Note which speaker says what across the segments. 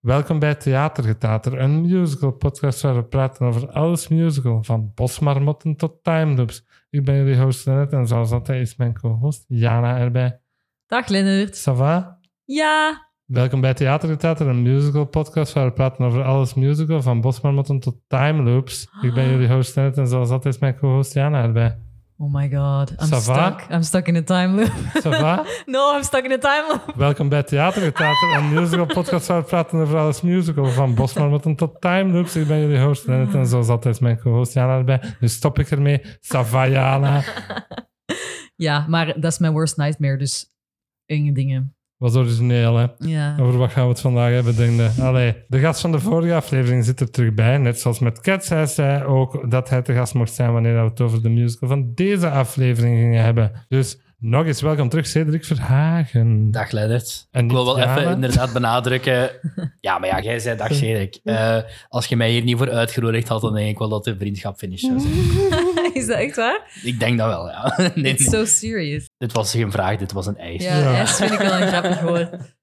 Speaker 1: Welkom bij Theatergetater, een musical podcast waar we praten over alles musical, van bosmarmotten tot timeloops. Ik ben jullie host Lennet en zoals altijd is mijn co-host Jana erbij.
Speaker 2: Dag Lennart.
Speaker 1: Sava,
Speaker 2: Ja,
Speaker 1: welkom bij Theatergetater, een musical podcast waar we praten over alles musical, van bosmarmotten tot timeloops. Ik ben jullie host Lennet en zoals altijd is mijn co-host Jana erbij.
Speaker 2: Oh my god, I'm
Speaker 1: Ça va?
Speaker 2: stuck. I'm stuck in a time loop.
Speaker 1: Sava,
Speaker 2: No, I'm stuck in a time loop.
Speaker 1: welkom bij Theatergetater, een musical podcast waar we praten over alles musical, van bosmarmotten tot timeloops. Ik ben jullie host Lennet en zoals altijd is mijn co-host Jana erbij. Nu stop ik ermee. Sava Jana.
Speaker 2: Ja, maar dat is mijn worst nightmare, dus enge dingen.
Speaker 1: Was origineel, hè?
Speaker 2: Ja.
Speaker 1: Over wat gaan we het vandaag hebben, denk je? Allee, de gast van de vorige aflevering zit er terug bij. Net zoals met Cats, hij zei ook dat hij te gast mocht zijn wanneer we het over de musical van deze aflevering gingen hebben. Dus nog eens welkom terug, Cedric Verhagen.
Speaker 3: Dag Leonard.
Speaker 1: En
Speaker 3: Ik wil wel
Speaker 1: niet Jana.
Speaker 3: even inderdaad benadrukken. Ja, maar ja, jij zei dag Cedric. Eh, als je mij hier niet voor uitgenodigd had, dan denk ik wel dat de vriendschap finish zou zijn.
Speaker 2: Is dat echt waar?
Speaker 3: Ik denk dat wel, ja. Nee, nee.
Speaker 2: It's so serious.
Speaker 3: Dit was geen vraag, dit was een eis.
Speaker 2: Ja,
Speaker 1: Ja.
Speaker 2: dat vind ik wel een grappig woord.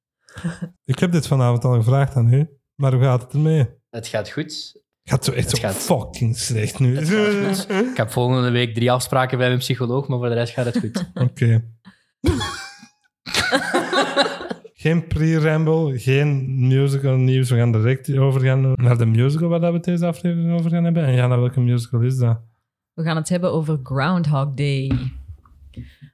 Speaker 1: Ik heb dit vanavond al gevraagd aan u, maar hoe gaat het ermee?
Speaker 3: Het gaat goed.
Speaker 1: Gaat zo echt zo
Speaker 3: Het gaat-
Speaker 1: fucking slecht nu.
Speaker 3: Het
Speaker 1: Oké.
Speaker 3: gaat goed. Ik heb volgende week drie afspraken bij mijn psycholoog, maar voor de rest gaat het goed.
Speaker 1: Geen pre-ramble, geen musical nieuws. We gaan direct overgaan naar de musical waar dat we deze aflevering over gaan hebben. En Jana, welke musical is dat?
Speaker 2: We gaan het hebben over Groundhog Day.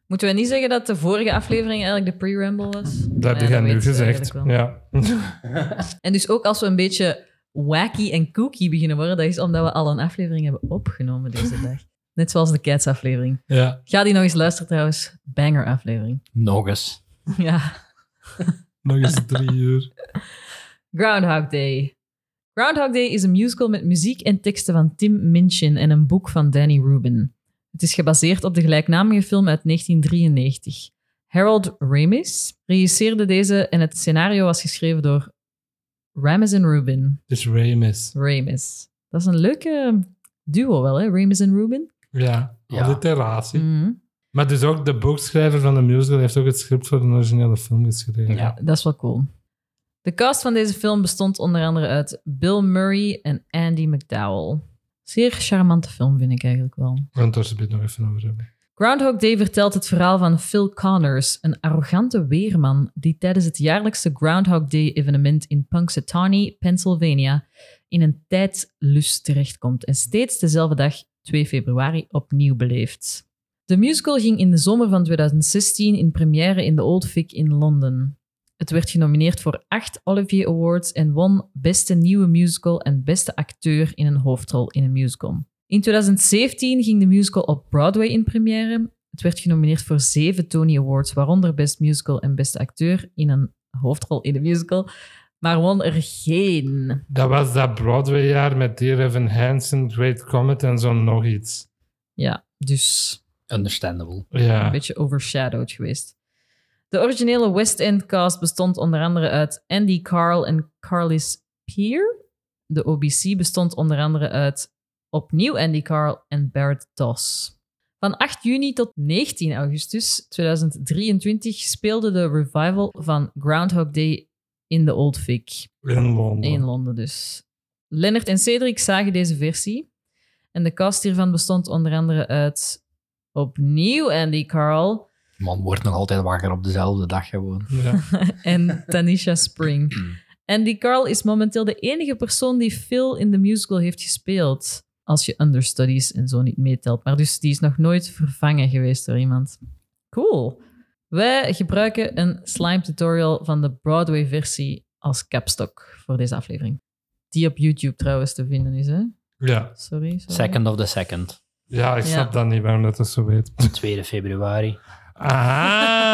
Speaker 2: Moeten we niet zeggen dat de vorige aflevering eigenlijk de pre-ramble was?
Speaker 1: Dat
Speaker 2: Maar ja,
Speaker 1: heb jij nu
Speaker 2: weten we
Speaker 1: gezegd.
Speaker 2: eigenlijk wel.
Speaker 1: Ja.
Speaker 2: En dus ook als we een beetje wacky en kooky beginnen worden, dat is omdat we al een aflevering hebben opgenomen deze dag. Net zoals de Cats aflevering.
Speaker 1: ja.
Speaker 2: Ga die nog eens luisteren trouwens. Banger aflevering.
Speaker 3: Nog eens.
Speaker 2: Ja.
Speaker 1: Nog eens drie uur.
Speaker 2: Groundhog Day. Groundhog Day is een musical met muziek en teksten van Tim Minchin en een boek van Danny Rubin. Het is gebaseerd op de gelijknamige film uit 1993. Harold Ramis regisseerde deze en het scenario was geschreven door Ramis en Rubin.
Speaker 1: Dus Ramis.
Speaker 2: Ramis. Dat is een leuke duo wel, hè? Ramis en Rubin.
Speaker 1: Ja,
Speaker 3: Ja. Mm.
Speaker 1: op de terratie.
Speaker 2: Mhm.
Speaker 1: Maar dus ook de boekschrijver van de musical heeft ook het script voor de originele film geschreven.
Speaker 3: Ja.
Speaker 2: Dat is wel cool. De cast van deze film bestond onder andere uit Bill Murray en Andy McDowell. Zeer charmante film, vind ik eigenlijk wel.
Speaker 1: We gaan het daar zo meteen nog even over hebben.
Speaker 2: Groundhog Day vertelt het verhaal van Phil Connors, een arrogante weerman die tijdens het jaarlijkse Groundhog Day-evenement in Punxsutawney, Pennsylvania, in een tijdlus terechtkomt en steeds dezelfde dag, 2 februari, opnieuw beleeft. De musical ging in de zomer van 2016 in première in de Old Vic in Londen. Het werd genomineerd voor acht Olivier Awards en won Beste Nieuwe Musical en Beste Acteur in een hoofdrol in een musical. In 2017 ging de musical op Broadway in première. Het werd genomineerd voor zeven Tony Awards, waaronder Best Musical en Beste Acteur in een hoofdrol in een musical, maar won er geen.
Speaker 1: Dat was dat Broadway-jaar met Dear Evan Hansen, Great Comet en zo nog iets.
Speaker 2: Ja, dus
Speaker 3: Understandable.
Speaker 2: een
Speaker 1: Ja.
Speaker 2: beetje overshadowed geweest. De originele West End cast bestond onder andere uit Andy Carl en Carlis Peer. De OBC bestond onder andere uit opnieuw Andy Carl en Barrett Doss. Van 8 juni tot 19 augustus 2023 speelde de revival van Groundhog Day in de Old Vic.
Speaker 1: In Londen.
Speaker 2: In Londen dus. Lennart en Cedric zagen deze versie. En de cast hiervan bestond onder andere uit opnieuw Andy Carl
Speaker 3: Man wordt nog altijd wakker op dezelfde dag gewoon.
Speaker 1: Ja.
Speaker 2: en Tanisha Spring. Andy Carl is momenteel de enige persoon die Phil in de musical heeft gespeeld. Als je understudies en zo niet meetelt. Maar dus die is nog nooit vervangen geweest door iemand. Cool. Wij gebruiken een slime tutorial van de Broadway versie als capstock voor deze aflevering. Die op YouTube trouwens te vinden is, hè?
Speaker 1: ja.
Speaker 2: Sorry. sorry.
Speaker 3: Second of the second.
Speaker 1: Ja, ik snap dat niet waarom dat dat zo weet.
Speaker 3: 2 februari.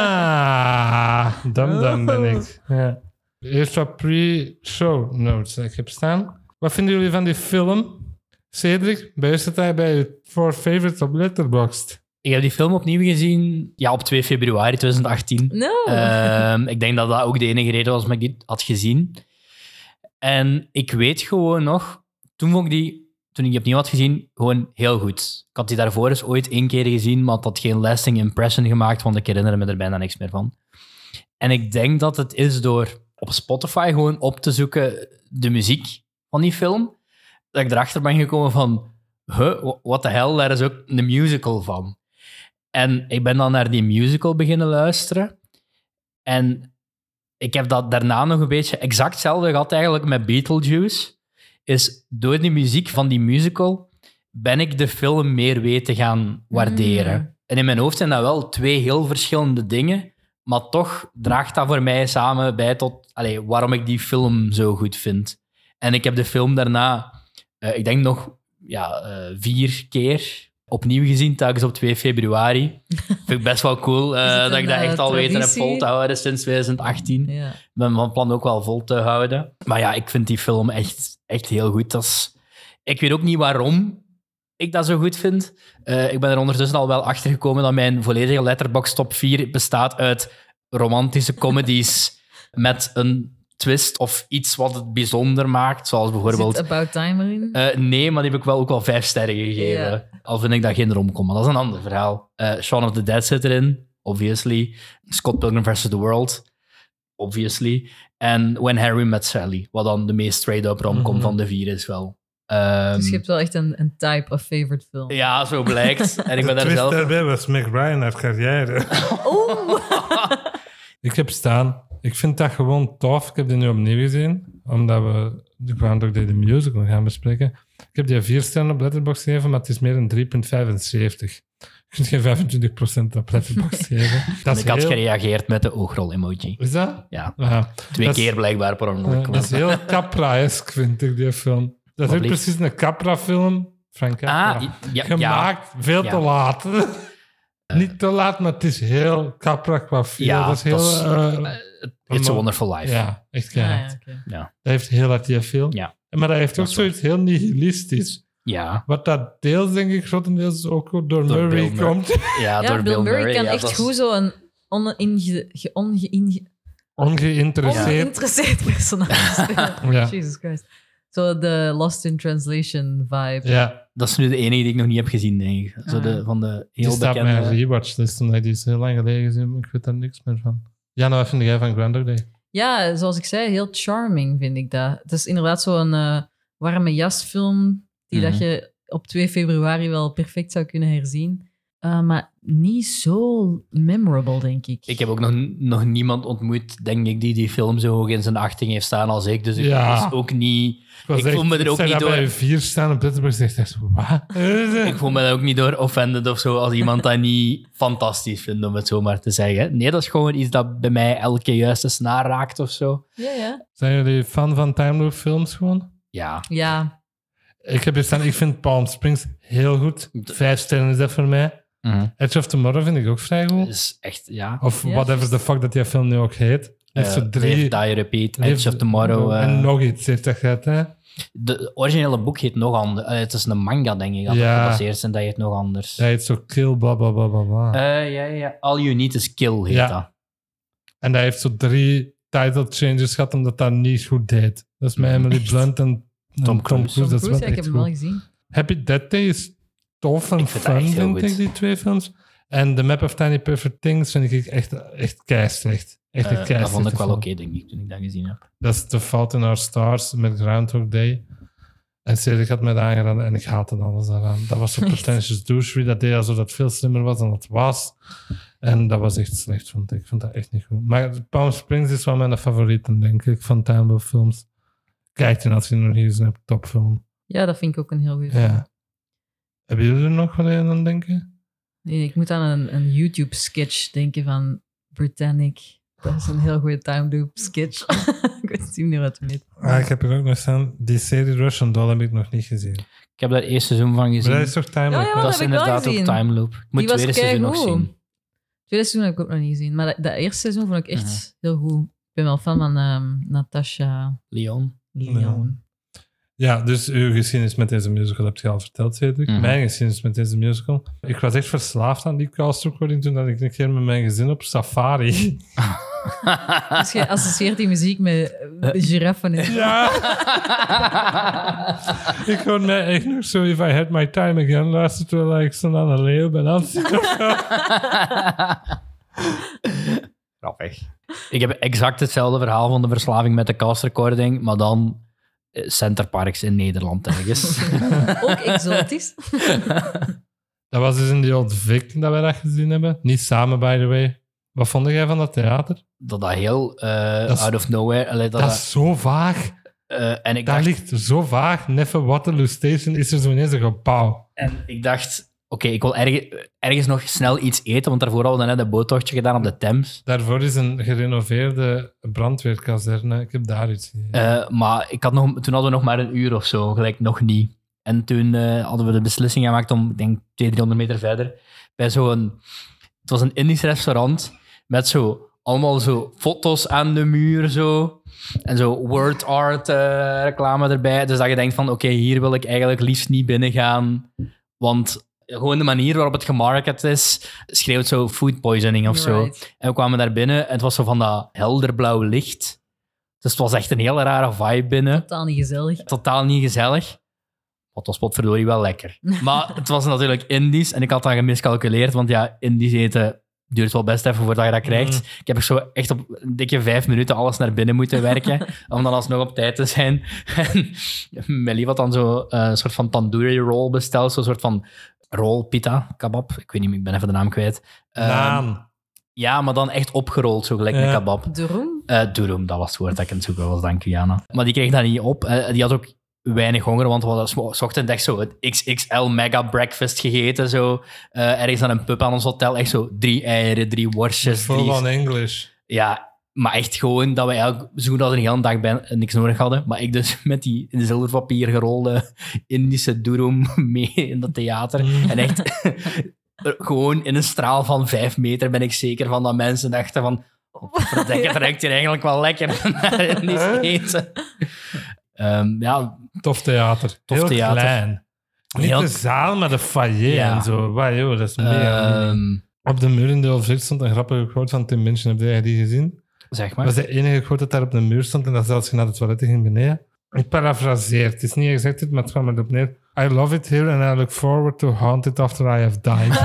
Speaker 1: Ah, dum dum ben
Speaker 2: Oh.
Speaker 1: ik. Ja. Eerst wat pre-show notes dat ik heb staan. Wat vinden jullie van die film? Cedric, bij u staat hij bij je four favorites op Letterboxd.
Speaker 3: Ik heb die film opnieuw gezien, ja, op 2 februari 2018.
Speaker 2: No.
Speaker 3: Ehm, ik denk dat dat ook de enige reden was waarom ik die had gezien. En ik weet gewoon nog, toen vond ik die, toen ik die opnieuw had gezien, gewoon heel goed. Ik had die daarvoor eens ooit één keer gezien, maar het had geen lasting impression gemaakt, want ik herinner me er bijna niks meer van. En ik denk dat het is door, oké, op Spotify gewoon op te zoeken de muziek van die film. Dat ik erachter ben gekomen van, huh, wha- what the hell, daar is ook een musical van. En ik ben dan naar die musical beginnen luisteren. En ik heb dat daarna nog een beetje exact hetzelfde gehad eigenlijk met Beetlejuice. Is door die muziek van die musical ben ik de film meer weten gaan waarderen.
Speaker 2: Mm.
Speaker 3: En in mijn hoofd zijn dat wel twee heel verschillende dingen. Maar toch draagt dat voor mij samen bij tot allee, waarom ik die film zo goed vind. En ik heb de film daarna, eh, ik denk nog ja, eh, vier keer opnieuw gezien, telkens op 2 februari. Vind ik best wel cool eh,
Speaker 2: Is het
Speaker 3: dat ik
Speaker 2: een,
Speaker 3: dat
Speaker 2: eh,
Speaker 3: echt al weten heb
Speaker 2: traditie?
Speaker 3: vol te houden sinds 2018. Ik
Speaker 2: Ja.
Speaker 3: ben van plan ook wel vol te houden. Maar ja, ik vind die film echt, echt heel goed. Dat is, ik weet ook niet waarom ik dat zo goed vind. Eh, ik ben er ondertussen al wel achter gekomen dat mijn volledige letterbox top 4 bestaat uit romantische comedies met een twist of iets wat het bijzonder maakt. Zoals bijvoorbeeld
Speaker 2: Zit About Time erin?
Speaker 3: eh, nee, maar die heb ik wel ook wel vijf sterren gegeven. Al vind ik dat geen romcom, maar dat is een ander verhaal. Eh, Shaun of the Dead zit erin, obviously. Scott Pilgrim vs. The World, obviously. En When Harry Met Sally, wat dan de meest straight-up romcom
Speaker 1: Mhm.
Speaker 3: van de vier is wel. Ehm,
Speaker 2: dus je hebt wel echt een, een type of favorite film.
Speaker 3: Ja, zo blijkt. En ik ben daar
Speaker 1: Twist
Speaker 3: zelf...
Speaker 1: daarbij was Meg Ryan uit carrière.
Speaker 2: Oh! Oeh!
Speaker 1: Ik heb staan. Ik vind dat gewoon tof. Ik heb die nu opnieuw gezien, omdat we de Groundhog Day de musical gaan bespreken. Ik heb die vier sterren op Letterboxd gegeven, maar het is meer een 3,75. Je kunt geen 25% op Letterboxd geven. Dat is
Speaker 3: ik had
Speaker 1: heel-
Speaker 3: gereageerd met de oogrol-emoji.
Speaker 1: Is dat?
Speaker 3: Ja,
Speaker 1: Ja.
Speaker 3: twee
Speaker 1: Dat is-
Speaker 3: keer blijkbaar per
Speaker 1: Ja,
Speaker 3: ongeluk.
Speaker 1: dat is heel Capra-esk, vind ik, die film. Dat is
Speaker 3: Wat
Speaker 1: ook
Speaker 3: blieft.
Speaker 1: precies een Capra-film. Frank Capra.
Speaker 3: ah, ja, ja,
Speaker 1: Gemaakt veel
Speaker 3: Ja. Eh.
Speaker 1: te laat. Niet te laat, maar het is heel Capra qua film.
Speaker 3: Ja,
Speaker 1: dat is heel...
Speaker 3: dat is- Ah,
Speaker 1: eh,
Speaker 3: It's a Wonderful Life.
Speaker 1: ja, echt
Speaker 2: Ja,
Speaker 1: keihard.
Speaker 2: ja, oké.
Speaker 1: Dat heeft heel dat die film.
Speaker 3: Ja.
Speaker 1: Maar dat heeft
Speaker 3: Dat
Speaker 1: ook
Speaker 3: is waar.
Speaker 1: zoiets heel nihilistisch.
Speaker 3: ja.
Speaker 1: Wat dat deels, denk ik, grotendeels ook door, Murray
Speaker 3: Bill Murray.
Speaker 1: komt.
Speaker 3: Ja,
Speaker 2: Ja,
Speaker 3: door
Speaker 2: Bill Murray, kan
Speaker 3: ja,
Speaker 2: echt
Speaker 3: dat is-
Speaker 2: goed zo'n ongeïnge- ge- ongeïnge-
Speaker 1: Ongeïnteresseerd.
Speaker 2: ongeïnteresseerd personage spelen.
Speaker 1: Ja.
Speaker 2: Jesus Christ. Zo de Lost in Translation vibe.
Speaker 1: Ja,
Speaker 3: Dat is nu de enige die ik nog niet heb gezien, denk ik. Zo
Speaker 2: Ah.
Speaker 3: de, van de
Speaker 1: die
Speaker 3: heel
Speaker 1: staat bij mijn
Speaker 3: bekende...
Speaker 1: rewatchlist, omdat ik die is heel lang geleden gezien maar ik weet daar niks meer van. Ja, nou, wat vind jij van Groundhog Day?
Speaker 2: Ja, zoals ik zei, heel charming vind ik dat. Het is inderdaad zo'n eh, warme jasfilm die dat
Speaker 3: Mhm.
Speaker 2: je op 2 februari wel perfect zou kunnen herzien. Eh, maar niet zo memorable, denk ik.
Speaker 3: Ik heb ook nog, nog niemand ontmoet, denk ik, die die film zo hoog in zijn achting heeft staan als ik. Dus ik
Speaker 1: Ja.
Speaker 3: was ook niet...
Speaker 1: was
Speaker 3: Ik voel me er ook
Speaker 1: zei
Speaker 3: niet
Speaker 1: dat
Speaker 3: door.
Speaker 1: bij vier staan op Letterboxd echt echt, wat?
Speaker 3: Ik voel me daar ook niet door offended of zo als iemand dat niet fantastisch vindt, om het zo maar te zeggen. Nee, dat is gewoon iets dat bij mij elke keer juist de snaar raakt of zo.
Speaker 2: Ja, ja.
Speaker 1: Zijn jullie fan van time loop films gewoon?
Speaker 3: Ja.
Speaker 2: Ja,
Speaker 1: Ik heb hier staan, ik vind Palm Springs heel goed. Vijf sterren is dat voor mij. Edge of Tomorrow vind ik ook vrij goed.
Speaker 3: Dat is echt, ja.
Speaker 1: Of
Speaker 2: Ja,
Speaker 1: whatever the fuck dat die film nu ook heet. Heeft
Speaker 3: Eh,
Speaker 1: zo drie...
Speaker 3: Live, Die, Repeat,
Speaker 1: heeft-
Speaker 3: Edge of Tomorrow. eh,
Speaker 1: En nog iets heeft dat gehad, hè?
Speaker 3: De originele boek heet nog anders. Eh, het is een manga, denk ik, dat
Speaker 1: Ja.
Speaker 3: het gebaseerd is en dat heet nog anders.
Speaker 1: Hij heet zo Kill, bla bla bla bla bla.
Speaker 3: Eh, ja, ja, ja. All You Need Is Kill heet
Speaker 1: Ah. Ja.
Speaker 3: dat.
Speaker 1: en hij heeft zo drie title changes gehad omdat dat niet goed deed. Dat is met Emily
Speaker 2: Echt?
Speaker 1: Blunt en en
Speaker 3: Mm. Tom
Speaker 1: Tom
Speaker 3: Cruise.
Speaker 1: Cruise. Dat is
Speaker 2: Tom
Speaker 1: wel
Speaker 2: Cruise, ja,
Speaker 1: echt
Speaker 2: ik heb hem wel
Speaker 1: goed.
Speaker 2: gezien.
Speaker 1: Happy Death Day is tof en
Speaker 3: Ik vind dat
Speaker 1: fun,
Speaker 3: echt heel
Speaker 1: vind ik,
Speaker 3: goed.
Speaker 1: die twee films. En The Map of Tiny Perfect Things vind ik echt, echt keislecht. Echt,
Speaker 3: Eh,
Speaker 1: echt
Speaker 3: dat vond ik
Speaker 1: keislechte
Speaker 3: wel
Speaker 1: film.
Speaker 3: oké, denk ik, toen ik dat gezien heb.
Speaker 1: Dat is The Fault in Our Stars met Groundhog Day. En Cedric had mij dat aangeraden en ik haatte alles daaraan. Dat was zo'n
Speaker 2: Echt?
Speaker 1: pretentious douche. Dat deed alsof dat veel slimmer was dan het was. En dat was echt slecht, vond ik. Ik vond dat echt niet goed. Maar Palm Springs is wel mijn favorieten, denk ik, van Tambo films. Kijk je als je nog niet gezien hebt, topfilm.
Speaker 2: Ja, dat vind ik ook een heel goed film.
Speaker 1: Ja. Hebben jullie er nog wat aan denken?
Speaker 2: Nee, ik moet aan een, een YouTube-sketch denken van Britannic. Dat is een heel goede time loop sketch.
Speaker 3: Oh.
Speaker 2: ik weet niet meer wat het heet.
Speaker 1: Ah, ik heb er ook nog staan. Die serie Russian Doll heb ik nog niet gezien.
Speaker 3: Ik heb daar het eerste seizoen van
Speaker 1: Maar
Speaker 3: gezien.
Speaker 1: dat is toch Time
Speaker 2: Ja,
Speaker 1: Loop?
Speaker 2: ja,
Speaker 3: Dat
Speaker 2: Oh, dat
Speaker 3: is
Speaker 2: heb ik wel
Speaker 3: inderdaad ook
Speaker 2: gezien.
Speaker 3: Time Loop. Ik moet
Speaker 2: Die
Speaker 3: het
Speaker 2: was
Speaker 3: tweede seizoen nog
Speaker 2: keigoed.
Speaker 3: zien.
Speaker 2: tweede seizoen heb ik ook nog niet gezien. Maar dat, dat eerste seizoen vond ik echt heel goed. Ik ben wel fan van ehm, Natasha
Speaker 3: Leon.
Speaker 2: Leon.
Speaker 1: Ja, dus uw geschiedenis met deze musical heb je al verteld, Cedric.
Speaker 3: Mhm.
Speaker 1: Mijn geschiedenis met deze musical. Ik was echt verslaafd aan die castrecording toen dat ik een keer met mijn gezin op safari.
Speaker 2: Dus je associeert die muziek met eh, giraffen. en-
Speaker 1: Ja, ik kon mij echt nog zo If I Had My Time Again luisteren terwijl ik zo aan de leeuw ben aan het zien.
Speaker 4: Grappig.
Speaker 3: Ik heb exact hetzelfde verhaal van de verslaving met de cast recording, maar dan eh, centerparks in Nederland ergens.
Speaker 2: Ook exotisch.
Speaker 1: Dat was dus in die Old Vic dat wij dat gezien hebben. Niet samen, by the way. Wat vond jij van dat theater?
Speaker 3: dat dat heel eh,
Speaker 1: Dat is-
Speaker 3: out of nowhere. allee, dat
Speaker 1: Dat, is zo vaag.
Speaker 3: dat- eh, en ik
Speaker 1: Daar
Speaker 3: dacht,
Speaker 1: ligt zo vaag. Neffen Waterloo Station is er zo ineens een gebouw.
Speaker 3: en ik dacht oké, ik wil erge- ergens nog snel iets eten, want daarvoor hadden we net een boottochtje gedaan op de Thames.
Speaker 1: Daarvoor is een gerenoveerde brandweerkazerne. Ik heb daar iets gezien.
Speaker 3: Eh, maar ik had nog, toen hadden we nog maar een uur of zo, gelijk nog niet. En toen eh, hadden we de beslissing gemaakt om, ik denk, 200, 300 meter verder, bij zo'n... Het was een Indisch restaurant met zo allemaal zo foto's aan de muur zo. En zo word art eh, reclame erbij. Dus dat je denkt van, oké, hier wil ik eigenlijk liefst niet binnengaan. Want gewoon de manier waarop het gemarket is, schreeuwt zo food poisoning of zo.
Speaker 2: Right.
Speaker 3: En we kwamen daar binnen en het was zo van dat helderblauw licht. Dus het was echt een hele rare vibe binnen.
Speaker 2: Totaal niet gezellig.
Speaker 3: Totaal niet gezellig. Maar het was potverdorie wel lekker. Maar het was natuurlijk Indisch en ik had dat gemiscalculeerd. Want ja, Indisch eten duurt wel best even voordat je dat krijgt.
Speaker 1: Mm.
Speaker 3: Ik heb er zo echt op een dikke vijf minuten alles naar binnen moeten werken. om dan alsnog op tijd te zijn. En Melly had dan zo eh, een soort van tandoori roll besteld. Zo'n soort van roll pita, kebab. Ik weet niet, ik ben even de naam kwijt. Ehm,
Speaker 1: Naan.
Speaker 3: ja, maar dan echt opgerold, zo gelijk
Speaker 1: Ja.
Speaker 3: een kebab.
Speaker 2: De roem?
Speaker 3: Eh Durum, dat was het woord dat ik aan het zoeken was, dank u, Jana. Maar die kreeg dat niet op. Eh, die had ook weinig honger, want we hadden smo- 's ochtends echt zo het XXL mega breakfast gegeten. Zo. Eh, ergens aan een pub aan ons hotel, echt zo drie eieren, drie worstjes.
Speaker 1: Full
Speaker 3: drie-
Speaker 1: on English.
Speaker 3: Ja, maar echt gewoon dat we eigenlijk zo goed als een hele dag ben, niks nodig hadden. Maar ik dus met die in zilverpapier gerolde Indische Durum mee in dat theater.
Speaker 1: Mm.
Speaker 3: En echt, er- gewoon in een straal van vijf meter ben ik zeker van dat mensen dachten van... Verdekker, het ruikt hier eigenlijk wel lekker naar Indisch eten. Ehm, ja,
Speaker 1: Tof theater.
Speaker 3: Tof
Speaker 1: Heel
Speaker 3: theater.
Speaker 1: klein. Niet
Speaker 3: Heel-
Speaker 1: de zaal, maar de foyer
Speaker 3: Ja.
Speaker 1: en zo. Wauw, joh, dat is mega.
Speaker 3: ehm,
Speaker 1: Op de muur in de Olfrit stond een grappige quote van Tim Minchin. Heb jij die gezien?
Speaker 3: zeg
Speaker 1: Dat
Speaker 3: maar.
Speaker 1: was de enige quote dat daar op de muur stond en dat zelfs je naar de toilet ging beneden. Ik parafraseer, het is niet exact dit, maar het kwam erop neer. I love it here and I look forward to haunt it after I have died.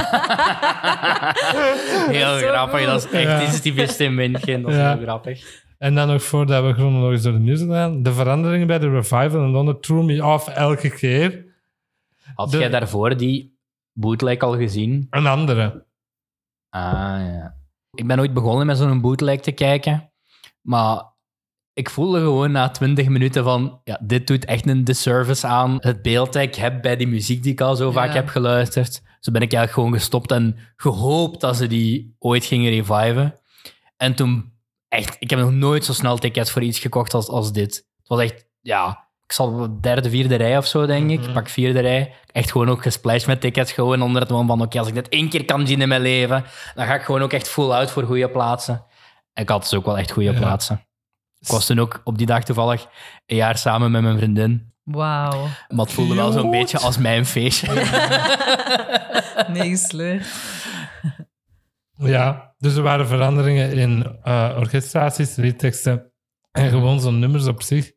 Speaker 3: Heel
Speaker 2: Zo
Speaker 3: grappig, dat is
Speaker 1: Ja.
Speaker 3: echt iets typisch Tim Minchin. Dat is
Speaker 1: Ja.
Speaker 3: heel grappig.
Speaker 1: en dan nog voordat we chronologisch door de muur gaan. De veranderingen bij de revival in Londen threw me off elke keer.
Speaker 3: Had
Speaker 1: De-
Speaker 3: jij daarvoor die bootleg al gezien?
Speaker 1: Een andere.
Speaker 3: Ah, ja. Ik ben ooit begonnen met zo'n bootleg te kijken, maar ik voelde gewoon na 20 minuten van, ja, dit doet echt een disservice aan het beeld dat ik heb bij die muziek die ik al zo vaak
Speaker 2: Ja.
Speaker 3: heb geluisterd. Dus ben ik eigenlijk gewoon gestopt en gehoopt dat ze die ooit gingen reviven. En toen, echt, ik heb nog nooit zo snel tickets voor iets gekocht als, als dit. Het was echt, ja, ik zat op de derde, vierde rij of zo, denk ik.
Speaker 1: Mhm.
Speaker 3: Ik pak vierde rij. Echt gewoon ook gesplashed met tickets, gewoon onder het mom van, oké, als ik dit één keer kan zien in mijn leven, dan ga ik gewoon ook echt full out voor goede plaatsen. En ik had dus ook wel echt goede
Speaker 1: Ja.
Speaker 3: plaatsen. Ik was toen ook op die dag toevallig een jaar samen met mijn vriendin.
Speaker 2: Wauw.
Speaker 3: Maar het voelde wel zo'n
Speaker 1: Cute.
Speaker 3: beetje als mijn feestje.
Speaker 2: Nee, gesleurd.
Speaker 1: Ja, dus er waren veranderingen in eh, orchestraties, liedteksten en gewoon zo'n nummers op zich.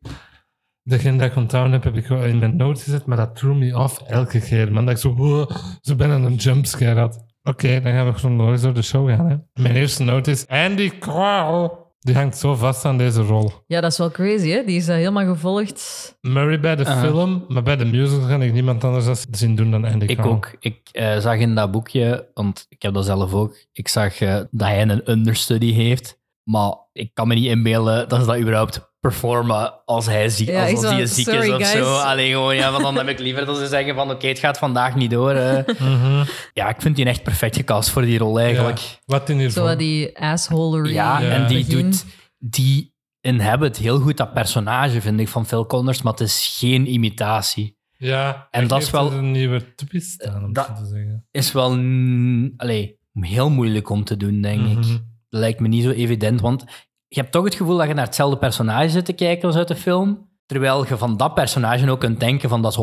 Speaker 1: Degene dat ik onthouden heb, heb ik wel in mijn notes gezet, maar dat threw me off elke keer. Man, dat ik zo, "Wow," zo bijna een jumpscare had. Oké, dan gaan we chronologisch door de show gaan. Hè. Mijn eerste note is Andy Carl. Die hangt zo vast aan deze rol.
Speaker 2: Ja, dat is wel crazy, hè? Die is eh, helemaal gevolgd.
Speaker 1: Murray bij de
Speaker 3: Uh-huh.
Speaker 1: film, maar bij de musical kan ik niemand anders als zien doen dan Andy
Speaker 3: Ik
Speaker 1: Carl.
Speaker 3: ook. Ik eh, zag in dat boekje, want ik heb dat zelf ook, ik zag eh, dat hij een understudy heeft. Maar ik kan me niet inbeelden dat ze dat überhaupt performen als hij ziek,
Speaker 2: Ja,
Speaker 3: als,
Speaker 2: ik
Speaker 3: als
Speaker 2: zou-
Speaker 3: die ziek
Speaker 2: sorry,
Speaker 3: is of
Speaker 2: guys.
Speaker 3: zo. Alleen gewoon, ja, want dan heb ik liever dat ze zeggen van oké, het gaat vandaag niet door. eh.
Speaker 1: Mhm.
Speaker 3: Ja, ik vind die echt perfect gecast voor die rol eigenlijk.
Speaker 1: Wat in hiervan?
Speaker 2: Zo wat die assholery. eh,
Speaker 3: Ja,
Speaker 1: Ja.
Speaker 3: en die
Speaker 2: begin.
Speaker 3: doet... Die inhabit heel goed dat personage, vind ik, van Phil Condors, maar het is geen imitatie.
Speaker 1: Ja,
Speaker 3: En
Speaker 1: hij
Speaker 3: dat is
Speaker 1: geeft
Speaker 3: wel-
Speaker 1: er een nieuwe twist aan, om
Speaker 3: Dat-
Speaker 1: zo te zeggen.
Speaker 3: Is wel... mm, Allee, heel moeilijk om te doen, denk
Speaker 1: Mhm.
Speaker 3: ik. Dat lijkt me niet zo evident, want je hebt toch het gevoel dat je naar hetzelfde personage zit te kijken als uit de film, terwijl je van dat personage ook kunt denken van dat is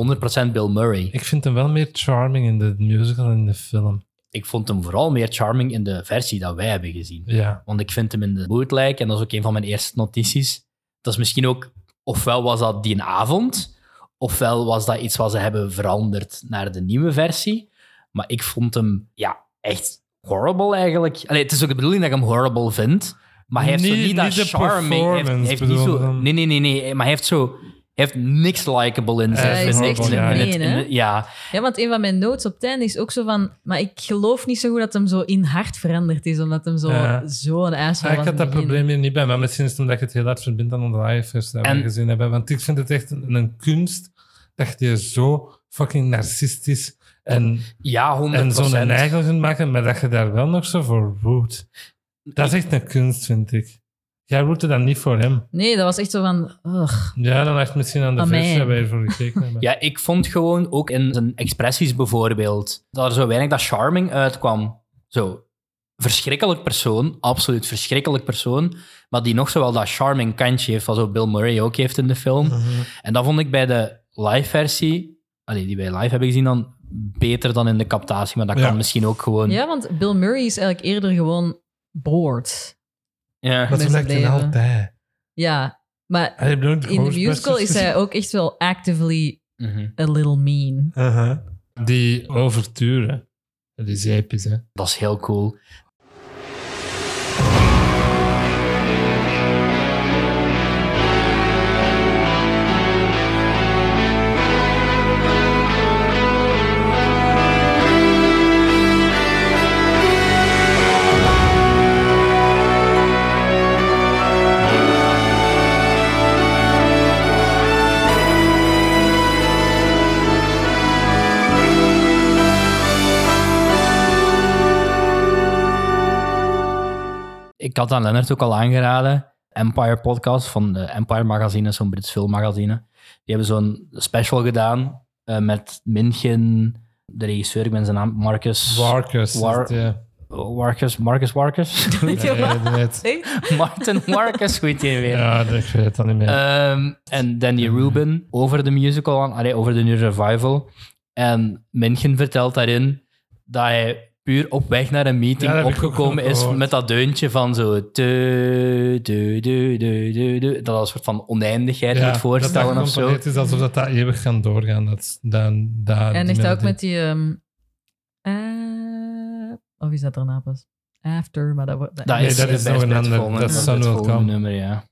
Speaker 3: 100% Bill Murray.
Speaker 1: Ik vind hem wel meer charming in de musical dan in de film.
Speaker 3: Ik vond hem vooral meer charming in de versie dat wij hebben gezien.
Speaker 1: Ja.
Speaker 3: Want ik vind hem in de bootleg, en dat is ook een van mijn eerste notities. Dat is misschien ook, ofwel was dat die avond, ofwel was dat iets wat ze hebben veranderd naar de nieuwe versie. Maar ik vond hem, ja, echt horrible eigenlijk. Allee, het is ook de bedoeling dat ik hem horrible vind, Maar hij heeft zo
Speaker 1: Niet-
Speaker 3: niet, dat
Speaker 1: niet de
Speaker 3: charme. Hij heeft, hij
Speaker 1: performance,
Speaker 3: heeft niet
Speaker 1: bedoel
Speaker 3: zo...
Speaker 1: dan.
Speaker 3: Nee, nee, nee, nee. Maar hij heeft zo... Hij heeft niks likable in
Speaker 1: Hij
Speaker 3: zich.
Speaker 1: is
Speaker 3: vind ik.
Speaker 1: echt
Speaker 3: In het- in het-
Speaker 2: gemeen, hè?
Speaker 3: Ja.
Speaker 2: Ja, want een van mijn notes op het einde is ook zo van... Maar ik geloof niet zo goed dat hem zo in hart veranderd is, omdat hem zo'n
Speaker 1: Ja.
Speaker 2: zo zo'n ijs
Speaker 1: Ah, ik had dat probleem hier niet bij, maar misschien is het omdat ik het heel hard verbind aan onze live dat we
Speaker 3: En-
Speaker 1: gezien hebben. Want ik vind het echt een, een kunst dat je zo fucking narcistisch en,
Speaker 3: Ja, 100%.
Speaker 1: en zo'n eigen kunt maken, maar dat je daar wel nog zo voor roept. Dat is echt een kunst, vind ik. Jij roept dan niet voor hem.
Speaker 2: Nee, dat was echt zo van... ugh.
Speaker 1: Ja, dan echt misschien aan de
Speaker 2: Aan
Speaker 1: versie
Speaker 2: mij.
Speaker 1: waar je voor gekeken hebt.
Speaker 3: Ja, ik vond gewoon ook in zijn expressies bijvoorbeeld, dat er zo weinig dat charming uitkwam. Zo, verschrikkelijk persoon, absoluut verschrikkelijk persoon, maar die nog zo wel dat charming kantje heeft, wat zo Bill Murray ook heeft in de film.
Speaker 1: Mhm.
Speaker 3: En dat vond ik bij de live versie, allee, die wij live hebben gezien dan, beter dan in de captatie, maar dat
Speaker 1: Ja.
Speaker 3: kan misschien ook gewoon...
Speaker 2: Ja, want Bill Murray is eigenlijk eerder gewoon bored.
Speaker 3: Ja.
Speaker 1: Maar zo
Speaker 2: Mensen
Speaker 1: lijkt hij
Speaker 2: blijven.
Speaker 1: altijd.
Speaker 2: Ja, maar
Speaker 1: Hij heeft nooit
Speaker 2: in de
Speaker 1: Ghostbusters
Speaker 2: musical is
Speaker 1: gezien.
Speaker 2: hij ook echt wel actively
Speaker 3: Mhm.
Speaker 2: a little mean.
Speaker 1: Uh-huh. Die overturen, dat is episch, hè.
Speaker 3: Dat is heel cool. Ik had aan Lennart ook al aangeraden. Empire Podcast van de Empire Magazine, zo'n Brits filmmagazine. Die hebben zo'n special gedaan eh, met Minchen, de regisseur, ik ben zijn naam, Marcus...
Speaker 1: Warkers. is
Speaker 3: War-
Speaker 1: het, dus, ja.
Speaker 3: Warkus, Marcus Warkus?
Speaker 1: Nee, ik weet-
Speaker 2: Nee?
Speaker 3: Martin Warkus, goed je weer.
Speaker 1: Ja, dat- ik weet het dan niet meer.
Speaker 3: Ehm, en Danny Rubin over de musical, aan- allee, over de New Revival. En Minchen vertelt daarin dat hij puur op weg naar een meeting
Speaker 1: Ja, dat heb ik ook
Speaker 3: opgekomen
Speaker 1: nog
Speaker 3: is
Speaker 1: gehoord.
Speaker 3: met dat deuntje van zo... te, te, te, te, te, te. dat als een soort van oneindigheid moet voorstellen
Speaker 1: dat
Speaker 3: of zo.
Speaker 1: Het is alsof dat, dat eeuwig kan doorgaan. Dat, dan, dat,
Speaker 2: En
Speaker 1: die
Speaker 2: echt ook
Speaker 1: melodie.
Speaker 2: met die... ehm, eh, of is dat daarna pas? After, maar dat wordt...
Speaker 3: Dat
Speaker 1: Nee,
Speaker 3: is,
Speaker 1: dat is
Speaker 3: bij-
Speaker 1: nog een
Speaker 3: bij het
Speaker 1: ander-
Speaker 3: volgende-
Speaker 1: dat
Speaker 2: is
Speaker 3: bij
Speaker 1: Sun
Speaker 3: het
Speaker 1: Will
Speaker 3: volgende
Speaker 1: Come.
Speaker 3: nummer, ja.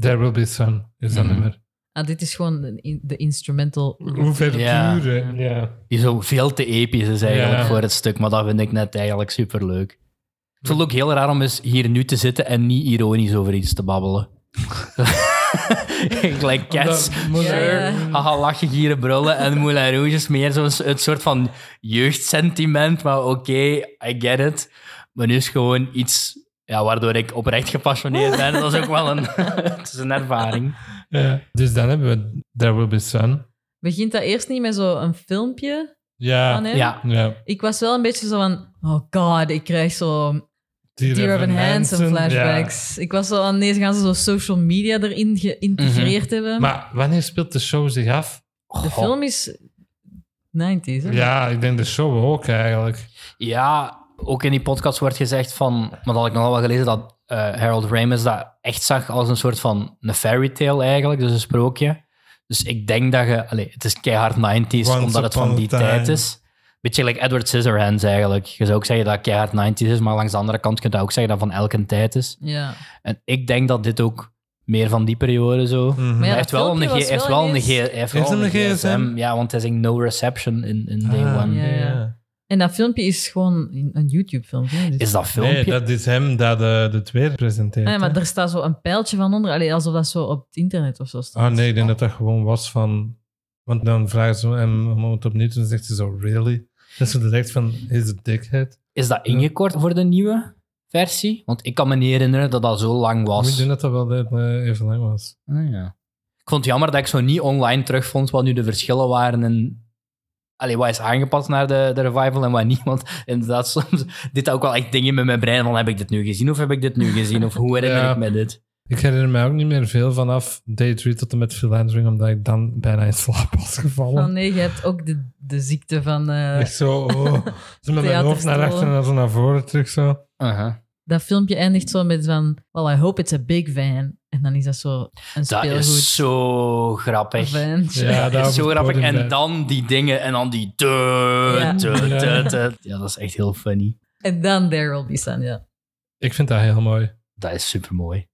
Speaker 1: There Will Be Sun is dat
Speaker 3: Mhm.
Speaker 1: nummer.
Speaker 2: Ah, dit is gewoon de, in- de instrumental.
Speaker 1: Hoeveel
Speaker 3: Ja.
Speaker 1: uren? Ja.
Speaker 3: Die zo veel te episch is eigenlijk
Speaker 1: Ja.
Speaker 3: voor het stuk, maar dat vind ik net eigenlijk superleuk. Ik vond het ook heel raar om eens hier nu te zitten en niet ironisch over iets te babbelen. Ik like cats,
Speaker 1: Omdat Moulin-
Speaker 2: Sir. Ja,
Speaker 3: haha, lachen, gieren, brullen en Moulin Rouge is meer zo'n s- het soort van jeugdsentiment, maar oké, I get it. Maar nu is het gewoon iets ja, waardoor ik oprecht gepassioneerd ben. Dat is ook wel een, het is een ervaring.
Speaker 1: Ja. Dus dan hebben we There Will Be Sun.
Speaker 2: Begint dat eerst niet met zo'n filmpje van
Speaker 1: Ja.
Speaker 2: hem?
Speaker 3: Ja,
Speaker 1: ja.
Speaker 2: Ik was wel een beetje zo van... Oh god, ik krijg zo Dear Evan Hansen flashbacks. Ik was zo aan deze gaan ze zo social media erin geïntegreerd
Speaker 1: Ja.
Speaker 2: hebben.
Speaker 1: Mhm. Maar wanneer speelt de show zich af?
Speaker 2: de
Speaker 3: Goh.
Speaker 2: film is 90s, hè?
Speaker 1: Ja, ik denk de show ook eigenlijk.
Speaker 3: Ja, ook in die podcast wordt gezegd van... Maar dat had ik nogal wel gelezen, dat eh, Harold Ramis dat echt zag als een soort van een fairy tale eigenlijk, dus een sprookje. Dus ik denk dat je... Allee, het is keihard 90s,
Speaker 1: Once
Speaker 3: omdat het
Speaker 1: upon
Speaker 3: van
Speaker 1: a
Speaker 3: die
Speaker 1: time.
Speaker 3: tijd is. Beetje like Edward Scissorhands eigenlijk. Je zou ook zeggen dat het keihard 90s is, maar langs de andere kant kun je ook zeggen dat van elke tijd is.
Speaker 2: Ja.
Speaker 3: En ik denk dat dit ook meer van die periode zo...
Speaker 1: Mhm.
Speaker 2: Maar
Speaker 3: Hij
Speaker 2: ja,
Speaker 3: heeft wel een,
Speaker 2: filmpje
Speaker 3: G-
Speaker 2: was
Speaker 3: heeft
Speaker 2: wel
Speaker 3: wel een, G-
Speaker 2: ineens-
Speaker 3: hij heeft
Speaker 1: Heeft
Speaker 3: wel
Speaker 1: hem
Speaker 3: een
Speaker 1: een
Speaker 3: GSM.
Speaker 1: GSM?
Speaker 3: Ja, want hij zingt no reception in, in Day
Speaker 1: Ah,
Speaker 3: One.
Speaker 2: Ja, ja. En dat filmpje is gewoon een- een YouTube-filmpje. Dus...
Speaker 3: Is dat filmpje?
Speaker 1: Nee, dat is hem dat eh, de, de twee presenteert.
Speaker 2: Ah, ja, maar
Speaker 1: hè.
Speaker 2: er staat zo een pijltje van onder. Allee, alsof dat zo op het internet of zo staat.
Speaker 1: Ah nee, ik denk dat dat gewoon was van... Want dan vragen ze hem om het opnieuw te doen, zegt ze zo, really? Dat ze direct van, is het dikheid?
Speaker 3: Is dat ingekort voor de nieuwe versie? Want ik kan me niet herinneren dat dat zo lang
Speaker 1: Ik
Speaker 3: was.
Speaker 1: denk dat dat wel eh, even lang was.
Speaker 3: Ah, ja. Ik vond het jammer dat ik zo niet online terugvond wat nu de verschillen waren en Allee, wat is aangepast naar de, de revival en wat niet. Want inderdaad, soms dit ook wel echt dingen met mijn brein. Van, heb ik dit nu gezien of heb ik dit nu gezien? Of hoe herinner
Speaker 1: Ja.
Speaker 3: ik me dit?
Speaker 1: Ik herinner mij ook niet meer veel vanaf day 3 tot en met Philandering, omdat ik dan bijna in slaap was gevallen.
Speaker 2: Oh nee, je hebt ook de, de ziekte van... eh,
Speaker 1: Echt zo, oh. Zo met mijn hoofd naar achter en dan zo naar voren terug zo.
Speaker 3: Uh-huh.
Speaker 2: Dat filmpje eindigt zo met van... Well, I hope it's a big van. En dan is dat zo een
Speaker 3: Dat
Speaker 2: speelgoed eh,
Speaker 3: is zo grappig.
Speaker 2: van.
Speaker 1: Ja,
Speaker 3: dat is zo
Speaker 1: op het
Speaker 3: grappig.
Speaker 1: podium
Speaker 3: En
Speaker 1: blijven.
Speaker 3: dan die dingen en dan die...
Speaker 2: Ja.
Speaker 3: Ja.
Speaker 1: Ja.
Speaker 3: ja, dat is echt heel funny.
Speaker 2: En dan There Will Be Sun, ja.
Speaker 1: Ik vind dat heel mooi.
Speaker 3: dat is super mooi.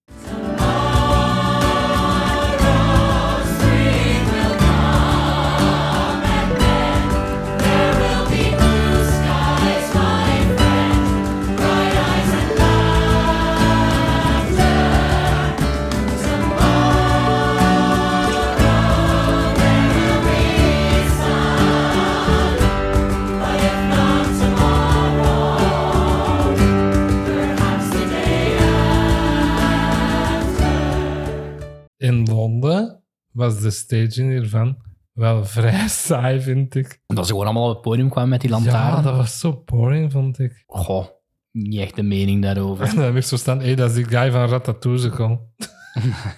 Speaker 1: In Londen was de staging hiervan wel vrij saai, vind ik.
Speaker 3: Dat ze gewoon allemaal op het podium kwamen met die lantaarn.
Speaker 1: Ja, dat was zo boring, vond ik.
Speaker 3: Goh, niet echt de mening daarover.
Speaker 1: En dan heb ik zo staan, hey, dat is die guy van Ratatouille.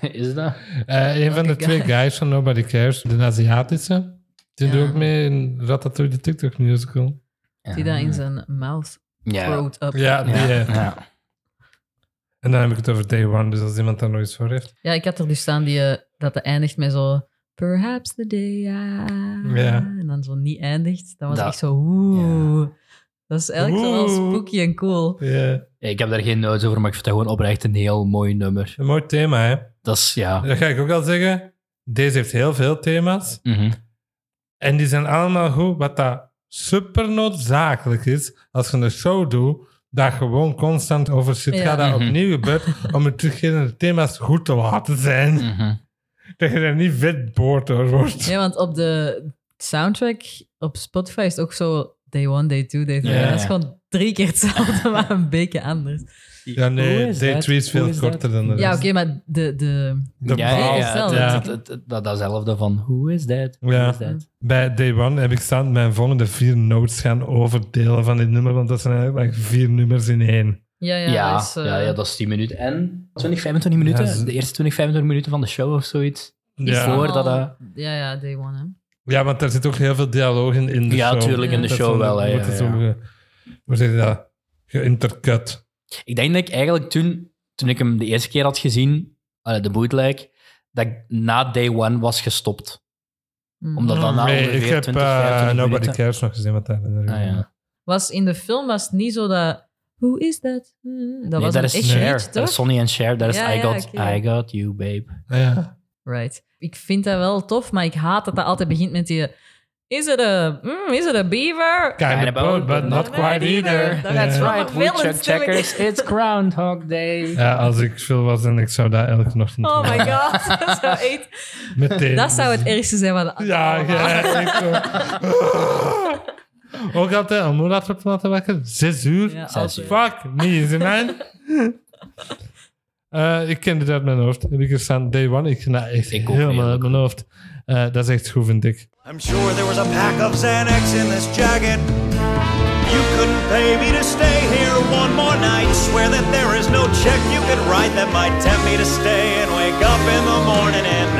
Speaker 3: is dat?
Speaker 1: Eh een van de
Speaker 2: Welke
Speaker 1: twee
Speaker 2: guy?
Speaker 1: guys van Nobody Cares, de Aziatische, die
Speaker 2: Ja.
Speaker 1: doet ook mee in Ratatouille, de TikTok musical.
Speaker 2: Die dat in zijn mouth
Speaker 3: ja.
Speaker 2: throat up.
Speaker 1: Ja, die,
Speaker 3: Ja,
Speaker 1: eh,
Speaker 3: ja.
Speaker 1: En dan heb ik het over Day One, dus als iemand daar nog iets voor heeft.
Speaker 2: Ja, ik had er dus staan die, eh, dat het eindigt met zo... Perhaps the day I...
Speaker 1: Ja.
Speaker 2: En dan zo niet eindigt. Dat was
Speaker 3: Dat-
Speaker 2: echt zo... Oeh. Dat is eigenlijk zo wel
Speaker 1: Oeh.
Speaker 2: spooky en cool.
Speaker 1: Ja,
Speaker 3: Ik heb daar geen notes over, maar ik vind dat gewoon oprecht een heel mooi nummer.
Speaker 1: Een mooi thema, hè?
Speaker 3: Dat is, ja.
Speaker 1: Dat ga ik ook al zeggen. Deze heeft heel veel thema's.
Speaker 3: Mhm.
Speaker 1: En die zijn allemaal goed, wat dat super noodzakelijk is als je een show doet, dat gewoon constant over shit
Speaker 2: Ja.
Speaker 1: gaat dat
Speaker 3: Mhm.
Speaker 1: opnieuw gebeurt, om je terugkerende thema's goed te laten zijn.
Speaker 3: Mhm.
Speaker 1: Dat je er niet vet boord door wordt.
Speaker 2: Ja, want op de soundtrack op Spotify is het ook zo... Day one, day two, day three.
Speaker 3: Ja,
Speaker 2: En Dat is
Speaker 3: ja.
Speaker 2: gewoon drie keer hetzelfde, maar een beetje anders.
Speaker 1: Ja, nee,
Speaker 3: Hoe is
Speaker 1: day
Speaker 3: dat?
Speaker 1: three is veel
Speaker 3: Hoe dat?
Speaker 1: korter dan de
Speaker 2: Ja,
Speaker 1: rest.
Speaker 3: Dus-
Speaker 2: oké, maar de... de
Speaker 1: De
Speaker 3: Ja, ja,
Speaker 1: baal-
Speaker 3: ja, het-
Speaker 1: ja.
Speaker 3: het- het- het- dat, datzelfde van who is that? Who
Speaker 1: Ja.
Speaker 3: is that?
Speaker 1: Bij Day One heb ik staan mijn volgende vier notes gaan overdelen van dit nummer, want dat zijn eigenlijk like vier nummers in één.
Speaker 2: ja, ja,
Speaker 3: Ja, ja,
Speaker 2: dat is, eh,
Speaker 3: ja, dat is 10 minuten. En 20, 25 minuten?
Speaker 1: Ja, ze-
Speaker 3: de eerste 20, 25 minuten van de show of zoiets.
Speaker 2: is
Speaker 1: Ja,
Speaker 3: Voor dat,
Speaker 2: allemaal- Ja, ja, day one, hè.
Speaker 1: ja want daar zit ook heel veel dialoog in, in de
Speaker 3: Ja,
Speaker 1: show.
Speaker 3: tuurlijk,
Speaker 2: in
Speaker 1: Dat
Speaker 3: de
Speaker 1: is
Speaker 3: show
Speaker 1: zo-
Speaker 3: wel, hè,
Speaker 1: wordt het
Speaker 3: ja,
Speaker 1: zo ge- hoe zeg je dat? Geïntercut.
Speaker 3: Ik denk dat ik eigenlijk toen, toen ik hem de eerste keer had gezien, eh, de bootleg, dat ik na day one was gestopt.
Speaker 2: Mm.
Speaker 3: Omdat dat na
Speaker 1: Nee,
Speaker 3: ongeveer
Speaker 1: ik heb
Speaker 3: 20,
Speaker 1: eh,
Speaker 3: 25
Speaker 1: Nobody
Speaker 3: minuten-
Speaker 1: Cares nog gezien. Wat daar,
Speaker 3: Ah, ja.
Speaker 2: was in de film was het niet zo dat. Hoe is dat? Hmm, Dat
Speaker 3: Nee,
Speaker 2: was
Speaker 3: dat
Speaker 2: een
Speaker 3: is
Speaker 2: echt
Speaker 3: Cher.
Speaker 2: liedje,
Speaker 3: Dat
Speaker 2: toch?
Speaker 3: is Sonny en Cher. Dat is
Speaker 2: Ja,
Speaker 3: I,
Speaker 2: ja,
Speaker 3: got,
Speaker 2: oké.
Speaker 3: I got you, babe.
Speaker 1: Ah, ja.
Speaker 2: Right. Ik vind dat wel tof, maar ik haat dat dat altijd begint met die. Is het een mm, is het een beaver?
Speaker 3: Ah,
Speaker 1: Kind of both, but not quite either.
Speaker 2: Dat gaat
Speaker 1: Ja.
Speaker 2: zo. right, we check checkers,
Speaker 3: it's Groundhog Day.
Speaker 1: Ja, als ik veel was en ik zou dat elke ochtend
Speaker 2: Oh my
Speaker 1: doen.
Speaker 2: god. dat, zou echt-
Speaker 1: Meteen.
Speaker 2: dat zou het ergste zijn van.
Speaker 1: Ja,
Speaker 2: allemaal.
Speaker 1: ja, ik ook. Ook altijd, om hoe laat werd we laten wakker? Zes uur? Oh,
Speaker 2: Ja,
Speaker 3: Zes uur.
Speaker 1: Fuck me, is het mijn? Eh, ik ken dit uit mijn hoofd. Heb ik er staan day one. Ik ken dat echt
Speaker 3: Ik ook,
Speaker 1: helemaal uit
Speaker 3: heerlijk.
Speaker 1: mijn hoofd. Eh, dat is echt goed, vind ik.
Speaker 4: I'm sure there was a pack of Xanax in this jacket. You couldn't pay me to stay here one more night. Swear that there is no check you could write that might tempt me to stay and wake up in the morning and.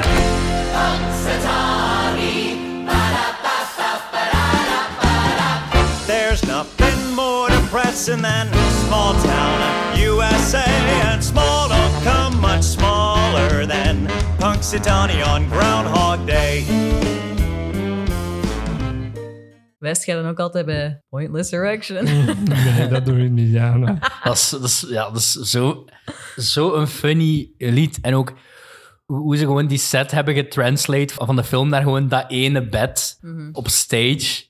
Speaker 4: There's nothing more depressing than small town USA, and small don't come much smaller than Punxsutawney on Groundhog Day.
Speaker 2: West gaat dan ook altijd bij Pointless Erection.
Speaker 1: Nee, dat doe ik niet, nou. Jana.
Speaker 3: Dat is, dat is, ja, dat is zo, zo een funny lied. En ook hoe hoe ze gewoon die set hebben getranslate van de film naar gewoon dat ene bed op stage.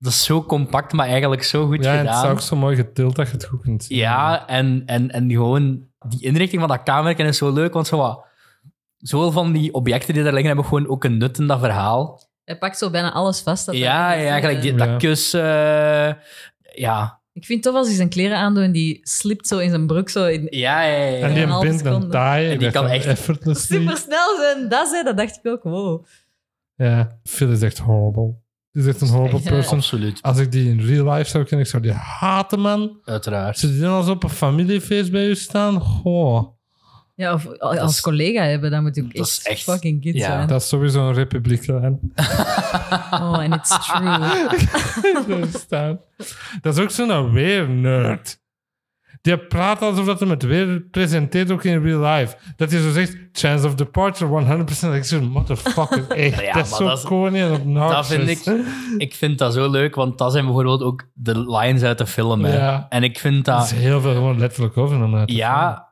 Speaker 3: Dat is zo compact, maar eigenlijk zo goed
Speaker 1: Ja, en het is
Speaker 3: gedaan.
Speaker 1: ook zo mooi getild dat je het goed kunt zien.
Speaker 3: Ja, en, en, en gewoon die inrichting van dat kamerken is zo leuk, want zo wat, zoveel van die objecten die daar liggen hebben gewoon ook een nut in dat verhaal.
Speaker 2: Hij pakt zo bijna alles vast. Dat
Speaker 3: ja,
Speaker 2: hij-
Speaker 3: ja, eigenlijk die-
Speaker 1: Ja.
Speaker 3: dat kussen. eh, ja.
Speaker 2: Ik vind het tof als hij zijn kleren aandoet en die slipt zo in zijn broek. Zo in,
Speaker 3: Ja, ja, ja.
Speaker 1: En
Speaker 3: ja.
Speaker 1: die
Speaker 2: een halve
Speaker 1: bindt een
Speaker 2: seconde.
Speaker 1: taai.
Speaker 3: En die kan echt
Speaker 1: effortlessly.
Speaker 2: super snel zijn. Dat, zei, dat dacht ik ook. Wow.
Speaker 1: Ja, Phil is echt horrible. Die is echt een horrible
Speaker 2: Ja.
Speaker 1: person.
Speaker 3: Absoluut,
Speaker 1: Als ik die in real life zou kennen, ik zou die haten, man.
Speaker 3: uiteraard.
Speaker 1: Ze die dan als op een familiefeest bij u staan? Goh.
Speaker 2: Ja, of als
Speaker 3: Dat is-
Speaker 2: collega hebben, dan moet je ook
Speaker 3: dat
Speaker 2: echt,
Speaker 3: is echt-
Speaker 2: fucking kid
Speaker 3: ja.
Speaker 2: zijn.
Speaker 1: Dat is sowieso een republikein.
Speaker 2: Oh, and it's true.
Speaker 1: Daar staan. dat is ook zo'n weer-nerd. Die praat alsof dat hem het weer presenteert, ook in real life. Dat hij zo zegt, chance of departure 100%. Ik zeg, motherfucker, echt.
Speaker 3: Ja,
Speaker 1: dat is
Speaker 3: maar
Speaker 1: zo
Speaker 3: dat is-
Speaker 1: corny en
Speaker 3: Dat
Speaker 1: obnoxious.
Speaker 3: vind ik, ik vind dat zo leuk, want dat zijn bijvoorbeeld ook de lines uit de film. hè.
Speaker 1: Ja.
Speaker 3: En ik vind
Speaker 1: Dat is
Speaker 3: dat,
Speaker 1: heel veel gewoon letterlijk overgenomen. uit de
Speaker 3: ja,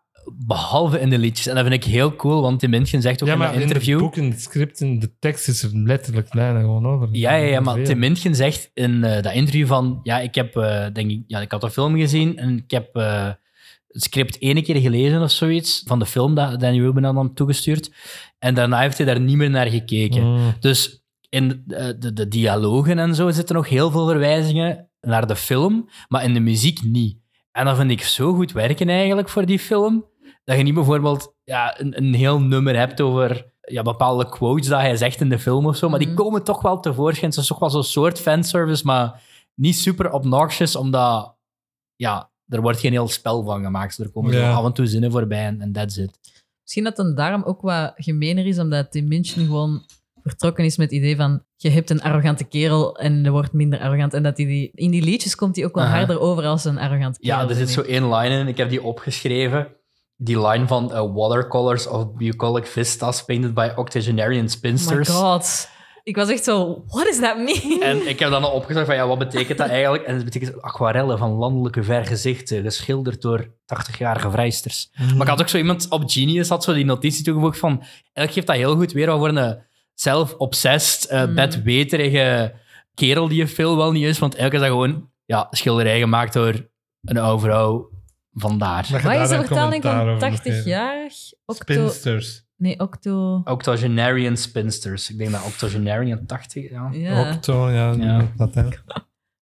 Speaker 3: behalve in de liedjes. En dat vind ik heel cool, want Tim Minchin zegt ook
Speaker 1: Ja,
Speaker 3: in
Speaker 1: maar
Speaker 3: dat
Speaker 1: in
Speaker 3: interview...
Speaker 1: de boeken, de scripten, de tekst is er letterlijk bijna gewoon over.
Speaker 3: Ja, ja, ja, maar
Speaker 1: Veel.
Speaker 3: Tim Minchin zegt in eh, dat interview van... Ja, ik heb, eh, denk ik, ja, ik had een film gezien en ik heb eh, het script ene keer gelezen of zoiets van de film dat Danny Rubin had hem toegestuurd. En daarna heeft hij daar niet meer naar gekeken.
Speaker 1: Mm.
Speaker 3: Dus in eh, de, de dialogen en zo zitten nog heel veel verwijzingen naar de film, maar in de muziek niet. En dat vind ik zo goed werken eigenlijk voor die film, dat je niet bijvoorbeeld ja, een, een heel nummer hebt over ja, bepaalde quotes dat hij zegt in de film of zo, maar die
Speaker 2: Mhm.
Speaker 3: komen toch wel tevoorschijn. Het is toch wel zo'n soort fanservice, maar niet super obnoxious, omdat ja, er wordt geen heel spel van gemaakt. Dus Er komen zo
Speaker 1: Ja.
Speaker 3: af en toe zinnen voorbij en en that's it.
Speaker 2: Misschien dat dan daarom ook wat gemener is, omdat Tim Minchin gewoon vertrokken is met het idee van je hebt een arrogante kerel en je wordt minder arrogant. En dat hij die, in die liedjes komt hij ook wel
Speaker 3: Aha.
Speaker 2: harder over als een arrogant kerel.
Speaker 3: Ja, er
Speaker 2: vind
Speaker 3: zit
Speaker 2: ik.
Speaker 3: zo één line in. Ik heb die opgeschreven. Die line van eh, Watercolors of Bucolic Vistas Painted by Octogenarian
Speaker 2: Oh my
Speaker 3: Spinsters.
Speaker 2: god. Ik was echt zo, what does that mean?
Speaker 3: En ik heb dan al opgezocht van ja, wat betekent dat eigenlijk? En het betekent aquarellen van landelijke vergezichten, geschilderd door 80-jarige vrijsters. Maar ik had ook zo iemand op Genius, had zo die notitie toegevoegd van eigenlijk geeft dat heel goed weer wat voor een zelf-obsessed, eh
Speaker 2: Mm.
Speaker 3: bedweterige kerel die je veel wel niet is. Want elke is dat gewoon ja, schilderij gemaakt door een oude vrouw. Vandaar.
Speaker 1: Dat je
Speaker 2: Maar
Speaker 1: daar
Speaker 2: is de
Speaker 1: een
Speaker 2: vertaling
Speaker 1: commentaar
Speaker 2: van
Speaker 1: over moet geven.
Speaker 2: 80-jarig? Octo...
Speaker 1: Spinsters.
Speaker 2: Nee, octo...
Speaker 3: Octogenarian spinsters. Ik denk dat octogenarian 80, ja.
Speaker 2: Ja,
Speaker 1: Octo, ja.
Speaker 3: Ja.
Speaker 1: Dat, hè. Ik heb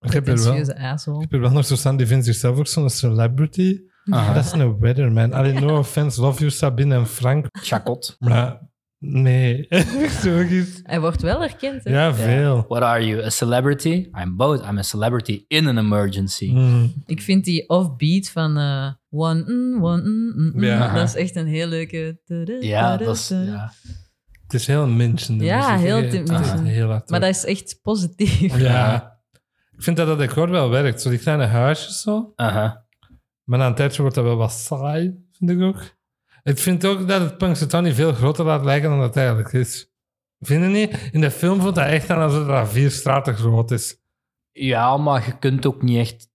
Speaker 1: er wel.
Speaker 2: pretentieuze asshole.
Speaker 1: Ik heb er wel nog zo staan, die vindt zichzelf ook zo'n celebrity.
Speaker 3: Aha.
Speaker 1: Dat is een weatherman. Alleen no offense, love you Sabine en Frank.
Speaker 3: Chacot.
Speaker 1: Maar nee. Zo is-
Speaker 2: Hij wordt wel herkend, hè?
Speaker 1: ja, veel.
Speaker 3: What are you, a celebrity? I'm both. I'm a celebrity in an emergency.
Speaker 1: Mm.
Speaker 2: Ik vind die offbeat van eh, one, mm, one, mm, mm, mm,
Speaker 1: Ja.
Speaker 2: dat is echt een heel leuke...
Speaker 3: Ja, dat is...
Speaker 2: eh,
Speaker 3: Ja.
Speaker 1: Het is heel Minchin. de
Speaker 2: Ja,
Speaker 1: muziek.
Speaker 2: heel
Speaker 1: Het is
Speaker 2: Tim Minchin.
Speaker 1: Heel hard.
Speaker 2: Maar dat is echt positief.
Speaker 1: Ja. Ik vind dat dat decor wel werkt. Zo die kleine huisjes zo.
Speaker 3: Aha.
Speaker 1: Maar na een tijdje wordt dat wel wat saai, vind ik ook. Ik vind ook dat het Punxsutawney veel groter laat lijken dan het eigenlijk is. Vind je niet? In de film voelt dat echt aan alsof dat vier straten groot is.
Speaker 3: Ja, maar je kunt ook niet echt...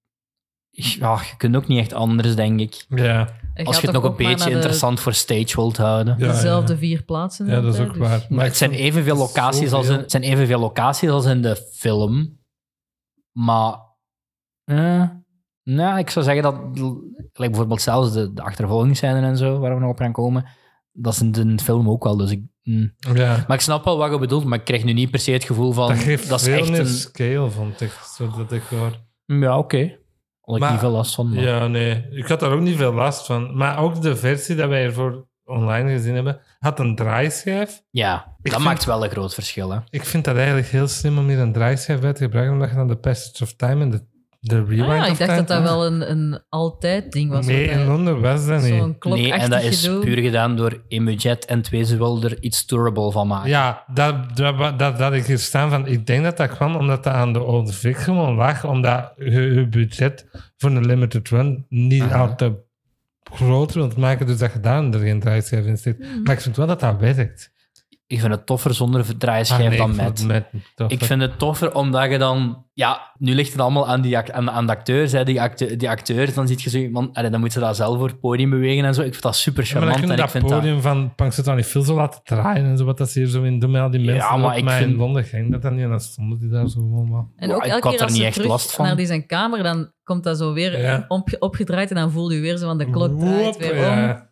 Speaker 3: Ja, je kunt ook niet echt anders, denk ik.
Speaker 1: Ja,
Speaker 2: Hij
Speaker 3: Als
Speaker 2: gaat toch
Speaker 3: je het nog een
Speaker 2: ook maar
Speaker 3: beetje
Speaker 2: naar de-
Speaker 3: interessant voor stage wilt houden.
Speaker 1: Ja,
Speaker 2: dezelfde
Speaker 1: ja.
Speaker 2: vier plaatsen.
Speaker 1: ja dat is
Speaker 2: altijd,
Speaker 1: ook
Speaker 2: dus-
Speaker 1: waar.
Speaker 3: Maar
Speaker 1: ik
Speaker 3: het zijn
Speaker 1: vond-
Speaker 3: evenveel locaties, als in,
Speaker 1: Zoveel.
Speaker 3: het zijn evenveel locaties als in de film. Maar... eh, nou, ik zou zeggen dat... like bijvoorbeeld zelfs de, de achtervolgingsscènes en zo, waar we nog op gaan komen. Dat is in de film ook wel, dus ik... mm.
Speaker 1: Ja.
Speaker 3: Maar ik snap wel wat je bedoelt, maar ik krijg nu niet per se het gevoel van...
Speaker 1: Dat geeft
Speaker 3: dat is
Speaker 1: veel
Speaker 3: echt
Speaker 1: meer
Speaker 3: een...
Speaker 1: scale, vond ik. Zo dat decor.
Speaker 3: Ja, oké. Had ik
Speaker 1: Maar-
Speaker 3: niet veel last van. maar-
Speaker 1: Ja, nee. Ik had daar ook niet veel last van. Maar ook de versie dat wij ervoor online gezien hebben, had een draaischijf.
Speaker 3: Ja, dat
Speaker 1: vind-
Speaker 3: maakt wel een groot verschil, hè.
Speaker 1: Ik vind dat eigenlijk heel slim om hier een draaischijf bij te gebruiken, omdat je dan de passage of time en de, de rewind
Speaker 2: Ah, ja,
Speaker 1: of
Speaker 2: ik dacht
Speaker 1: time
Speaker 2: dat dat wel een, een altijd ding was.
Speaker 1: Nee,
Speaker 2: want hij-
Speaker 1: in Londen was dat niet.
Speaker 2: Zo'n klokachtig
Speaker 3: Nee, en dat is
Speaker 2: gedoe.
Speaker 3: puur gedaan door Imujet en twee ze wil er iets durable van maken.
Speaker 1: Ja, dat, dat, dat, dat ik hier staan van. Ik denk dat dat kwam omdat dat aan de Old Vic gewoon lag. Omdat je, je budget voor een limited run niet eh,
Speaker 3: Aha.
Speaker 1: al te groot wilt maken. Dus dat gedaan er geen draaischijf in zit.
Speaker 3: Mm.
Speaker 1: Maar ik vind wel dat dat werkt.
Speaker 3: Ik vind het toffer zonder draaischijf
Speaker 1: Ah, nee,
Speaker 3: dan
Speaker 1: ik
Speaker 3: met.
Speaker 1: vond het met tof.
Speaker 3: Ik vind het toffer omdat je dan... Ja, nu ligt het allemaal aan, die, act- aan, aan de acteurs, hè, die, acte- die acteurs. Dan ziet je zo iemand... allee, dan moeten ze dat zelf voor het podium bewegen en zo. Ik vind dat super
Speaker 1: Ja, maar dan
Speaker 3: charmant.
Speaker 1: kunnen
Speaker 3: en ik
Speaker 1: dat
Speaker 3: vind dat-
Speaker 1: podium van Punxsutawney veel zo laten draaien en zo wat dat ze hier zo in doen met al die mensen.
Speaker 3: Ja, maar
Speaker 1: op
Speaker 3: ik
Speaker 1: mij in
Speaker 3: vind-
Speaker 1: Londen ging dat dan niet en dan stonden die daar zo gewoon wel.
Speaker 2: En
Speaker 3: Ja,
Speaker 2: ook
Speaker 3: Oh, ik
Speaker 2: elke
Speaker 3: had
Speaker 2: keer
Speaker 3: er
Speaker 2: als
Speaker 3: niet
Speaker 2: ze
Speaker 3: echt
Speaker 2: terug
Speaker 3: last van.
Speaker 2: naar die zijn kamer, dan komt dat zo weer
Speaker 1: Ja.
Speaker 2: op, opgedraaid en dan voel je weer zo van de klok
Speaker 1: Woep,
Speaker 2: draait weer om.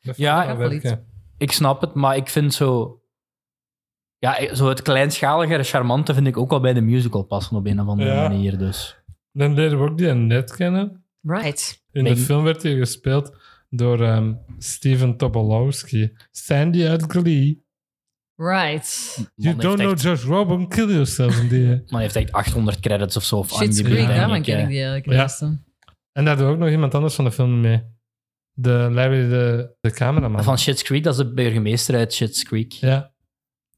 Speaker 1: Dat
Speaker 3: Ja,
Speaker 1: vond ik wel
Speaker 2: ik wel iets.
Speaker 1: werken.
Speaker 3: Ik snap het, maar ik vind zo... Ja, zo het kleinschalige, en charmante vind ik ook wel bij de musical passen op een of andere
Speaker 1: Ja.
Speaker 3: manier. Dus.
Speaker 1: Dan leren we ook die net kennen.
Speaker 2: Right.
Speaker 1: In
Speaker 3: Mijn-
Speaker 1: de film werd hij gespeeld door ehm, Steven Tobolowski. Sandy uit Glee.
Speaker 2: Right.
Speaker 1: You
Speaker 3: Man
Speaker 1: don't know
Speaker 3: heeft, echt,
Speaker 1: Josh Robin, kill yourself. in die.
Speaker 3: man heeft echt 800 credits of zo. Of aan
Speaker 2: Shit's
Speaker 3: die
Speaker 2: Creek,
Speaker 3: beurt, denk
Speaker 2: daarvan
Speaker 3: ik,
Speaker 2: ken
Speaker 3: hè.
Speaker 2: ik die eigenlijk.
Speaker 1: Ja.
Speaker 2: het beste.
Speaker 1: en daar doet ook nog iemand anders van de film mee. De Larry, de, de cameraman.
Speaker 3: Van Shit's Creek, dat is de burgemeester uit Shit's Creek.
Speaker 1: Ja.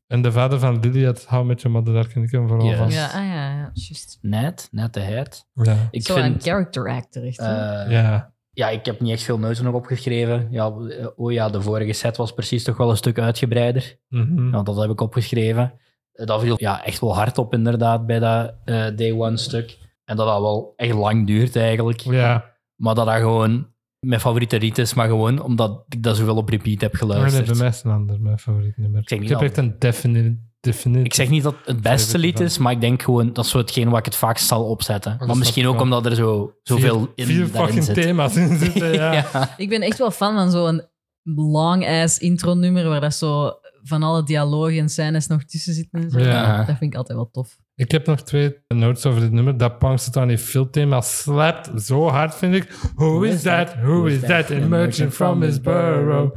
Speaker 1: En de vader van Lily uit How I Met Your Mother, daar ken ik hem vooral
Speaker 3: Yes.
Speaker 1: van.
Speaker 2: Ja, ah, ja, ja. Just.
Speaker 3: Net, net de head.
Speaker 1: Ja.
Speaker 3: Ik
Speaker 2: Zo'n
Speaker 3: vind...
Speaker 2: character actor, echt. hè?
Speaker 3: eh,
Speaker 1: ja.
Speaker 3: Ja, ik heb niet echt veel notes nog opgeschreven. Ja, eh, oh ja, de vorige set was precies toch wel een stuk uitgebreider.
Speaker 1: Mhm.
Speaker 3: Ja, dat heb ik opgeschreven. Eh, Dat viel ja, echt wel hard op inderdaad bij dat eh, day one stuk. En dat dat wel echt lang duurt eigenlijk.
Speaker 1: ja.
Speaker 3: Maar dat dat gewoon... mijn favoriete lied is, maar gewoon omdat ik dat zoveel op repeat heb
Speaker 1: Nee, bij
Speaker 3: geluisterd.
Speaker 1: mij is een ander, mijn favoriet nummer.
Speaker 3: zeg niet
Speaker 1: heb echt een definite... definite
Speaker 3: Ik zeg niet dat het het beste lied is, maar ik denk gewoon dat is zo hetgeen waar ik het vaakst zal opzetten.
Speaker 1: Oh, dat
Speaker 3: Maar misschien
Speaker 1: snap ik
Speaker 3: ook
Speaker 1: wel.
Speaker 3: omdat er zo, zoveel
Speaker 1: vier,
Speaker 3: in
Speaker 1: Vier
Speaker 3: daarin
Speaker 1: fucking
Speaker 3: zit.
Speaker 1: thema's in zitten, ja.
Speaker 2: Ik ben echt wel fan van zo'n long-ass intro-nummer waar dat zo van alle dialogen en scènes nog tussen zitten. En zo. Ah,
Speaker 1: Ja.
Speaker 2: Dat vind ik altijd wel tof.
Speaker 1: Ik heb nog twee notes over dit nummer. Dat Punxsutawney filmthema slapt zo hard, vind ik. Who is that? Who is that? Emerging from his burrow.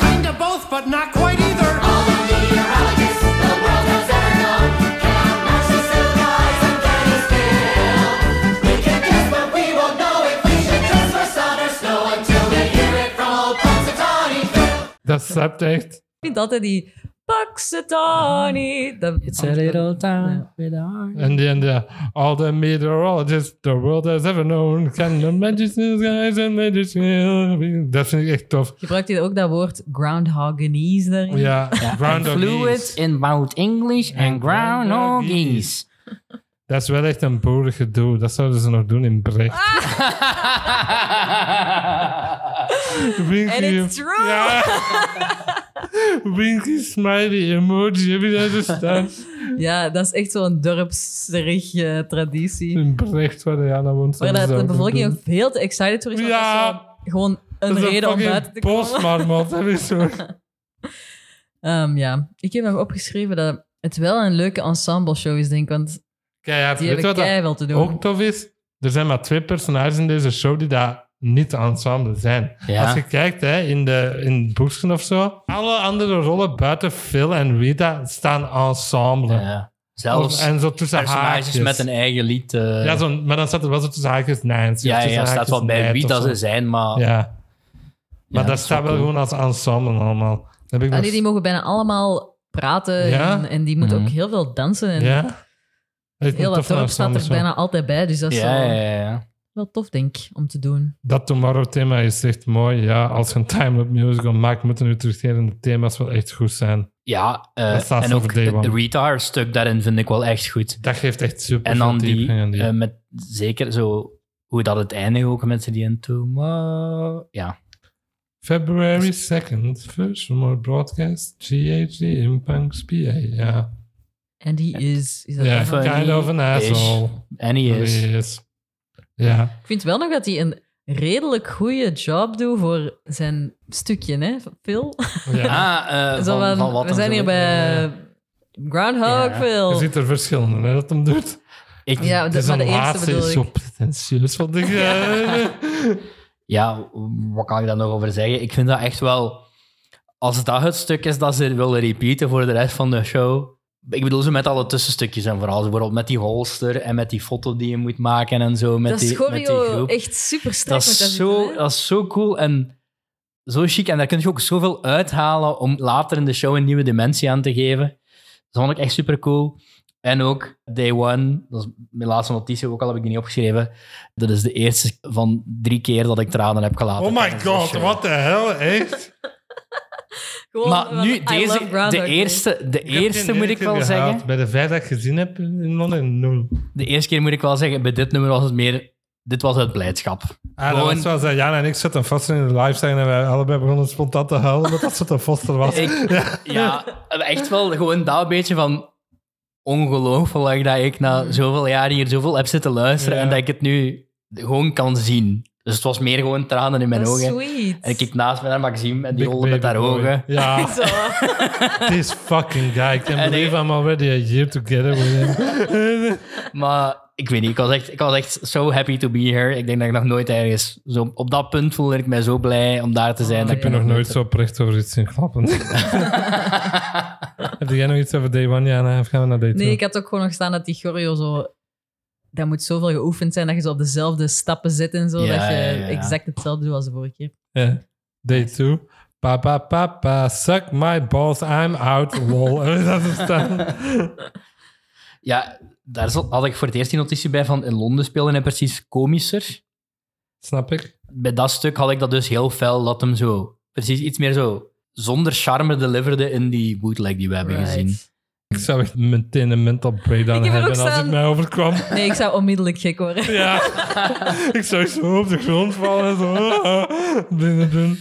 Speaker 5: Kinda both, but not quite either.
Speaker 1: Dat slapt echt.
Speaker 2: Ik vind altijd die Paxetani. Dat
Speaker 3: It's a little town with a heart.
Speaker 1: En die en die. All the meteorologists the world has ever known can the magic skies and magic skies. Dat vind ik echt tof.
Speaker 2: Gebruikt hij ook dat woord groundhogenese daarin?
Speaker 1: Oh Ja,
Speaker 3: And
Speaker 1: Groundhog
Speaker 3: fluid
Speaker 1: Days.
Speaker 3: in both English and
Speaker 1: And groundhog
Speaker 3: groundhog
Speaker 1: geese.
Speaker 3: geese.
Speaker 1: Dat is wel echt een boerig gedoe. Dat zouden ze nog doen in Brecht.
Speaker 2: Ah!
Speaker 1: Winky.
Speaker 2: And it's true.
Speaker 1: Ja. Winky smiley emoji. Heb je dat verstaan?
Speaker 2: Ja, dat is echt zo'n dorpsserig eh, traditie.
Speaker 1: In Brecht, waar Jana woont.
Speaker 2: Waar dat de
Speaker 1: zouden ze
Speaker 2: bevolking
Speaker 1: doen.
Speaker 2: ook veel te excited voor is. want
Speaker 1: Ja.
Speaker 2: dat is zo gewoon een
Speaker 1: Dat is
Speaker 2: reden om
Speaker 1: fucking
Speaker 2: buiten te komen.
Speaker 1: postmarmot, dat is zo.
Speaker 2: Ehm, ja, ik heb nog opgeschreven dat het wel een leuke ensemble show is, denk ik. Want
Speaker 1: Keihard.
Speaker 2: die
Speaker 1: Weet je
Speaker 2: hebben
Speaker 1: wat dat
Speaker 2: keihard wel te doen. Ah,
Speaker 1: ook tof is? Er zijn maar twee personages in deze show die daar niet ensemble zijn.
Speaker 3: Ja.
Speaker 1: Als je kijkt hè, in, de, in het boekje of zo, alle andere rollen buiten Phil en Rita staan ensemble.
Speaker 3: Ja. Zelfs
Speaker 1: en zo tussen
Speaker 3: personages
Speaker 1: haakjes.
Speaker 3: met een eigen lied. eh,
Speaker 1: Ja, zo, maar dan staat er wel zo tussen haakjes Nancy.
Speaker 3: ja,
Speaker 1: of
Speaker 3: ja,
Speaker 1: tussen
Speaker 3: staat
Speaker 1: haakjes
Speaker 3: wel bij
Speaker 1: Ned
Speaker 3: wie
Speaker 1: of
Speaker 3: dat
Speaker 1: zo.
Speaker 3: ze zijn, maar...
Speaker 1: Ja, maar dat,
Speaker 3: dat is
Speaker 1: staat wel
Speaker 3: wel cool.
Speaker 1: gewoon als ensemble allemaal. Dan heb ik nog-
Speaker 2: Allee, die mogen bijna allemaal praten
Speaker 1: Ja.
Speaker 2: en, en die moeten
Speaker 3: Mhm.
Speaker 2: ook heel veel dansen. En
Speaker 1: Ja? Dat is een
Speaker 2: heel dat
Speaker 1: toffe
Speaker 2: dorp staat
Speaker 1: ensemble
Speaker 2: er
Speaker 1: show.
Speaker 2: bijna altijd bij. Dus dat is
Speaker 3: Ja,
Speaker 2: wel,
Speaker 3: ja, ja, ja.
Speaker 2: wel tof, denk ik, om te doen.
Speaker 1: Dat Tomorrow-thema is echt mooi. Ja, als je een time-up musical maakt, moeten nu terugkerende thema's wel echt goed zijn.
Speaker 3: Ja, eh,
Speaker 1: Dat staat
Speaker 3: en
Speaker 1: zo
Speaker 3: ook
Speaker 1: voor Day One.
Speaker 3: het Rita haar stuk daarin vind ik wel echt goed.
Speaker 1: Dat geeft echt super
Speaker 3: En dan
Speaker 1: veel
Speaker 3: die,
Speaker 1: diepgang aan die.
Speaker 3: eh, met zeker zo, hoe dat het eindigt ook, mensen die in tomorrow... Ja,
Speaker 1: February 2nd, first remote broadcast, GHD Impunks PA. Ja,
Speaker 2: En die is... is dat
Speaker 1: Ja,
Speaker 2: wel-
Speaker 3: funny
Speaker 1: kind of an
Speaker 3: is.
Speaker 1: asshole.
Speaker 3: en die is...
Speaker 1: Yes. Ja,
Speaker 2: Ik vind wel nog dat hij een redelijk goede job doet voor zijn stukje, hè, Phil?
Speaker 1: oh ja.
Speaker 3: Ah, eh,
Speaker 2: Zo
Speaker 3: van,
Speaker 2: van,
Speaker 3: van wat
Speaker 2: we zijn
Speaker 3: en
Speaker 2: hier
Speaker 3: zo.
Speaker 2: bij Groundhog
Speaker 1: Je
Speaker 3: Ja.
Speaker 2: Phil.
Speaker 1: ziet er verschillende, hè, dat hem doet.
Speaker 3: Ik, ja.
Speaker 2: Ja,
Speaker 1: Het
Speaker 2: de,
Speaker 1: is
Speaker 2: maar
Speaker 1: een
Speaker 2: de eerste
Speaker 1: laatste
Speaker 2: bedoel
Speaker 1: is zo
Speaker 2: ik.
Speaker 1: pretentieus, vond ik.
Speaker 3: wat kan ik daar nog over zeggen? Ik vind dat echt wel... Als dat het stuk is dat ze willen repeaten voor de rest van de show... Ik bedoel, ze met alle tussenstukjes en vooral. Bijvoorbeeld met die holster en met die foto die je moet maken en zo. Met
Speaker 2: Dat
Speaker 3: die,
Speaker 2: is
Speaker 3: met die
Speaker 2: choreo
Speaker 3: groep.
Speaker 2: echt super strak.
Speaker 3: Dat is, zo, dat is zo cool en zo chic. En daar kun je ook zoveel uithalen om later in de show een nieuwe dimensie aan te geven. Dat vond ik echt super cool. En ook Day One, dat is mijn laatste notitie, ook al heb ik die niet opgeschreven. Dat is de eerste van drie keer dat ik tranen heb gelaten.
Speaker 1: Oh my
Speaker 3: tijdens de
Speaker 1: god,
Speaker 3: show.
Speaker 1: what the hell, echt?
Speaker 2: Oh,
Speaker 3: Maar nu, deze, de eerste, de
Speaker 1: heb
Speaker 3: eerste
Speaker 1: geen
Speaker 3: moet
Speaker 1: ene
Speaker 3: ik
Speaker 1: keer
Speaker 3: wel
Speaker 1: gehaald.
Speaker 3: zeggen.
Speaker 1: Bij de vijf dat ik gezien heb in Londen, nul.
Speaker 3: De eerste keer moet ik wel zeggen, bij dit nummer was het meer... Dit was uit blijdschap.
Speaker 1: Ah, dat
Speaker 3: Gewoon-
Speaker 1: was zoals eh, Jana en ik zaten vast in de live zijn en wij allebei begonnen spontaan te huilen omdat dat zo'n foster was.
Speaker 3: Ik- ja, echt wel gewoon dat beetje van ongelooflijk dat ik na zoveel jaar hier zoveel heb zitten luisteren
Speaker 1: Hmm. Ja.
Speaker 3: en dat ik het nu gewoon kan zien. Dus het was meer gewoon tranen in mijn
Speaker 2: Dat is
Speaker 3: ogen.
Speaker 2: sweet.
Speaker 3: En ik kijk naast me naar Maxime en die
Speaker 1: Big
Speaker 3: rolde met haar
Speaker 1: baby boy.
Speaker 3: ogen.
Speaker 1: Ja,
Speaker 2: Zo.
Speaker 1: this fucking guy. I can't
Speaker 3: En
Speaker 1: believe I'm already a year together with him.
Speaker 3: Maar ik weet niet, ik was, echt, ik was echt so happy to be here. Ik denk dat ik nog nooit ergens... Zo, op dat punt voelde ik mij zo blij om daar te zijn.
Speaker 2: Oh,
Speaker 3: dat
Speaker 1: ik ben nog nooit zo oprecht over iets zien klappen. Heb jij nog iets over day one, Jana? Of gaan we naar day two?
Speaker 2: Nee, ik had ook gewoon nog staan dat die choreo zo... Dat moet zoveel geoefend zijn dat je zo op dezelfde stappen zit en zo.
Speaker 3: Ja,
Speaker 2: dat je
Speaker 3: ja, ja, ja.
Speaker 2: exact hetzelfde doet als de vorige keer.
Speaker 1: Ja. Day two. Papa, papa, suck my balls, I'm out, lol. dat is dan...
Speaker 3: Ja, daar zat- had ik voor het eerst die notitie bij van in Londen spelen en precies komischer.
Speaker 1: Snap ik?
Speaker 3: bij dat stuk had ik dat dus heel fel dat hem zo precies iets meer zo zonder charme deliverde in die bootleg die we hebben
Speaker 2: Right.
Speaker 3: gezien.
Speaker 1: Ik zou echt meteen een mental breakdown
Speaker 2: Ik heb er
Speaker 1: hebben
Speaker 2: ook
Speaker 1: als
Speaker 2: staan.
Speaker 1: het mij overkwam.
Speaker 2: Nee, ik zou onmiddellijk gek worden.
Speaker 1: Ja. ik zou zo op de grond vallen en zo. Dingen doen.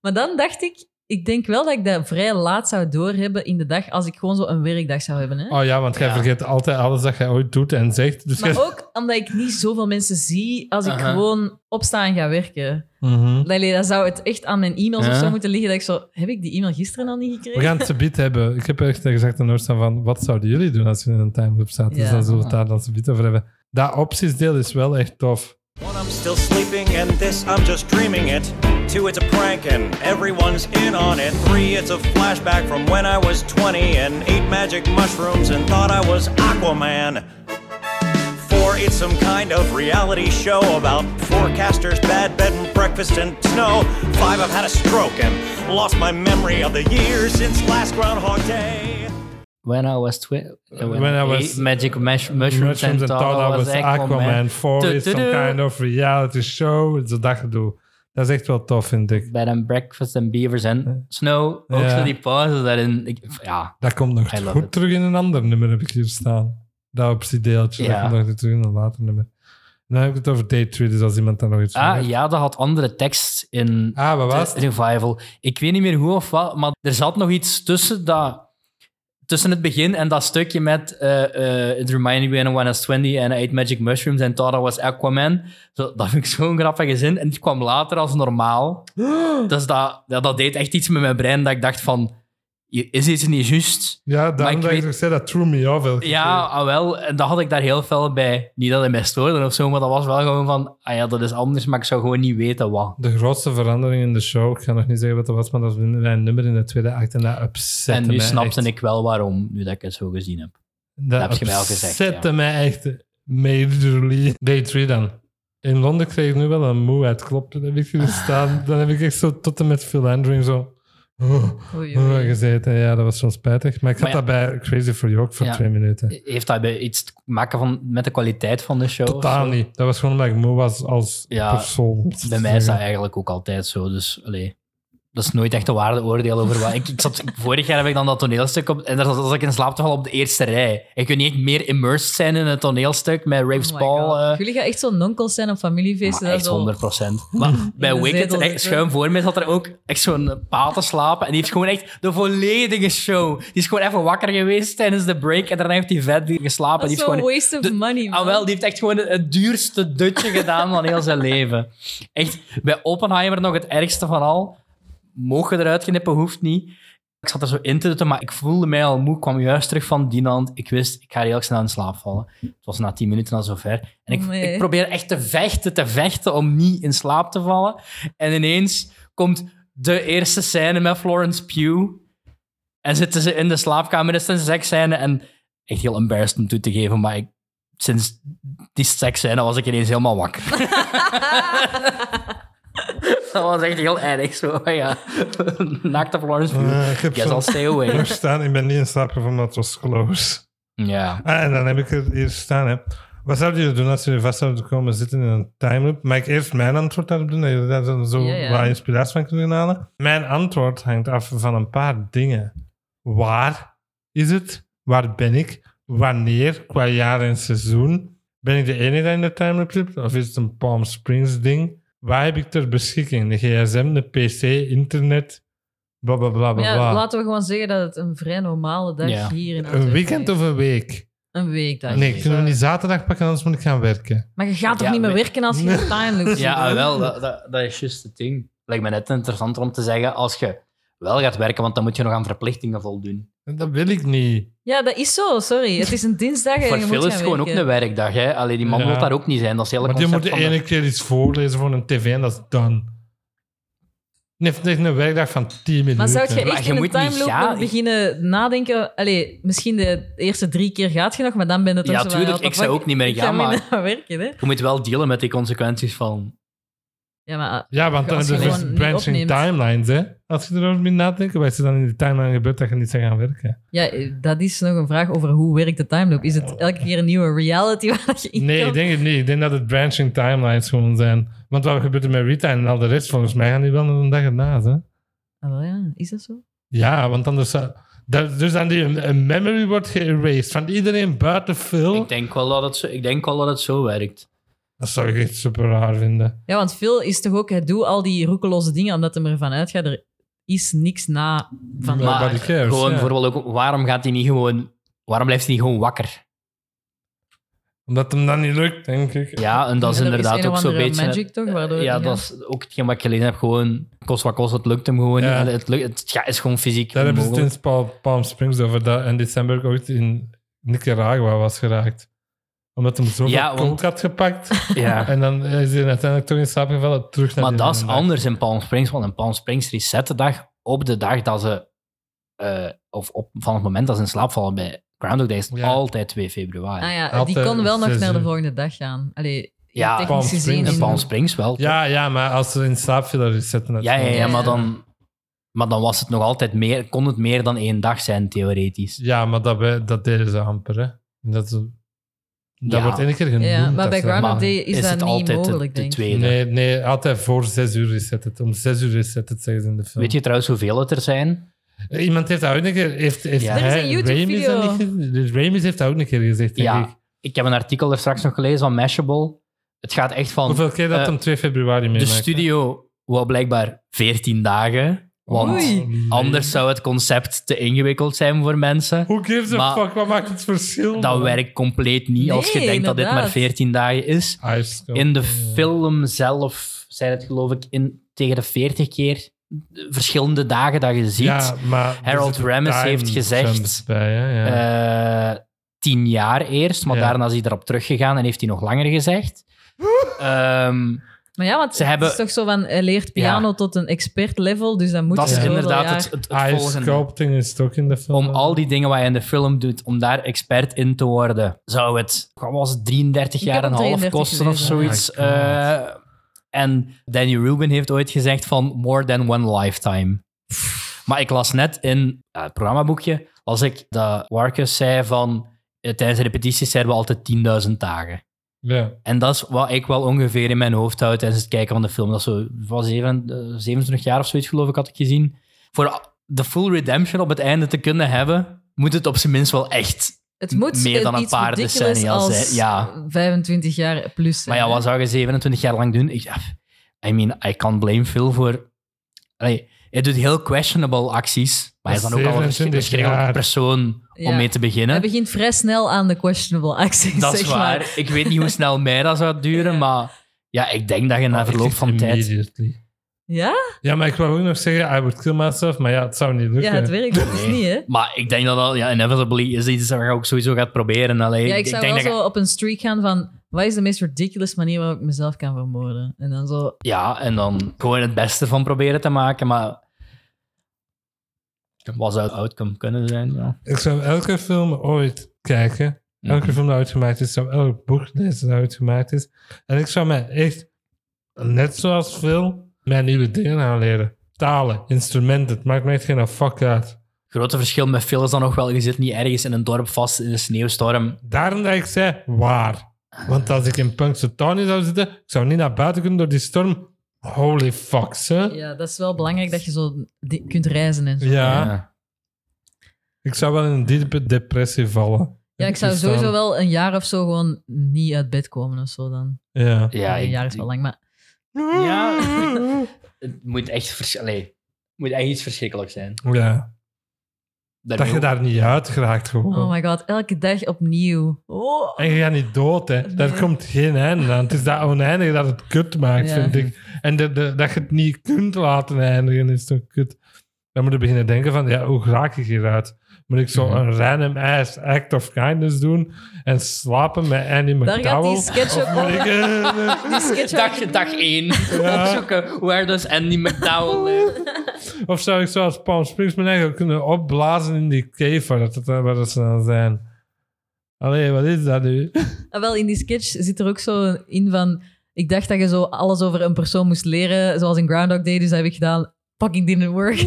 Speaker 2: Maar dan dacht ik, ik denk wel dat ik dat vrij laat zou doorhebben in de dag als ik gewoon zo een werkdag zou hebben. Hè?
Speaker 1: Oh ja, want jij
Speaker 3: Ja.
Speaker 1: vergeet altijd alles dat jij ooit doet en zegt. Dus jij-
Speaker 2: Maar ook omdat ik niet zoveel mensen zie als ik
Speaker 3: Aha.
Speaker 2: gewoon opsta en ga werken.
Speaker 1: Mhm.
Speaker 2: Allee, dan zou het echt aan mijn e-mails
Speaker 3: Ja.
Speaker 2: of zo moeten liggen dat ik zo... Heb ik die e-mail gisteren al niet
Speaker 1: We
Speaker 2: gekregen?
Speaker 1: gaan het subiet hebben. Ik heb echt gezegd aan Oorstaan van, wat zouden jullie doen als jullie in een time loop zaten? Dus
Speaker 2: Ja.
Speaker 1: daar zullen we het daar dan subiet over hebben. Dat optiesdeel is wel echt tof.
Speaker 4: One, I'm still sleeping, and this, I'm just dreaming it. Two, it's a prank, and everyone's in on it. Three, it's a flashback from when I was 20 and ate magic mushrooms and thought I was Aquaman. Four, it's some kind of reality show about forecasters, bad bed and breakfast, and snow. Five, I've had a stroke and lost my memory of the years since last Groundhog Day.
Speaker 3: When I was twi- when,
Speaker 1: When I
Speaker 3: I
Speaker 1: was-
Speaker 3: ate magic mush- mushrooms,
Speaker 1: Mushrooms and Thought I Was Aquaman. Four is some
Speaker 3: Du-du-du.
Speaker 1: kind of reality show. Zo dat gedoe. Dat is echt wel tof, vind ik.
Speaker 3: Bed and breakfast and beavers and snow. Ook
Speaker 1: Ja.
Speaker 3: zo die pauze daarin. Ik, ja,
Speaker 1: Dat komt nog
Speaker 3: I love
Speaker 1: goed
Speaker 3: it.
Speaker 1: terug in een ander nummer, heb ik hier staan. Dat optiedeeltje.
Speaker 3: Ja.
Speaker 1: Dat komt nog terug in een later nummer. Dan heb ik het over day 3, dus als iemand daar nog iets van
Speaker 3: Ah,
Speaker 1: heeft.
Speaker 3: ja, dat had andere tekst in
Speaker 1: Ah, wat was
Speaker 3: de
Speaker 1: het?
Speaker 3: Revival. Ik weet niet meer hoe of wat, maar er zat nog iets tussen dat... Tussen het begin en dat stukje met eh, eh, It reminded me when I was 20 and I ate magic mushrooms and thought I was Aquaman. Zo, dat vind ik zo'n grappige zin. En die kwam later als normaal. Dus dat, ja, dat deed echt iets met mijn brein dat ik dacht van... hier Is iets niet juist?
Speaker 1: Ja, daarom
Speaker 3: ik
Speaker 1: dat ik
Speaker 3: weet-
Speaker 1: ook zei, dat threw me off. elke
Speaker 3: Ja, ah, wel. En dat had ik daar heel fel bij. Niet dat het mij stoorde of zo, maar dat was wel gewoon van... Ah ja, dat is anders, maar ik zou gewoon niet weten wat.
Speaker 1: De grootste verandering in de show, ik ga nog niet zeggen wat dat was, maar dat was een nummer in de tweede act en dat upsette
Speaker 3: En nu
Speaker 1: mij
Speaker 3: snapte
Speaker 1: echt.
Speaker 3: ik wel waarom, nu dat ik het zo gezien heb.
Speaker 1: Dat,
Speaker 3: heb je mij al gezegd,
Speaker 1: upsette
Speaker 3: ja.
Speaker 1: mij echt majorly. Day 3 dan. In Londen kreeg ik nu wel een moeheid, klopt. Dan heb ik hier staan, dan heb ik echt zo tot en met Phil Andrew zo... oh,
Speaker 2: Oei,
Speaker 1: oh,
Speaker 2: oei.
Speaker 1: gezeten. Ja, dat was zo spijtig. Maar ik had
Speaker 3: Maar ja.
Speaker 1: dat bij Crazy for You ook voor
Speaker 3: Ja.
Speaker 1: twee minuten.
Speaker 3: Heeft dat bij iets te maken van, met de kwaliteit van de show? of
Speaker 1: Totaal
Speaker 3: zo?
Speaker 1: niet. Dat was gewoon omdat ik moe was als
Speaker 3: Ja,
Speaker 1: persoon.
Speaker 3: Bij mij is dat eigenlijk ook altijd zo. Dus allee, dat is nooit echt een waardeoordeel over wat. Ik, ik zat, vorig jaar heb ik dan dat toneelstuk op. En daar zat zat ik in slaap te vallen op de eerste rij. Ik kunt niet echt meer immersed zijn in het toneelstuk met Raves
Speaker 2: Oh my
Speaker 3: Paul.
Speaker 2: God.
Speaker 3: eh,
Speaker 2: Jullie gaan echt zo'n nonkels zijn op familiefeesten. dat
Speaker 3: maar echt
Speaker 2: is wel-
Speaker 3: 100 Maar bij
Speaker 2: de
Speaker 3: Wicked,
Speaker 2: zetel
Speaker 3: echt
Speaker 2: zitten.
Speaker 3: schuin voor mij, zat er ook echt zo'n eh, pa te slapen. En die heeft gewoon echt de volledige show. Die is gewoon even wakker geweest tijdens de break. En daarna heeft hij vet geslapen.
Speaker 2: Dat
Speaker 3: Die
Speaker 2: is
Speaker 3: heeft
Speaker 2: zo'n
Speaker 3: gewoon
Speaker 2: waste of
Speaker 3: de-
Speaker 2: money, man.
Speaker 3: Ah, wel, die heeft echt gewoon het duurste dutje gedaan van heel zijn leven. Echt, bij Oppenheimer nog het ergste van al. Mogen eruit knippen, hoeft niet. Ik zat er zo in te dutten, maar ik voelde mij al moe. Ik kwam juist terug van Dinant. Ik wist, ik ga heel snel in slaap vallen. Het was na tien minuten al zover. En ik,
Speaker 2: Oh, nee.
Speaker 3: ik probeer echt te vechten, te vechten om niet in slaap te vallen. En ineens komt de eerste scène met Florence Pugh. En zitten ze in de slaapkamer, is het een seksscène. En echt heel embarrassed om toe te geven, maar ik, sinds die seksscène was ik ineens helemaal wakker. dat was echt heel erg zo, ja. Naakte Florence Pugh.
Speaker 1: Eh, ik heb
Speaker 3: Yes,
Speaker 1: zo'n-
Speaker 3: I'll stay away.
Speaker 1: Nog staan, ik ben niet in slaap gevallen, maar het was close.
Speaker 3: Ja.
Speaker 1: Ah, en dan heb ik het hier staan. Hè. Wat zouden jullie doen als jullie vast zouden komen zitten in een time loop? Mag ik eerst mijn antwoord daarop doen, dat jullie daar dan zo
Speaker 2: Ja, ja.
Speaker 1: wat inspiratie van kunnen halen? Mijn antwoord hangt af van een paar dingen. Waar is het? Waar ben ik? Wanneer? Qua jaar en seizoen? Ben ik de enige die in de time loop zit? Of is het een Palm Springs ding? Wat heb ik ter beschikking? De gsm, de pc, internet, bla bla bla bla.
Speaker 2: Maar
Speaker 1: bla.
Speaker 2: ja, laten we gewoon zeggen dat het een vrij normale dag
Speaker 3: Ja.
Speaker 2: hier in
Speaker 1: een
Speaker 2: Antwerpen
Speaker 1: weekend
Speaker 2: is.
Speaker 1: of een week?
Speaker 2: Een weekdag.
Speaker 1: Nee, kunnen we niet zaterdag pakken, anders moet ik gaan werken.
Speaker 2: Maar je gaat toch
Speaker 3: Ja,
Speaker 2: niet meer
Speaker 3: nee.
Speaker 2: werken als je in time loopt?
Speaker 3: Ja, ah, wel, dat, dat, dat is juist het ding. Lijkt me net interessanter om te zeggen, als je wel gaat werken, want dan moet je nog aan verplichtingen voldoen.
Speaker 1: Dat wil ik niet.
Speaker 2: Ja, dat is zo, sorry. Het is een dinsdag en
Speaker 3: Voor
Speaker 2: je moet
Speaker 3: veel is het
Speaker 2: gaan
Speaker 3: gewoon ook
Speaker 2: werken.
Speaker 3: een werkdag, hè. Allee, die man
Speaker 1: Ja.
Speaker 3: wil daar ook niet zijn, dat is het hele
Speaker 1: Maar je moet
Speaker 3: concept
Speaker 1: de
Speaker 3: van de-
Speaker 1: ene keer iets voorlezen voor een tv en dat is dan. Nee, het is een werkdag van 10 minuten.
Speaker 2: Maar zou je
Speaker 3: Maar
Speaker 2: echt in
Speaker 3: je
Speaker 2: een
Speaker 3: moet niet
Speaker 2: timeloop
Speaker 3: gaan.
Speaker 2: moeten beginnen nadenken? Allee, misschien de eerste drie keer gaat je nog, maar dan ben je toch
Speaker 3: Ja,
Speaker 2: zo van,
Speaker 3: tuurlijk,
Speaker 2: what the
Speaker 3: ik zou
Speaker 2: fuck,
Speaker 3: ook niet meer
Speaker 2: ik
Speaker 3: gaan,
Speaker 2: meer
Speaker 3: maar-
Speaker 2: naar werken, hè?
Speaker 3: Je moet wel dealen met die consequenties van...
Speaker 2: Ja, maar... eh,
Speaker 1: Ja, want dan
Speaker 2: Als je
Speaker 1: hebben we
Speaker 2: gewoon
Speaker 1: dus
Speaker 2: niet
Speaker 1: branching
Speaker 2: opneemt.
Speaker 1: timelines, hè. Als je erover moet nadenken, wat is er dan in die timeline gebeurd dat je niet zou gaan werken?
Speaker 2: Ja, eh, dat is nog een vraag over hoe werkt de timeloop. Is het elke keer een nieuwe reality waar je in
Speaker 1: Nee,
Speaker 2: kan?
Speaker 1: ik denk het niet. Ik denk dat het branching timelines gewoon zijn. Want wat gebeurt er met Rita en al de rest? Volgens mij gaan die wel naar een dag ernaast, hè.
Speaker 2: Ah, wel ja, is dat zo?
Speaker 1: Ja, want anders... zou- dat- dus dan die een, een memory wordt geërased van iedereen buiten Phil.
Speaker 3: Ik denk wel dat het zo, ik denk wel dat het zo werkt.
Speaker 1: Dat zou ik echt super raar vinden.
Speaker 2: Ja, want Phil is toch ook, hij doet al die roekeloze dingen omdat hij ervan uitgaat, er is niks na van.
Speaker 1: Maar-
Speaker 3: Maar
Speaker 1: Nobody cares,
Speaker 3: gewoon
Speaker 1: ja.
Speaker 3: bijvoorbeeld ook, waarom gaat hij niet gewoon... Waarom blijft hij niet gewoon wakker?
Speaker 1: Omdat hem dat niet lukt, denk ik.
Speaker 3: Ja, en dat is
Speaker 2: Ja,
Speaker 3: inderdaad
Speaker 2: een
Speaker 3: ook
Speaker 2: of
Speaker 3: zo'n
Speaker 2: andere
Speaker 3: beetje...
Speaker 2: magic toch? Waardoor
Speaker 3: ja,
Speaker 2: die
Speaker 3: dat
Speaker 2: gaat-
Speaker 3: is ook hetgeen wat ik gelezen heb. Gewoon, kost wat kost, het lukt hem gewoon
Speaker 1: Ja.
Speaker 3: niet. Het, lukt, het ja, is gewoon fysiek
Speaker 1: Daar hebben ze het
Speaker 3: onmogelijk.
Speaker 1: in Palm, Palm Springs over dat en december ooit in Nicaragua was geraakt. Omdat hem zoveel
Speaker 3: Ja,
Speaker 1: ja,
Speaker 3: want-
Speaker 1: had gepakt.
Speaker 3: Ja.
Speaker 1: en dan is hij uiteindelijk toch in slaap gevallen terug naar
Speaker 3: Maar
Speaker 1: die
Speaker 3: dat is
Speaker 1: andere dag.
Speaker 3: anders in Palm Springs, want in Palm Springs reset de dag op de dag dat ze... eh, of op, van het moment dat ze in slaap vallen bij Groundhog Day is het
Speaker 1: Ja.
Speaker 3: altijd 2 februari.
Speaker 2: Ah ja, die
Speaker 1: Altijd
Speaker 2: kon wel nog naar de
Speaker 1: seizoen.
Speaker 2: volgende dag gaan. Allee,
Speaker 3: Ja,
Speaker 1: Palm
Speaker 2: technisch gezien.
Speaker 1: Springs.
Speaker 3: In
Speaker 2: in-
Speaker 3: Palm Springs wel. toch?
Speaker 1: Ja, ja, maar als ze in slaap vielen, resetten het
Speaker 3: Ja, ja,
Speaker 1: gewoon.
Speaker 3: ja, maar
Speaker 2: Ja.
Speaker 3: dan, maar dan was het nog altijd meer, kon het meer dan één dag zijn, theoretisch.
Speaker 1: Ja, maar dat, we- dat deden ze amper. Hè. Dat, is- dat
Speaker 3: Ja.
Speaker 1: wordt één keer genoemd.
Speaker 2: Ja, maar bij
Speaker 1: dat ze-
Speaker 2: Groundhog
Speaker 3: Maar
Speaker 2: Day is, dat
Speaker 3: het
Speaker 2: niet
Speaker 3: altijd de-
Speaker 2: mogelijk,
Speaker 3: de,
Speaker 2: denk ik.
Speaker 3: tweede?
Speaker 1: Nee, nee, altijd voor zes uur reset het. Om zes uur reset het, zeggen ze in de film.
Speaker 3: Weet je trouwens hoeveel het er zijn?
Speaker 1: Iemand heeft dat ook een keer... Heeft, heeft
Speaker 3: Ja.
Speaker 2: Er is
Speaker 1: hij-
Speaker 2: een YouTube
Speaker 1: Ramis dat
Speaker 2: video.
Speaker 1: niet ge- dus Ramis heeft dat ook een keer gezegd, denk
Speaker 3: Ja.
Speaker 1: ik.
Speaker 3: Ik heb een artikel er straks nog gelezen van Mashable. Het gaat echt van...
Speaker 1: Hoeveel keer dat
Speaker 3: eh,
Speaker 1: hem 2 februari
Speaker 3: de
Speaker 1: meemaakt.
Speaker 3: studio wou blijkbaar 14 dagen, want
Speaker 2: Oei.
Speaker 3: anders zou het concept te ingewikkeld zijn voor mensen.
Speaker 1: Who gives a
Speaker 3: Maar-
Speaker 1: fuck? Wat maakt het verschil?
Speaker 3: Dat
Speaker 1: man?
Speaker 3: werkt compleet niet als je
Speaker 2: Nee,
Speaker 3: denkt dat dit maar
Speaker 2: inderdaad.
Speaker 3: 14 dagen is.
Speaker 1: Ice Sculpting,
Speaker 3: In de
Speaker 1: ja.
Speaker 3: film zelf zijn het geloof ik in, tegen de 40 keer verschillende dagen dat je ziet.
Speaker 1: Ja, maar er
Speaker 3: Harold
Speaker 1: zit een
Speaker 3: Ramis heeft
Speaker 1: time
Speaker 3: gezegd,
Speaker 1: jump Bij, hè, ja.
Speaker 3: Eh, tien jaar eerst, maar
Speaker 1: Ja.
Speaker 3: daarna is hij erop teruggegaan en heeft hij nog langer gezegd. Ehm,
Speaker 2: Maar ja, want
Speaker 3: Ze hebben-
Speaker 2: het is toch zo van, hij leert piano tot een expert level, dus dan moet
Speaker 3: dat
Speaker 2: je
Speaker 3: is
Speaker 2: zoveel
Speaker 3: inderdaad
Speaker 2: jaar-
Speaker 3: het, het, het
Speaker 1: Ice
Speaker 3: volgende.
Speaker 1: sculpting is het ook in de film.
Speaker 3: Om al die dingen wat je in de film doet, om daar expert in te worden, zou het, wat was het, 33
Speaker 2: Ik
Speaker 3: jaar
Speaker 2: heb
Speaker 3: en een
Speaker 2: hem
Speaker 3: half
Speaker 2: 33
Speaker 3: kosten of
Speaker 2: gelezen.
Speaker 3: zoiets.
Speaker 1: Oh my God.
Speaker 3: Eh, en Danny Rubin heeft ooit gezegd van more than one lifetime. Maar ik las net in eh, het programmaboekje, als ik dat Warkus zei van eh, tijdens repetities zeiden we altijd 10.000 dagen.
Speaker 1: Ja.
Speaker 3: En dat is wat ik wel ongeveer in mijn hoofd houd tijdens het kijken van de film. Dat is zo van zeven- eh, 27 jaar of zoiets, geloof ik, had ik gezien. Voor a- de full redemption op het einde te kunnen hebben, moet het op zijn minst wel echt.
Speaker 2: Het moet
Speaker 3: meer dan een
Speaker 2: iets
Speaker 3: paar
Speaker 2: ridiculous
Speaker 3: decennia al
Speaker 2: als
Speaker 3: zijn, ja.
Speaker 2: 25 jaar plus zijn,
Speaker 3: Maar ja,
Speaker 2: hè.
Speaker 3: wat zou je 27 jaar lang doen? Ik, ja, I mean, I can't blame Phil voor... Allee, hij doet heel questionable acties, maar hij is dan ook al een versch-
Speaker 1: 27
Speaker 3: een verschrikkelijke
Speaker 1: jaar.
Speaker 3: persoon om
Speaker 2: Ja.
Speaker 3: mee te beginnen.
Speaker 2: Hij begint vrij snel aan de questionable acties,
Speaker 3: dat is
Speaker 2: zeg
Speaker 3: waar.
Speaker 2: maar.
Speaker 3: Ik weet niet hoe snel mij dat zou duren,
Speaker 2: Ja.
Speaker 3: maar ja, ik denk dat je
Speaker 1: Oh,
Speaker 3: na verloop van tijd...
Speaker 1: Immediately.
Speaker 2: Ja?
Speaker 1: Ja, maar ik wou ook nog zeggen, I would kill myself, maar ja, het zou niet lukken.
Speaker 2: Ja, het werkt dus
Speaker 3: Nee.
Speaker 2: niet, hè?
Speaker 3: Maar ik denk dat dat ja, inevitably is iets dat je ook sowieso gaat proberen. Allee,
Speaker 2: Ja, ik zou
Speaker 3: denk
Speaker 2: wel
Speaker 3: dat
Speaker 2: zo op een streak gaan van... Wat is de meest ridiculous manier waarop ik mezelf kan vermoorden? En dan zo...
Speaker 3: je- ja, en dan gewoon het beste van proberen te maken. Maar wat zou het outcome kunnen zijn? Ja.
Speaker 1: Ik zou elke film ooit kijken.
Speaker 3: Ja.
Speaker 1: Elke film die uitgemaakt is. Zou elk boek lezen dat uitgemaakt is. En ik zou mij echt, net zoals veel, mijn nieuwe dingen aanleren. Talen, instrumenten, het maakt mij echt geen fuck uit.
Speaker 3: Grote verschil met Phil is dan nog wel, je zit niet ergens in een dorp vast in een sneeuwstorm.
Speaker 1: Daarom dat ik zei, waar? Want als ik in Punxsutawney zou zitten, ik zou niet naar buiten kunnen door die storm. Holy fuck, hè? Ja.
Speaker 2: Ja, dat is wel belangrijk dat je zo di- kunt reizen en zo.
Speaker 3: Ja.
Speaker 1: ik zou wel in een diepe depressie vallen.
Speaker 2: Ja, ik zou
Speaker 1: Dus dan-
Speaker 2: sowieso wel een jaar of zo gewoon niet uit bed komen of zo dan.
Speaker 1: Ja.
Speaker 3: Ja,
Speaker 2: een
Speaker 3: ik-
Speaker 2: jaar is wel lang, maar...
Speaker 3: Ja. het moet echt, vers- allee, het moet echt iets verschrikkelijks zijn.
Speaker 1: ja.
Speaker 3: Daarmee
Speaker 1: Dat je
Speaker 3: ook-
Speaker 1: daar niet uit geraakt gewoon.
Speaker 2: Oh my god, elke dag opnieuw. Oh.
Speaker 1: En je gaat niet dood, hè. Daar
Speaker 2: Nee.
Speaker 1: komt geen einde aan. Het is dat oneindige dat het kut maakt,
Speaker 2: Ja.
Speaker 1: vind ik. En de, de- dat je het niet kunt laten eindigen, is toch kut. Dan moet je beginnen denken van, ja, hoe raak ik hieruit? Moet ik zo
Speaker 3: Mhm.
Speaker 1: een random ass act of kindness doen en slapen met Annie
Speaker 2: Daar gaat die
Speaker 1: McDowell?
Speaker 2: sketch ook
Speaker 1: Moet ik, eh,
Speaker 2: Die sketch ook-
Speaker 3: Dag, dag één.
Speaker 1: Ja.
Speaker 3: Opzoeken, where does Andy McDowell live?
Speaker 1: of zou ik zoals Palm Springs mijn eigen kunnen opblazen in die cave waar, dat, waar dat ze dan zijn? Allee, wat is dat nu?
Speaker 2: Ah, wel, in die sketch zit er ook zo in van... Ik dacht dat je zo alles over een persoon moest leren, zoals in Groundhog Day, dus dat heb ik gedaan. Fucking didn't work.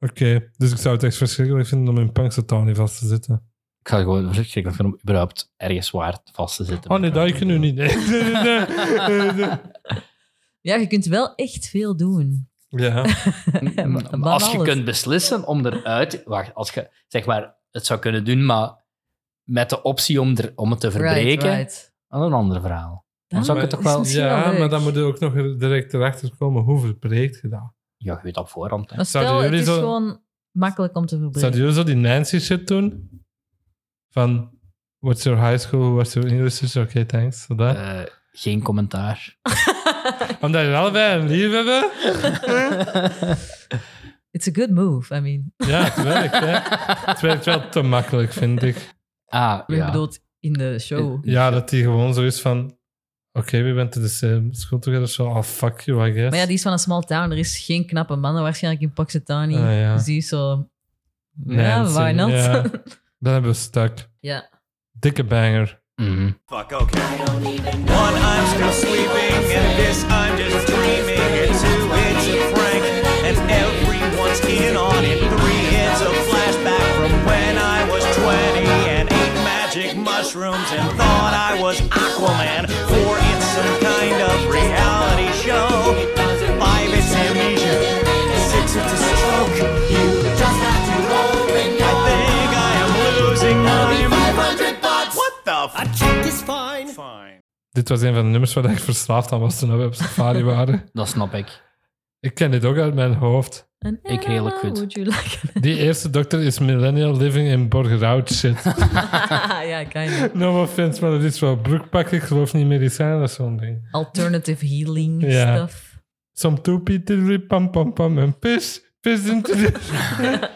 Speaker 1: Oké, dus ik zou het echt verschrikkelijk vinden om in Punxsutawney vast te zitten.
Speaker 3: Ik ga gewoon verschrikkelijk vinden om überhaupt ergens zwaar vast te zitten.
Speaker 1: Oh nee, dat kan nu niet. Nee, nee, nee, nee, nee.
Speaker 2: ja, je kunt wel echt veel doen.
Speaker 1: Ja.
Speaker 2: Van
Speaker 3: als je
Speaker 2: alles.
Speaker 3: kunt beslissen om eruit... Wacht, als je zeg maar, het zou kunnen doen, maar met de optie om, er, om het te
Speaker 2: Right,
Speaker 3: verbreken,
Speaker 2: right.
Speaker 3: dat is een ander verhaal.
Speaker 2: Dat
Speaker 3: zou ik het
Speaker 2: is
Speaker 3: toch wel-
Speaker 2: misschien
Speaker 1: Ja,
Speaker 2: leuk.
Speaker 1: maar dan moet je ook nog direct erachter komen hoe verbreekt je dat.
Speaker 3: Ja, je weet dat op voorhand. hè.
Speaker 2: Maar
Speaker 1: Zouden
Speaker 2: stel, het
Speaker 1: jullie
Speaker 2: is
Speaker 1: zo-
Speaker 2: gewoon makkelijk om te verbreken.
Speaker 1: Zou jullie zo die Nancy shit doen? Van, what's your high school, what's your university? Oké, thanks. Zo dat.
Speaker 3: Eh, geen commentaar.
Speaker 1: Omdat je allebei een lief hebben?
Speaker 2: It's a good move, I mean.
Speaker 1: Ja, het werkt, hè. Het werkt wel te makkelijk, vind ik.
Speaker 3: Ah,
Speaker 2: Je
Speaker 3: ja.
Speaker 2: bedoelt in de show.
Speaker 1: Ja, dat die gewoon zo is van... Oké, we bent to the same school together, so oh, fuck you, I guess.
Speaker 2: Maar ja, die is van een small town. Er is geen knappe mannen waarschijnlijk in Pakistani.
Speaker 1: Ah, ja.
Speaker 2: Dus die is zo...
Speaker 1: Nancy,
Speaker 2: ja, why not?
Speaker 1: ja. Dan hebben we stuk.
Speaker 2: ja.
Speaker 1: Dikke banger.
Speaker 3: Mhm.
Speaker 4: Fuck, okay. One, I'm still sleeping, and this, I'm just dreaming. And two, it's a prank, and everyone's in on it. Three, it's a flashback from when I was 20 and ate magic mushrooms and thought I was Aquaman. Four, it's some kind of reality show. Five, it's amnesia. Six, it's a stroke. You just have to open your I think I am losing. I'm 500 bucks. What the fuck?
Speaker 1: Dit was een van de nummers waar ik verslaafd aan was toen we op safari waren.
Speaker 3: Dat snap ik.
Speaker 1: Ik ken dit ook uit mijn hoofd.
Speaker 2: En
Speaker 3: Ik redelijk goed.
Speaker 2: Would you like
Speaker 1: Die eerste dokter is millennial living in Borgerhout shit.
Speaker 2: ja, kind of.
Speaker 1: No offense, maar dat is wel broekpak. Ik geloof niet medicijnen, dat is zo'n ding.
Speaker 2: Alternative healing
Speaker 1: Ja.
Speaker 2: stuff.
Speaker 1: Some toepie, tiddly, pam pam pam en pis. Pis into the...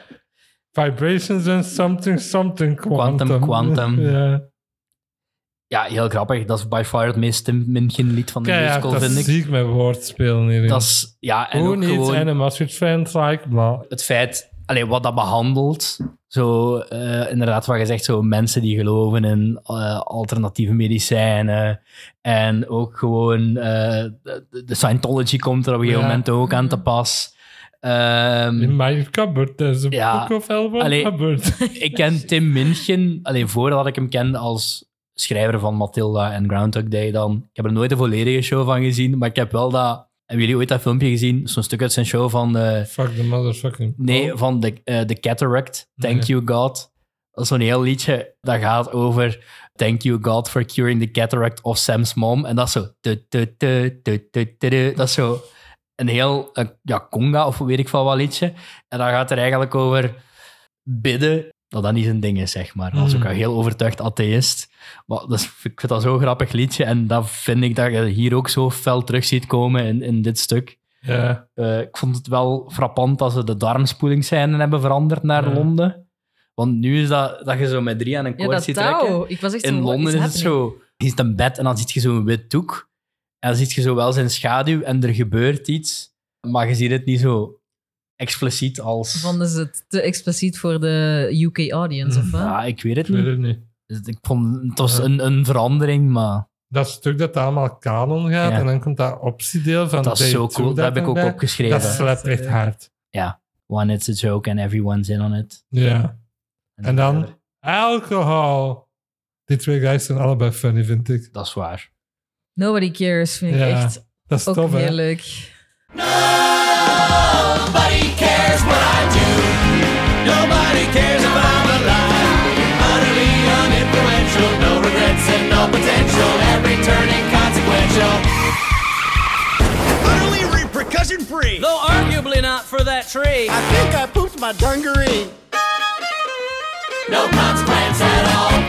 Speaker 1: Vibrations and something, something quantum.
Speaker 3: Quantum, quantum.
Speaker 1: Ja,
Speaker 3: Ja, heel grappig. Dat is by far het meest Tim Minchin lied van de
Speaker 1: ja, ja
Speaker 3: musical,
Speaker 1: dat
Speaker 3: vind
Speaker 1: is
Speaker 3: ik.
Speaker 1: ziek met woordspelen hierin.
Speaker 3: Dat is... Ja, en
Speaker 1: Who
Speaker 3: ook
Speaker 1: needs
Speaker 3: gewoon...
Speaker 1: animals with friends like... Blah.
Speaker 3: het feit, alleen wat dat behandelt, zo eh, inderdaad wat je zegt, zo mensen die geloven in eh, alternatieve medicijnen en ook gewoon eh, de, de Scientology komt er op een gegeven
Speaker 1: Ja.
Speaker 3: moment ook aan te pas. Ehm,
Speaker 1: In my cupboard, there's a
Speaker 3: Ja.
Speaker 1: book of Elwood
Speaker 3: Allee.
Speaker 1: cupboard.
Speaker 3: ik ken Tim Minchin, alleen voordat ik hem kende als schrijver van Matilda en Groundhog Day dan. Ik heb er nooit de volledige show van gezien, maar ik heb wel dat... Hebben jullie ooit dat filmpje gezien? Zo'n stuk uit zijn show van... eh,
Speaker 1: Fuck the motherfucking...
Speaker 3: Nee, van de, eh, de Cataract, Thank
Speaker 1: Nee.
Speaker 3: You God. Dat is zo'n heel liedje dat gaat over Thank You God for Curing the Cataract of Sam's Mom. En dat is zo... tu, tu, tu, tu, tu, tu, tu. Dat is zo een heel eh, ja, conga of weet ik van wat liedje. En dat gaat er eigenlijk over bidden, dat dat niet zijn ding is, zeg maar. Als ook
Speaker 1: Mm.
Speaker 3: een heel overtuigd atheïst. Maar dat is, ik vind dat zo'n grappig liedje. En dat vind ik dat je hier ook zo fel terug ziet komen in, in dit stuk.
Speaker 1: Ja,
Speaker 3: Eh, ik vond het wel frappant dat ze de darmspoelingscène hebben veranderd naar
Speaker 1: Ja.
Speaker 3: Londen. Want nu is dat, dat je zo met drie aan een
Speaker 2: Ja,
Speaker 3: koord
Speaker 2: dat
Speaker 3: ziet
Speaker 2: touw.
Speaker 3: trekken.
Speaker 2: Ik was echt zo,
Speaker 3: In
Speaker 2: what
Speaker 3: Londen is het
Speaker 2: happening?
Speaker 3: zo, je ziet een bed en dan ziet je zo'n wit doek. En dan ziet je zo wel zijn schaduw en er gebeurt iets. Maar je ziet het niet zo expliciet als...
Speaker 2: Vonden ze het te expliciet voor de UK audience,
Speaker 1: Mm.
Speaker 2: of wat?
Speaker 3: Ja, ik weet het
Speaker 1: ik weet
Speaker 3: niet.
Speaker 1: het niet.
Speaker 3: Dus Ik vond, het was een, een verandering, maar
Speaker 1: dat stuk dat allemaal kanon gaat
Speaker 3: Ja.
Speaker 1: en dan komt dat optiedeel van
Speaker 3: dat is
Speaker 1: day
Speaker 3: zo
Speaker 1: two
Speaker 3: cool. Dat heb ik ook
Speaker 1: erbij.
Speaker 3: opgeschreven.
Speaker 1: Dat slaat echt hard.
Speaker 3: One, it's a joke and everyone's in on it.
Speaker 1: Ja. En dan alcohol. Die twee guys zijn allebei funny, vind ik.
Speaker 3: Dat is waar.
Speaker 2: Nobody cares vind ik
Speaker 1: Ja,
Speaker 2: echt
Speaker 1: Dat is
Speaker 2: ook
Speaker 1: tof,
Speaker 2: heel
Speaker 1: hè?
Speaker 2: leuk.
Speaker 4: Nobody cares what I do. Nobody cares if I'm alive. Utterly uninfluential, no regrets and no potential. Every turn inconsequential. Utterly repercussion free.
Speaker 6: Though arguably not for that tree.
Speaker 5: I think I pooped my dungaree.
Speaker 4: No consequence at all.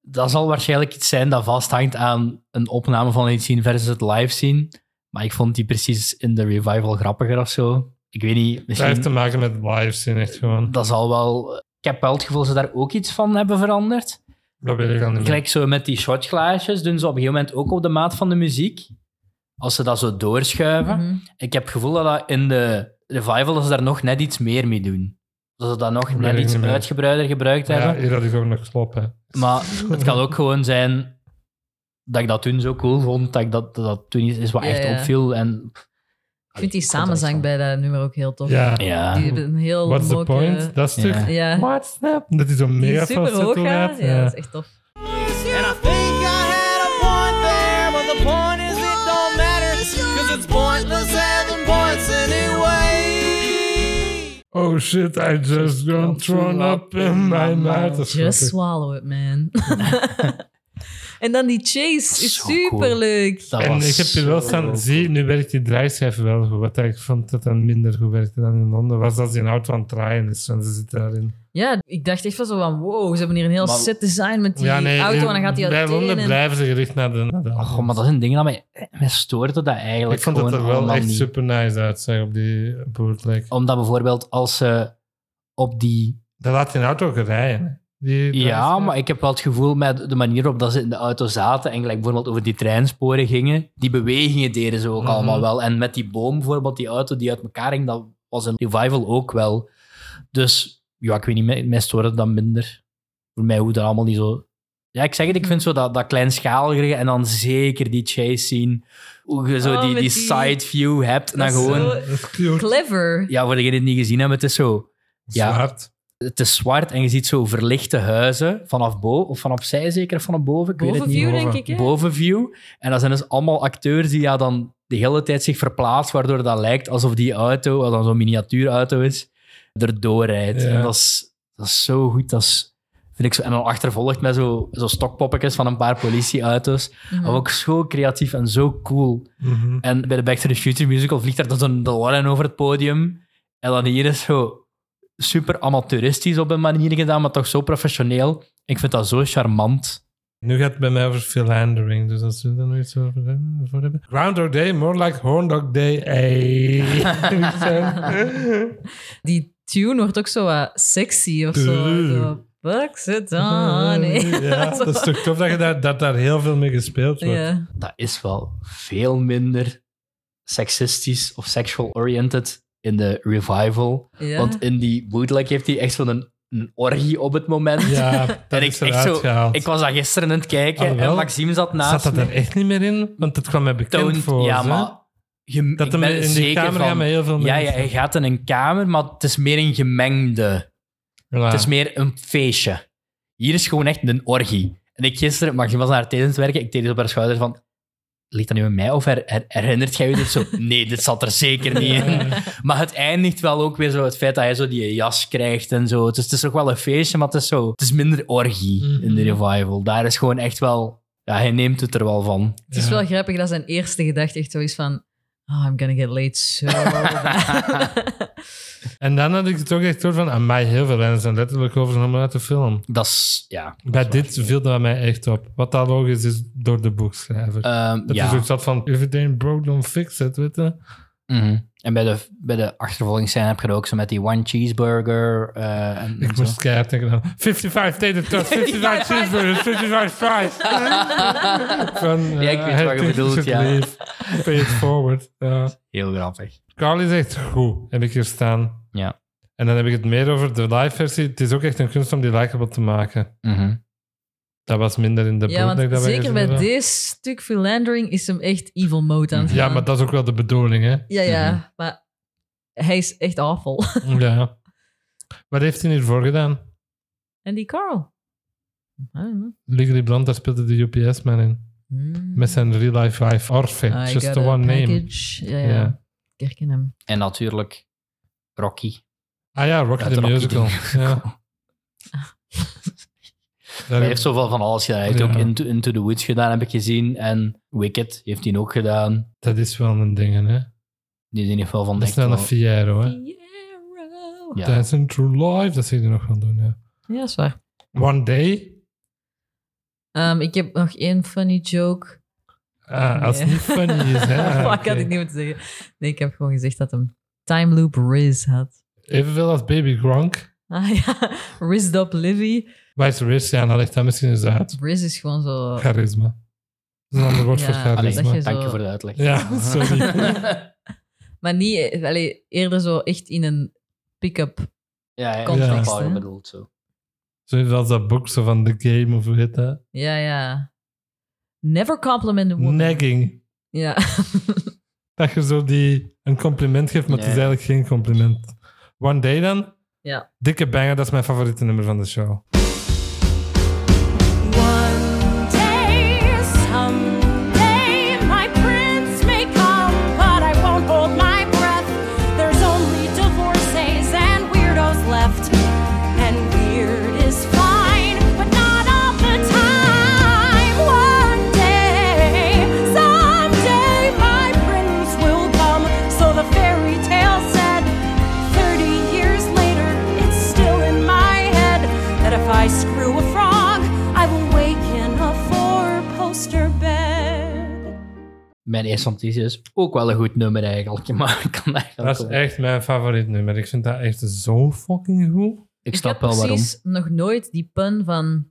Speaker 3: dat zal waarschijnlijk iets zijn dat vasthangt aan een opname van iets zien versus het live zien. Maar ik vond die precies in de revival grappiger of zo. Ik weet niet,
Speaker 1: Dat heeft te
Speaker 3: misschien...
Speaker 1: maken met live zien, echt gewoon.
Speaker 3: Dat zal wel... Ik heb wel het gevoel dat ze daar ook iets van hebben veranderd.
Speaker 1: Dat weet ik al niet meer.
Speaker 3: Gelijk zo met die shotglaasjes doen ze op een gegeven moment ook op de maat van de muziek. Als ze dat zo doorschuiven.
Speaker 2: Mhm.
Speaker 3: Ik heb het gevoel dat, dat in de revival dat ze daar nog net iets meer mee doen. Dat ze dat nog
Speaker 1: weet
Speaker 3: net
Speaker 1: het
Speaker 3: iets
Speaker 1: niet meer.
Speaker 3: uitgebreider gebruikt
Speaker 1: Ja,
Speaker 3: hebben.
Speaker 1: hier had ik ook nog slop, hè.
Speaker 3: Maar het kan ook gewoon zijn dat ik dat toen zo cool vond, dat ik dat, dat, dat toen iets is wat
Speaker 2: Ja,
Speaker 3: echt
Speaker 2: ja.
Speaker 3: opviel. En,
Speaker 2: Ik vind die samenzang bij dat nummer ook heel tof.
Speaker 1: Ja.
Speaker 3: Ja.
Speaker 2: Die hebben een heel
Speaker 1: What's the
Speaker 2: mooie-
Speaker 1: point? Dat stuk.
Speaker 3: Ja.
Speaker 2: Ja.
Speaker 1: What's up? Dat is zo'n
Speaker 2: Die
Speaker 1: mega
Speaker 2: super hoog
Speaker 1: falsetto
Speaker 2: gaat.
Speaker 1: gaat.
Speaker 2: Ja,
Speaker 1: Ja.
Speaker 2: dat is echt tof.
Speaker 4: And I think I had a point there, but the point is it don't matter. Cause it's pointless having points in it.
Speaker 1: Oh shit, I just got thrown up in my mouth. Dat is
Speaker 2: Just
Speaker 1: grappig.
Speaker 2: swallow it, man. en dan die chase is
Speaker 3: Zo cool.
Speaker 2: superleuk.
Speaker 3: Dat
Speaker 1: En
Speaker 3: was
Speaker 1: ik heb je wel
Speaker 3: zo
Speaker 1: staan, zie, nu werkt die draaischijf wel goed. Wat ik vond dat dan minder goed werkte dan in Londen, was dat ze een auto aan het draaien is, want ze zitten daarin.
Speaker 2: Ja, ik dacht echt van zo van, wow, ze hebben hier een heel
Speaker 3: Maar-
Speaker 2: set design met die auto en dan gaat die
Speaker 1: bij
Speaker 2: uit
Speaker 1: Londen
Speaker 2: en...
Speaker 1: blijven ze gericht naar de... naar de
Speaker 3: Oh, maar dat is een ding dat mij, mij stoorde dat eigenlijk
Speaker 1: ik vond het
Speaker 3: gewoon
Speaker 1: er wel
Speaker 3: allemaal
Speaker 1: echt
Speaker 3: niet. Oh.
Speaker 1: super nice uitzag op die bootleg.
Speaker 3: Omdat bijvoorbeeld als ze op die...
Speaker 1: Daar laat je een auto ook rijden. hè. Die
Speaker 3: Ja,
Speaker 1: draaischijf.
Speaker 3: maar ik heb wel het gevoel met de manier op dat ze in de auto zaten en gelijk bijvoorbeeld over die treinsporen gingen, die bewegingen deden ze ook
Speaker 1: Mhm.
Speaker 3: allemaal wel. En met die boom bijvoorbeeld, die auto die uit elkaar ging, dat was een revival ook wel. Dus ja, ik weet niet, mij, mij stoorde dat minder. Voor mij hoeft dat allemaal niet zo... Ja, ik zeg het, ik vind zo dat, dat kleinschalige en dan zeker die chase scene, hoe je zo
Speaker 2: Oh,
Speaker 3: die,
Speaker 2: met
Speaker 3: die
Speaker 2: die-
Speaker 3: side view hebt en dan
Speaker 2: Dat is
Speaker 3: gewoon...
Speaker 2: zo
Speaker 1: Dat is cute.
Speaker 2: Clever.
Speaker 3: ja, voor degenen die het niet gezien hebben, het is zo. Ja.
Speaker 1: Zwart.
Speaker 3: Het is zwart en je ziet zo verlichte huizen vanaf boven, of vanaf zij zeker, of vanaf boven. Ik weet het niet.
Speaker 2: Bovenview,
Speaker 1: boven.
Speaker 2: denk ik, hè?
Speaker 3: Bovenview. En dat zijn dus allemaal acteurs die ja, dan de hele tijd zich verplaatsen, waardoor dat lijkt alsof die auto, wat dan zo'n miniatuurauto is, erdoor rijdt.
Speaker 1: Ja.
Speaker 3: En dat is, dat is zo goed. Dat is, vind ik zo, en dan achtervolgd met zo, zo stokpoppetjes van een paar politieauto's.
Speaker 2: Mhm.
Speaker 3: Maar ook zo creatief en zo cool.
Speaker 1: Mhm.
Speaker 3: En bij de Back to the Future musical vliegt daar dan zo'n DeLorean over het podium. En dan hier is zo super amateuristisch op een manier gedaan, maar toch zo professioneel. Ik vind dat zo charmant.
Speaker 1: Nu gaat het bij mij over philandering, dus als we daar nog iets over hebben. voor hebben. Groundhog Day, more like Horndog Day. Hey.
Speaker 2: Die tune wordt ook zo wat sexy of zo.
Speaker 1: Tuurlijk.
Speaker 2: zo fuck zit aan. hè.
Speaker 1: Ja,
Speaker 2: Zo.
Speaker 1: dat is toch tof dat, je daar, dat daar heel veel mee gespeeld wordt.
Speaker 2: Ja.
Speaker 3: Dat is wel veel minder seksistisch of sexual-oriented in de revival.
Speaker 2: Ja.
Speaker 3: Want in die bootleg heeft hij echt zo'n een, orgie op het moment.
Speaker 1: Ja, dat
Speaker 3: en ik,
Speaker 1: is
Speaker 3: echt
Speaker 1: eruit
Speaker 3: zo,
Speaker 1: gehaald.
Speaker 3: ik was dat gisteren aan het kijken en
Speaker 1: Alhoewel,
Speaker 3: Maxime zat naast
Speaker 1: Zat dat
Speaker 3: me.
Speaker 1: er echt niet meer in? Want het kwam mij bekend
Speaker 3: toont.
Speaker 1: voor.
Speaker 3: ja,
Speaker 1: hè?
Speaker 3: maar je,
Speaker 1: Dat
Speaker 3: ik
Speaker 1: hem
Speaker 3: ben
Speaker 1: in die
Speaker 3: zeker
Speaker 1: kamer
Speaker 3: van-
Speaker 1: gaan met heel veel
Speaker 3: Ja, ja,
Speaker 1: mensen.
Speaker 3: hij gaat in een kamer, maar het is meer een gemengde.
Speaker 1: Ja.
Speaker 3: Het is meer een feestje. Hier is gewoon echt een orgie. En ik gisteren, maar je was naar haar tijdens het werken, ik deed op haar schouder van... Ligt dat nu aan mij of her- her- herinnert jij je dit zo? Nee, dit zat er zeker niet in. Maar het eindigt wel ook weer zo het feit dat hij zo die jas krijgt en zo. Dus het is ook wel een feestje, maar het is, zo, het is minder orgie in de
Speaker 1: Mhm.
Speaker 3: revival. Daar is gewoon echt wel... Ja, hij neemt het er wel van.
Speaker 2: Het is
Speaker 1: Ja.
Speaker 2: wel grappig dat zijn eerste gedachte echt zo is van... Oh, I'm gonna get late so bad."
Speaker 1: En dan had ik het ook echt door van, amai, heel veel lijnen zijn letterlijk overgenomen uit de film.
Speaker 3: Dat is... Ja.
Speaker 1: Bij dit viel dat mij echt op. Wat dat logisch is door de boekschrijver.
Speaker 3: Ehm,
Speaker 1: dat
Speaker 3: ja.
Speaker 1: is ook dat van, if it ain't broke, don't fix it, weet je.
Speaker 3: Mhm. En bij de, bij de achtervolgingsscène heb je dat ook zo met die one cheeseburger. eh, en, en
Speaker 1: Ik
Speaker 3: zo.
Speaker 1: moest keihard denken aan 55 tater tots, 55 cheeseburgers, 55 fries. Van, eh,
Speaker 3: Ja, ik weet wat je bedoelt, ja.
Speaker 1: Pay it forward. Ja.
Speaker 3: Heel grappig.
Speaker 1: Carly is echt goed, heb ik hier staan.
Speaker 3: Ja.
Speaker 1: En dan heb ik het meer over de live versie. Het is ook echt een kunst om die likable te maken.
Speaker 3: Mhm.
Speaker 1: Dat was minder in de
Speaker 2: ja,
Speaker 1: bootleg
Speaker 2: want
Speaker 1: dat we
Speaker 2: zeker
Speaker 1: gezien
Speaker 2: bij
Speaker 1: hebben.
Speaker 2: dit stuk philandering is hem echt evil mode aan het
Speaker 1: Ja,
Speaker 2: gaan.
Speaker 1: maar dat Mhm. is ook wel de bedoeling, hè.
Speaker 2: Ja, ja, maar hij is echt awful.
Speaker 1: ja. Wat heeft hij hiervoor gedaan?
Speaker 2: En die Carl. I don't know.
Speaker 1: Legally Blonde, daar speelde de UPS-man in.
Speaker 2: Hmm.
Speaker 1: Met zijn real life wife, Orphan.
Speaker 2: I
Speaker 1: Just
Speaker 2: got
Speaker 1: the
Speaker 2: a
Speaker 1: one name.
Speaker 2: package. Ja, ja.
Speaker 1: Ja.
Speaker 2: Ik herken hem.
Speaker 3: En natuurlijk Rocky.
Speaker 1: Ah ja, Rocky
Speaker 3: Uit
Speaker 1: the
Speaker 3: Rocky
Speaker 1: Musical.
Speaker 3: the
Speaker 1: Ja. Daar
Speaker 3: Hij heeft zoveel van alles gedaan. Hij heeft
Speaker 1: Ja.
Speaker 3: ook Into, Into the Woods gedaan, heb ik gezien. En Wicked heeft hij ook gedaan.
Speaker 1: Dat is wel een ding, hè?
Speaker 3: Die is in ieder geval van
Speaker 1: Dat is
Speaker 3: echt wel-
Speaker 1: wel een Fiero, hè?
Speaker 2: Fiero.
Speaker 3: Ja.
Speaker 1: That's in True Life, dat zie je nog gaan doen, ja.
Speaker 2: Ja, dat is waar.
Speaker 1: One Day,
Speaker 2: Ehm, ik heb nog één funny joke.
Speaker 1: ah, als het
Speaker 2: Nee.
Speaker 1: niet funny is, hè? Ah,
Speaker 2: Fuck, had
Speaker 1: oké.
Speaker 2: ik niet moeten zeggen. Nee, ik heb gewoon gezegd dat hem Time Loop Riz had.
Speaker 1: Evenveel als Baby Gronk.
Speaker 2: Ah ja, Rizzed up Livy.
Speaker 1: Vice versa, ja, dan legt dat misschien eens uit.
Speaker 2: Riz is gewoon zo...
Speaker 1: Charisma. Dat is een ander woord
Speaker 2: Ja,
Speaker 1: voor
Speaker 3: Allee,
Speaker 1: charisma.
Speaker 2: dat je
Speaker 3: dank
Speaker 2: zo-
Speaker 3: je voor de uitleg.
Speaker 1: Ja, sorry.
Speaker 2: Maar niet... eh, allee, eerder zo echt in een pick-up.
Speaker 3: ja, ja,
Speaker 2: Context,
Speaker 3: context,
Speaker 2: hè?
Speaker 3: bedoeld zo.
Speaker 1: Zoals als dat boek zo van The Game of hoe heet dat?
Speaker 2: Ja, ja. Never compliment a woman.
Speaker 1: Nagging.
Speaker 2: Ja.
Speaker 1: dat je zo die een compliment geeft, maar het is
Speaker 3: Nee.
Speaker 1: eigenlijk geen compliment. One Day dan?
Speaker 2: Ja.
Speaker 1: Dikke banger, dat is mijn favoriete nummer van de show.
Speaker 7: One day, someday, my prince may come, but I won't hold my breath. There's only divorcees and
Speaker 3: Mijn eerste notitie is ook wel een goed nummer eigenlijk. Maar ik kan eigenlijk
Speaker 1: Dat is
Speaker 3: wel-
Speaker 1: echt mijn favoriet nummer. Ik vind dat echt zo fucking goed.
Speaker 3: Ik
Speaker 2: heb
Speaker 3: snap wel waarom.
Speaker 2: precies nog nooit die pun van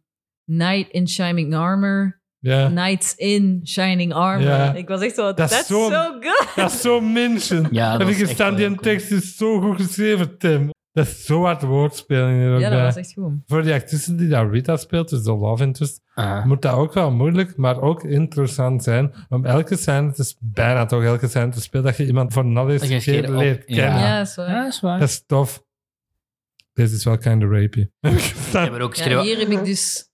Speaker 2: Knight in Shining Armor,
Speaker 1: Ja.
Speaker 2: Knights in Shining Armor.
Speaker 1: Ja.
Speaker 2: Ik was echt zo,
Speaker 1: Dat is
Speaker 2: that's
Speaker 1: zo-
Speaker 2: so good.
Speaker 1: Dat is zo mensen.
Speaker 3: Ja, dat
Speaker 1: Heb ik
Speaker 3: is echt
Speaker 1: gestaan,
Speaker 3: wel
Speaker 1: die
Speaker 3: cool.
Speaker 1: tekst is zo goed geschreven, Tim. Dat is zo hard woordspeling er ook
Speaker 2: Ja, dat
Speaker 1: bij.
Speaker 2: was echt goed.
Speaker 1: Voor die actrice die daar Rita speelt, dus de love interest,
Speaker 3: Ah.
Speaker 1: moet dat ook wel moeilijk, maar ook interessant zijn. Om elke scène, het is bijna toch elke scène te spelen, dat je iemand voor de
Speaker 3: Dat je
Speaker 1: eerste
Speaker 3: eens keer
Speaker 1: keer
Speaker 3: op-
Speaker 1: leert
Speaker 3: ja.
Speaker 1: kennen.
Speaker 2: Ja,
Speaker 3: Ja.
Speaker 2: is waar.
Speaker 3: Ja, dat is waar.
Speaker 1: Dat is tof. Dit is wel kind of rapey. Heb ik
Speaker 3: Ja,
Speaker 1: gestaan,
Speaker 3: maar ook
Speaker 2: Ja,
Speaker 3: schreeuwen-
Speaker 2: hier heb ik dus...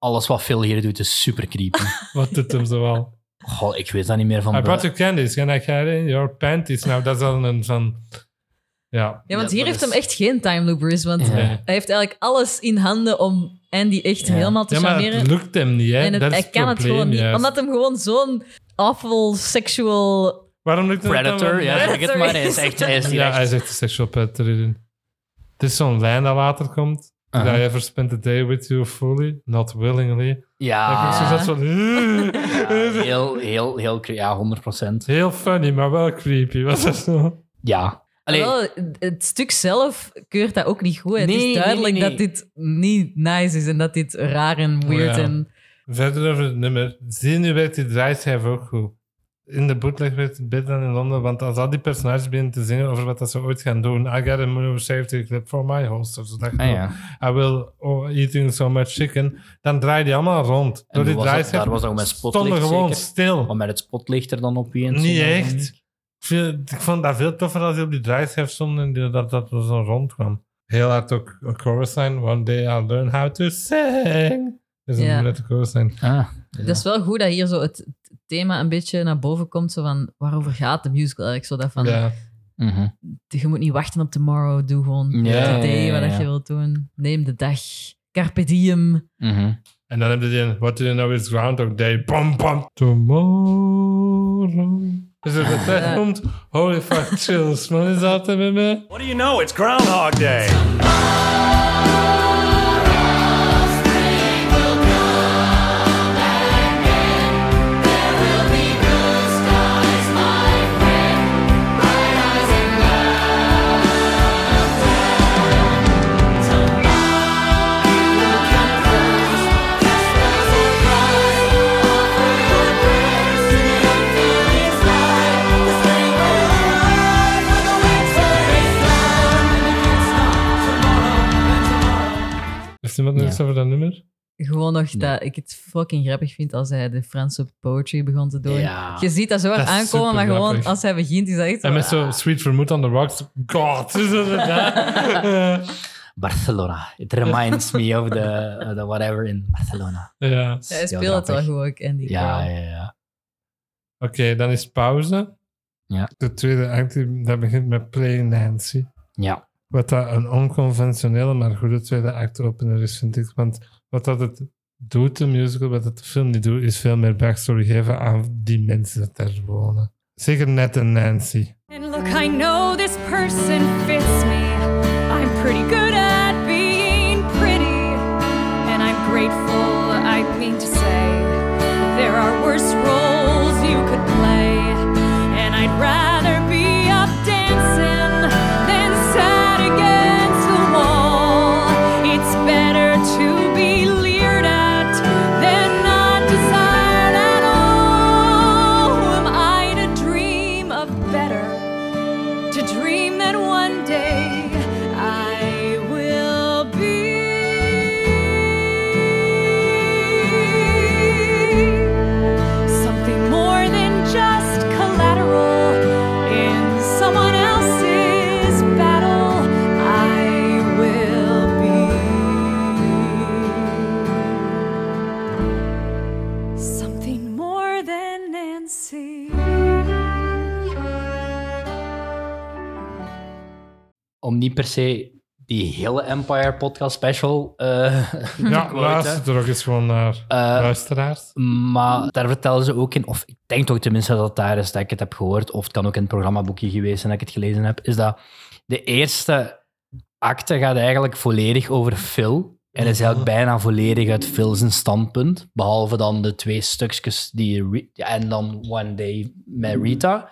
Speaker 3: alles wat Phil hier doet is super creepy.
Speaker 1: Wat doet hem zoal?
Speaker 3: Goh, ik weet dat niet meer van.
Speaker 1: I
Speaker 3: de-
Speaker 1: brought you candies and I had it in your panties. Nou, dat is al een van... Ja.
Speaker 2: Ja, want
Speaker 3: Ja,
Speaker 2: hier
Speaker 3: dat
Speaker 2: heeft hem
Speaker 3: is-
Speaker 2: echt geen time loopers, want
Speaker 3: Ja.
Speaker 1: Nee.
Speaker 2: hij heeft eigenlijk alles in handen om Andy echt
Speaker 3: Ja.
Speaker 2: helemaal te
Speaker 1: Ja, maar
Speaker 2: charmeren.
Speaker 1: het lukt hem niet, hè.
Speaker 2: En het,
Speaker 1: dat is
Speaker 2: hij kan het
Speaker 1: probleem,
Speaker 2: gewoon niet,
Speaker 1: juist.
Speaker 2: omdat hem gewoon zo'n awful sexual...
Speaker 1: Waarom lukt het hem
Speaker 3: Predator,
Speaker 1: dan
Speaker 3: ja,
Speaker 1: niet?
Speaker 3: zeg het maar. Hij is echt, hij is hier
Speaker 1: Ja,
Speaker 3: echt-
Speaker 1: hij is echt een sexual predator in. Het is zo'n lijn dat later komt.
Speaker 3: Uh-huh.
Speaker 1: That I ever spent the day with you fully, not willingly.
Speaker 3: ja,
Speaker 2: Ah.
Speaker 1: Dat ik zo zat
Speaker 3: ja,
Speaker 1: van...
Speaker 3: heel, heel, heel, cre- ja, 100
Speaker 1: Heel funny, maar wel creepy. Was dat zo?
Speaker 3: Ja. Allee,
Speaker 2: Wel, het stuk zelf keurt dat ook niet goed. het
Speaker 3: Nee,
Speaker 2: is
Speaker 3: nee,
Speaker 2: duidelijk
Speaker 3: nee, nee.
Speaker 2: dat dit niet nice is en dat dit raar en weird
Speaker 1: Oh, Ja.
Speaker 2: en...
Speaker 1: Verder over het nummer. Zie nu werd die draaischijf ook goed. In de bootleg werd het beter dan in Londen, want als al die personages beginnen te zingen over wat dat ze ooit gaan doen, I got a new safety clip for my host, of zo dacht ik
Speaker 3: ah,
Speaker 1: ook.
Speaker 3: ja.
Speaker 1: I will oh, eating so much chicken. Dan draai die allemaal rond.
Speaker 3: En
Speaker 1: Door die
Speaker 3: hoe was dat?
Speaker 1: draaischijf
Speaker 3: Daar was ook met
Speaker 1: stonden
Speaker 3: spotlicht
Speaker 1: gewoon
Speaker 3: zeker?
Speaker 1: stil.
Speaker 3: Maar met het spotlicht er dan op je en zo,
Speaker 1: Niet
Speaker 3: denk
Speaker 1: echt.
Speaker 3: ik.
Speaker 1: Ik, vind- ik vond dat veel toffer als je op die draaischijf stond en die- dat dat er zo rond kwam. Heel hard ook een chorus line. One day I'll learn how to sing. Dat is
Speaker 2: Ja.
Speaker 1: een nette chorus line.
Speaker 3: Ah,
Speaker 2: Dat is wel goed dat hier zo het het thema een beetje naar boven komt. Zo van, waarover gaat de musical eigenlijk? Zo dat van,
Speaker 1: Ja.
Speaker 3: mhm.
Speaker 2: je moet niet wachten op tomorrow. Doe gewoon
Speaker 3: Ja,
Speaker 2: today
Speaker 3: ja, ja,
Speaker 2: wat dat
Speaker 3: ja.
Speaker 2: je wilt doen. Neem de dag. Carpe diem.
Speaker 3: Mhm.
Speaker 1: En dan heb je nou die, what do you know is Groundhog Day. Bam, bam. Tomorrow. Dus als het
Speaker 2: Ja.
Speaker 1: echt komt, holy fuck, chills. Man, is dat er met me?
Speaker 4: What do you know? It's Groundhog Day.
Speaker 1: Heeft iemand nog
Speaker 3: Ja.
Speaker 1: iets over dat nummer?
Speaker 2: Gewoon nog dat ik het fucking grappig vind als hij de Franse poetry begon te doen.
Speaker 3: Ja.
Speaker 2: Je ziet dat zo hard
Speaker 1: Dat is
Speaker 2: aankomen, maar gewoon
Speaker 1: supergrappig.
Speaker 2: als hij begint is dat echt zo,
Speaker 1: En met
Speaker 2: ah.
Speaker 1: zo Sweet Vermouth on the Rocks. God, is dat het? hè?
Speaker 3: Barcelona. It reminds me of the, uh, the whatever in Barcelona.
Speaker 1: ja.
Speaker 2: Ja, hij
Speaker 3: Heel
Speaker 2: speelt het wel
Speaker 3: grappig.
Speaker 2: goed ook, Andy.
Speaker 3: Ja, ja, ja.
Speaker 1: Oké, dan is pauze.
Speaker 3: Ja.
Speaker 1: De tweede act, dat begint met Play Nancy.
Speaker 3: Ja.
Speaker 1: Wat dat een onconventionele, maar goede tweede act opener is, vind ik. Want wat dat het doet, de musical, wat het de film niet doet, is veel meer backstory geven aan die mensen dat daar wonen. Zeker net een Nancy.
Speaker 7: And look, I know this person fits me. I'm pretty good at being pretty. And I'm grateful, I mean to say, there are worse roles you could play. And I'd rather be up dancing than sat against the wall. It's better to be leered at than not desired at all. Who am I to dream of better? to dream that one day I will be something more than just collateral in someone else's battle. I will be something more than Nancy.
Speaker 3: Om niet per se die hele Empire podcast special eh, te
Speaker 1: Ja,
Speaker 3: quoten.
Speaker 1: luister er ook eens gewoon naar.
Speaker 3: Eh,
Speaker 1: Luisteraars.
Speaker 3: Maar daar vertelden ze ook in, of ik denk toch tenminste dat het daar is dat ik het heb gehoord, of het kan ook in het programmaboekje geweest zijn dat ik het gelezen heb, is dat de eerste acte gaat eigenlijk volledig over Phil En is eigenlijk bijna volledig uit Phil zijn standpunt. Behalve dan de twee stukjes die... Ri- ja, En dan One Day met Rita.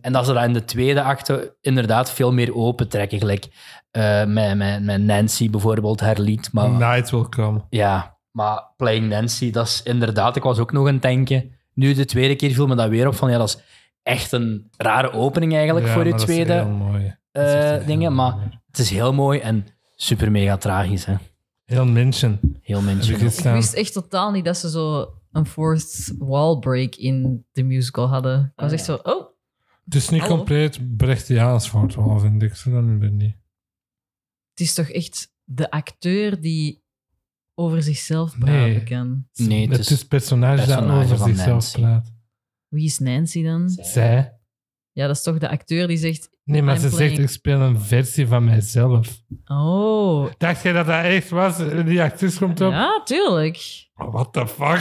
Speaker 3: En dat ze dat in de tweede acte inderdaad veel meer open trekken. Gelijk eh, met, met, met Nancy bijvoorbeeld, haar lied. Maar,
Speaker 8: Night will come.
Speaker 3: Ja, maar Playing Nancy, dat is inderdaad... Ik was ook nog aan het denken. Nu de tweede keer viel me dat weer op van... Ja, dat is echt een rare opening eigenlijk
Speaker 1: Ja,
Speaker 3: voor de
Speaker 1: maar dat is
Speaker 3: tweede
Speaker 1: heel mooi.
Speaker 3: eh,
Speaker 1: Dat is echt heel
Speaker 3: dingen.
Speaker 1: mooi.
Speaker 3: Maar het is heel mooi en super mega tragisch. Hè.
Speaker 1: Heel München.
Speaker 3: Heel
Speaker 1: Heb ik
Speaker 3: menselijk.
Speaker 1: hier
Speaker 2: Ik
Speaker 1: staan.
Speaker 2: wist echt totaal niet dat ze zo een fourth wall break in de musical hadden. Ik was echt zo, oh,
Speaker 1: Het is niet
Speaker 2: Hallo?
Speaker 1: compleet Brechtiaans voor het wel, vind ik. Zo dan weer niet.
Speaker 2: het is toch echt de acteur die over zichzelf praten
Speaker 1: Nee.
Speaker 2: kan.
Speaker 3: Nee, het
Speaker 1: Het
Speaker 3: is-
Speaker 1: is het personage dat
Speaker 3: personage
Speaker 1: over
Speaker 3: van
Speaker 1: zichzelf
Speaker 3: Nancy.
Speaker 1: praat.
Speaker 2: Wie is Nancy dan?
Speaker 1: Zij.
Speaker 2: Ja, dat is toch de acteur die zegt,
Speaker 1: Nee, maar
Speaker 2: I'm
Speaker 1: ze
Speaker 2: playing-
Speaker 1: zegt, ik speel een versie van mijzelf.
Speaker 2: oh,
Speaker 1: Dacht jij dat dat echt was? Die actrice komt op. Oh,
Speaker 2: ja, tuurlijk.
Speaker 1: What the fuck?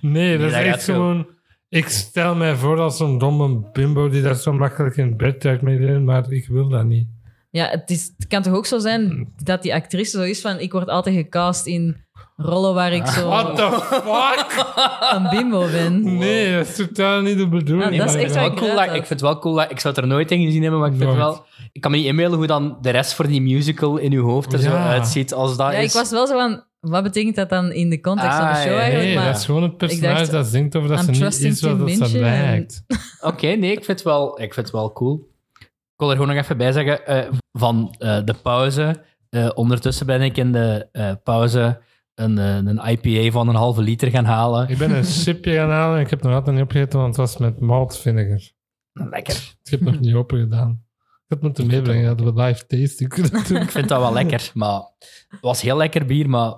Speaker 1: nee, dat
Speaker 3: dat
Speaker 1: is
Speaker 3: gaat
Speaker 1: echt
Speaker 3: zo.
Speaker 1: gewoon... Ik stel mij voor als zo'n domme bimbo die daar zo makkelijk in bed duikt mee in, maar ik wil dat niet.
Speaker 2: Ja, het, is, het kan toch ook zo
Speaker 3: Mm.
Speaker 2: zijn dat die actrice zo is van... Ik word altijd gecast in rollen waar ik zo
Speaker 3: Ah.
Speaker 1: What the fuck?
Speaker 2: een bimbo
Speaker 3: Mm.
Speaker 2: ben.
Speaker 1: Nee, dat is totaal niet de bedoeling.
Speaker 2: Ah, dat is
Speaker 1: Maar
Speaker 2: echt
Speaker 1: ja.
Speaker 2: waar
Speaker 3: wel
Speaker 2: ik
Speaker 3: cool
Speaker 2: eruit
Speaker 3: dat- ik
Speaker 2: had.
Speaker 3: vind het wel cool dat ik zou het er nooit in gezien hebben, maar ik vind het
Speaker 1: Nooit.
Speaker 3: wel. Ik kan me niet inbeelden hoe dan de rest voor die musical in uw hoofd er zo
Speaker 1: Ja.
Speaker 3: uitziet als dat
Speaker 2: Ja,
Speaker 3: is.
Speaker 2: ik was wel zo van... Wat betekent dat dan in de context van de
Speaker 3: Ah,
Speaker 2: show
Speaker 3: ja, ja,
Speaker 2: eigenlijk?
Speaker 1: Nee,
Speaker 2: maar,
Speaker 1: dat is gewoon het personage
Speaker 2: dacht,
Speaker 1: dat zingt over dat
Speaker 2: I'm
Speaker 1: ze niet
Speaker 2: trusting
Speaker 1: is wat
Speaker 2: Tim
Speaker 1: dat ze
Speaker 2: Minchin en-
Speaker 1: lijkt.
Speaker 3: Oké, nee, ik vind, het wel, ik vind het wel cool. Ik wil er gewoon nog even bij zeggen eh, van eh, de pauze. Eh, ondertussen ben ik in de eh, pauze een, eh, een IPA van een halve liter gaan halen.
Speaker 1: Ik ben een chipje gaan halen en ik heb nog altijd niet opgegeten, want het was met malt vinegar.
Speaker 3: Lekker.
Speaker 1: Ik heb nog niet open gedaan. Ik had moeten meebrengen, dat we live tasting kunnen doen.
Speaker 3: Ik vind dat wel lekker, maar het was heel lekker bier, maar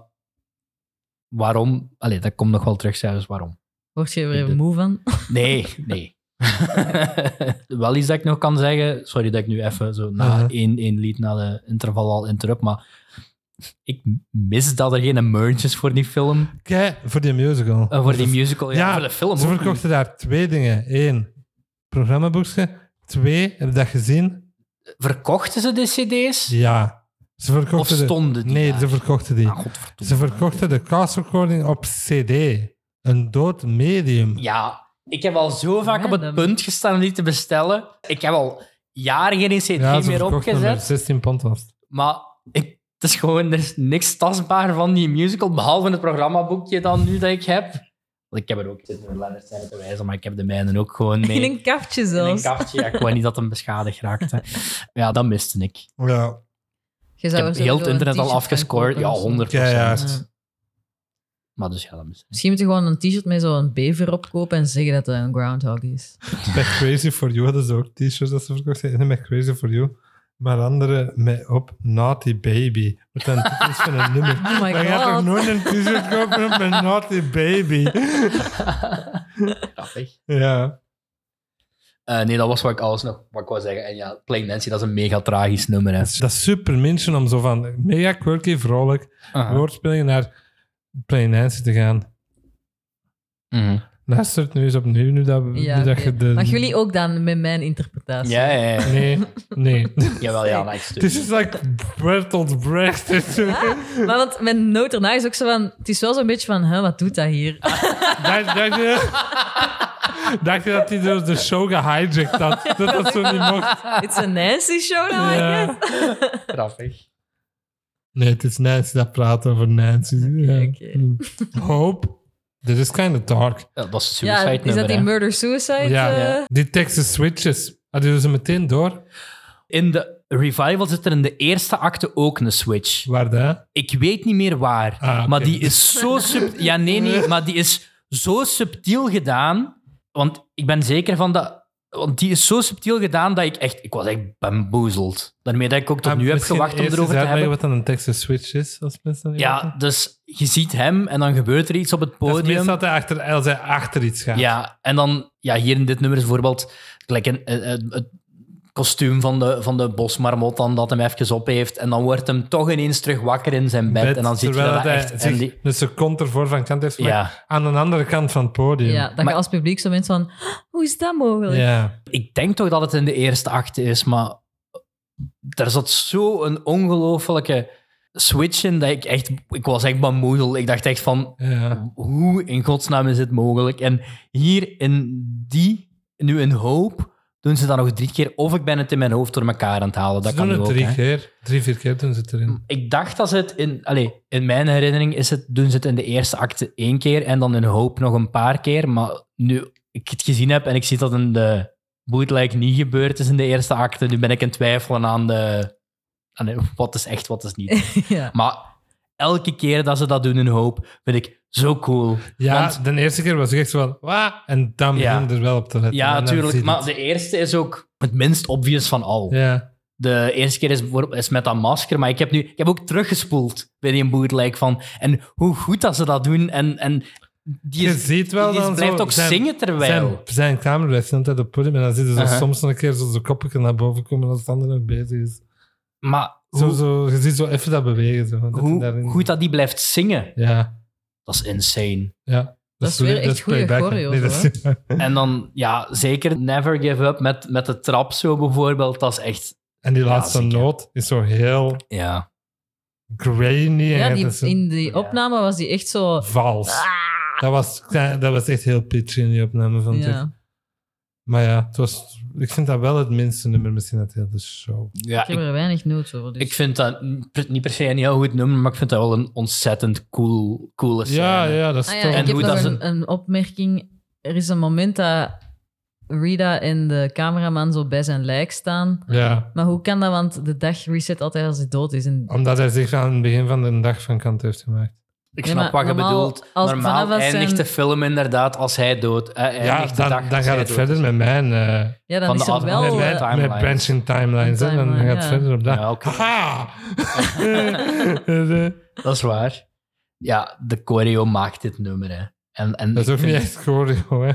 Speaker 3: waarom? Allee, dat komt nog wel terug, zelfs waarom.
Speaker 2: Word je er weer moe van?
Speaker 3: Nee, nee. Wel iets dat ik nog kan zeggen. Sorry dat ik nu even zo na
Speaker 1: Uh-huh.
Speaker 3: één, één lied na de interval al interrupt, maar ik mis dat er geen emergence voor die film,
Speaker 1: Kijk, voor die musical.
Speaker 3: eh, voor die musical, ja,
Speaker 1: Ja,
Speaker 3: voor de film.
Speaker 1: Ze
Speaker 3: ook
Speaker 1: verkochten daar twee dingen. Eén, programmaboekje. Twee, heb je dat gezien?
Speaker 3: niet. Verkochten ze de cd's?
Speaker 1: Ja. Ze verkochten
Speaker 3: of
Speaker 1: de-
Speaker 3: stonden die
Speaker 1: Nee,
Speaker 3: daar?
Speaker 1: ze verkochten die.
Speaker 3: Ah, godverdomme.
Speaker 1: ze verkochten de cast recording op CD. Een dood medium.
Speaker 3: Ja, ik heb al zo vaak op het
Speaker 2: Random.
Speaker 3: punt gestaan om die te bestellen. Ik heb al jaren geen cd
Speaker 1: Ja, ze
Speaker 3: meer
Speaker 1: verkochten dus. hem
Speaker 3: opgezet.
Speaker 1: met 16 pond was. het.
Speaker 3: Maar ik, het is gewoon, er is niks tastbaar van die musical, behalve het programmaboekje dan nu dat ik heb. Want ik heb er ook dit door Lennart zijn te wijzen, maar ik heb de mijne ook gewoon mee.
Speaker 2: In een kaftje
Speaker 3: In een
Speaker 2: zelfs.
Speaker 3: kaftje. Ja, ik wou niet dat hem beschadigd raakte. Ja, dat miste ik. Ik
Speaker 1: Ja.
Speaker 2: Je zou
Speaker 3: heb
Speaker 2: er
Speaker 3: heel
Speaker 2: sowieso
Speaker 3: het
Speaker 2: een
Speaker 3: internet al
Speaker 2: t-shirt van
Speaker 3: afgescoord.
Speaker 2: kopen
Speaker 3: Ja,
Speaker 2: of zo.
Speaker 3: 100
Speaker 1: Ja, ja.
Speaker 2: Ja.
Speaker 3: Maar dus ja, dat miste ik.
Speaker 2: Misschien moet je gewoon een t-shirt met zo'n bever opkopen en zeggen dat het een groundhog is.
Speaker 3: eh,
Speaker 1: Bij Crazy For You hadden ze ook t-shirts dat ze verkochten. Ene met Crazy For You, maar andere met op Naughty Baby. Met een titels van een nummer.
Speaker 2: Oh my
Speaker 1: maar je gaat toch
Speaker 2: god.
Speaker 1: nooit een t-shirt kopen op met Naughty Baby?
Speaker 3: Grappig.
Speaker 1: ja.
Speaker 3: Eh, nee, dat was wat ik alles nog wat ik wou zeggen. En ja, Plain Nancy, dat is een mega tragisch nummer. Hè.
Speaker 1: Dat is super mensen om zo van mega quirky, vrolijk,
Speaker 3: Aha.
Speaker 1: woordspelingen naar Plain Nancy te gaan.
Speaker 3: Mhm.
Speaker 1: Luister het nu eens opnieuw, nu dat, we-
Speaker 2: Ja,
Speaker 1: nu dat
Speaker 2: oké.
Speaker 1: je de...
Speaker 2: Mag jullie ook dan met mijn interpretatie?
Speaker 3: Ja, ja, ja.
Speaker 1: Nee, nee.
Speaker 3: Jawel, ja, nice.
Speaker 1: This is dus like Bertolt Brecht.
Speaker 2: Maar want mijn noot erna is ook zo van... Het is wel zo'n beetje van, hè, wat doet dat hier?
Speaker 1: Dacht, dacht je, dacht je dat hij door de show gehijacked had? Dat dat zo niet mocht?
Speaker 2: It's a Nancy show now, I guess.
Speaker 1: Ja.
Speaker 3: Grappig.
Speaker 1: Nee, het is Nancy dat praat over Nancy.
Speaker 2: oké.
Speaker 1: Ja. Hope. Dit is kind of dark.
Speaker 3: Ja, dat is een suicide
Speaker 2: Ja, is
Speaker 3: nummer,
Speaker 2: dat die
Speaker 3: hè.
Speaker 2: murder-suicide?
Speaker 1: Ja.
Speaker 2: eh?
Speaker 1: Die Texas switches. Hadden we Ah, ze meteen door?
Speaker 3: In de revival zit er in de eerste acte ook een switch.
Speaker 1: Waar dat?
Speaker 3: Ik weet niet meer waar,
Speaker 1: Ah, oké.
Speaker 3: maar die is zo sub... Ja, nee, nee, maar die is zo subtiel gedaan. Want ik ben zeker van dat... Want die is zo subtiel gedaan dat ik echt... Ik was echt bamboezeld. Daarmee dat ik ook tot
Speaker 1: Ah,
Speaker 3: nu heb gewacht om erover te hebben.
Speaker 1: wat dan een Texas switch is, als mensen dat niet
Speaker 3: Ja,
Speaker 1: weten.
Speaker 3: dus je ziet hem en dan gebeurt er iets op het
Speaker 1: Dat is meestal
Speaker 3: podium.
Speaker 1: dat hij achter, als hij achter iets gaat.
Speaker 3: Ja, en dan... Ja, hier in dit nummer is bijvoorbeeld... Like een, een- een- het kostuum van de, van de bosmarmot dan, dat hem even op heeft. En dan wordt hem toch ineens terug wakker in zijn bed.
Speaker 1: Bed,
Speaker 3: en dan ziet je
Speaker 1: terwijl
Speaker 3: dat
Speaker 1: hij
Speaker 3: echt... en
Speaker 1: zich
Speaker 3: die-
Speaker 1: een seconde ervoor van kant heeft gemaakt.
Speaker 3: Ja.
Speaker 1: Aan de andere kant van het podium.
Speaker 2: Ja, dat
Speaker 3: Maar-
Speaker 2: je als publiek zo bent van, hoe is dat mogelijk?
Speaker 1: ja.
Speaker 3: Ik denk toch dat het in de eerste acte is, maar daar zat zo'n ongelofelijke switchen dat ik echt... Ik was echt bamboedel. Ik dacht echt van,
Speaker 1: Ja.
Speaker 3: hoe in godsnaam is dit mogelijk? En hier in die, nu in hoop, doen ze dat nog drie keer. Of ik ben het in mijn hoofd door elkaar aan het halen. Dat
Speaker 1: Ze
Speaker 3: kan
Speaker 1: doen
Speaker 3: nu
Speaker 1: het
Speaker 3: ook,
Speaker 1: drie
Speaker 3: hè.
Speaker 1: keer. Drie, vier keer doen ze het erin.
Speaker 3: Ik dacht dat ze het in... Allee, in mijn herinnering is het, doen ze het in de eerste acte één keer en dan in hoop nog een paar keer. Maar nu ik het gezien heb en ik zie dat in de bootleg niet gebeurd is in de eerste acte, nu ben ik in twijfelen aan de... Aan de- wat is echt, wat is niet.
Speaker 2: ja.
Speaker 3: Maar elke keer dat ze dat doen in hoop, vind ik zo cool.
Speaker 1: Ja,
Speaker 3: Want-
Speaker 1: de eerste keer was ik echt zo van, "Wa?" En dan
Speaker 3: Ja.
Speaker 1: begin je er wel op te letten.
Speaker 3: Ja,
Speaker 1: En dan zie
Speaker 3: natuurlijk.
Speaker 1: je
Speaker 3: Maar
Speaker 1: het.
Speaker 3: de eerste is ook het minst obvious van al.
Speaker 1: Ja.
Speaker 3: De eerste keer is, bijvoorbeeld- is met dat masker, maar ik heb nu ik heb ook teruggespoeld bij die bootleg van en hoe goed dat ze dat doen en, en die
Speaker 1: Je
Speaker 3: is,
Speaker 1: ziet wel
Speaker 3: die is-
Speaker 1: dan
Speaker 3: blijft
Speaker 1: zo
Speaker 3: ook
Speaker 1: zijn-
Speaker 3: zingen terwijl.
Speaker 1: Zijn, zijn kamer blijft de hele tijd op het podium en dan zitten ze
Speaker 3: Uh-huh.
Speaker 1: soms nog een keer zo zijn koppen naar boven komen als het andere nog bezig is.
Speaker 3: maar
Speaker 1: Zo,
Speaker 3: hoe,
Speaker 1: zo, je ziet zo even dat bewegen. Zo, dat
Speaker 3: hoe
Speaker 1: hij daarin-
Speaker 3: goed dat die blijft zingen,
Speaker 1: Ja,
Speaker 3: dat is insane.
Speaker 1: ja.
Speaker 2: Dat is weer echt goede
Speaker 1: playback, hè.
Speaker 2: choreo,
Speaker 1: Nee, dat
Speaker 2: zo,
Speaker 1: is
Speaker 2: hè?
Speaker 1: niet waar.
Speaker 3: En dan, ja, zeker Never Give Up met, met de trap zo bijvoorbeeld, dat is echt,
Speaker 1: En die laatste
Speaker 3: zeker.
Speaker 1: noot is zo heel
Speaker 3: ja.
Speaker 1: grainy
Speaker 2: Ja,
Speaker 1: en
Speaker 2: die,
Speaker 1: dat is een
Speaker 2: in Ah. die opname was die echt zo...
Speaker 1: vals. Dat was, dat was echt heel pitchy in die opname, vond ik.
Speaker 2: Ja.
Speaker 1: Maar ja, het was, ik vind dat wel het minste nummer misschien uit heel de show.
Speaker 3: ja
Speaker 2: Ik heb er weinig notes over. Dus.
Speaker 3: Ik vind dat niet per- niet per se een heel goed nummer, maar ik vind dat wel een ontzettend cool, coole scène.
Speaker 1: Ja, ja, dat is
Speaker 2: Ah ja,
Speaker 1: toch...
Speaker 3: En
Speaker 2: ik heb
Speaker 3: hoe
Speaker 2: nog
Speaker 3: dat ze-
Speaker 2: een, een opmerking. Er is een moment dat Rita en de cameraman zo bij zijn lijk staan.
Speaker 1: Ja,
Speaker 2: Maar hoe kan dat? Want de dag reset altijd als hij dood is. En
Speaker 1: omdat hij zich aan het begin van de dag van kant heeft gemaakt.
Speaker 3: Ik
Speaker 2: Ja, maar
Speaker 3: snap wat je
Speaker 2: normaal-
Speaker 3: bedoelt.
Speaker 2: als-
Speaker 3: normaal
Speaker 2: vanaf als
Speaker 3: eindigt
Speaker 2: zijn-
Speaker 3: de film inderdaad als hij dood. eh, eindigt
Speaker 1: Ja,
Speaker 3: de
Speaker 1: dan,
Speaker 3: dag
Speaker 1: dan
Speaker 3: als
Speaker 1: gaat
Speaker 3: hij
Speaker 1: het
Speaker 3: dood
Speaker 1: verder
Speaker 3: is.
Speaker 1: met mijn... eh,
Speaker 2: ja, dan
Speaker 3: Van
Speaker 2: is
Speaker 3: de
Speaker 2: er wel...
Speaker 3: afgelopen
Speaker 2: eh,
Speaker 1: met,
Speaker 3: timelines.
Speaker 1: mijn, met branching timelines. hè. Dan
Speaker 2: Timeline,
Speaker 1: gaat het
Speaker 2: ja.
Speaker 1: verder op dat.
Speaker 3: Ja, oké.
Speaker 1: Haha!
Speaker 3: Dat is waar. Ja, de choreo maakt dit nummer. Hè. En, en
Speaker 1: dat is ook
Speaker 3: ik
Speaker 1: niet
Speaker 3: vind-
Speaker 1: echt choreo, hè.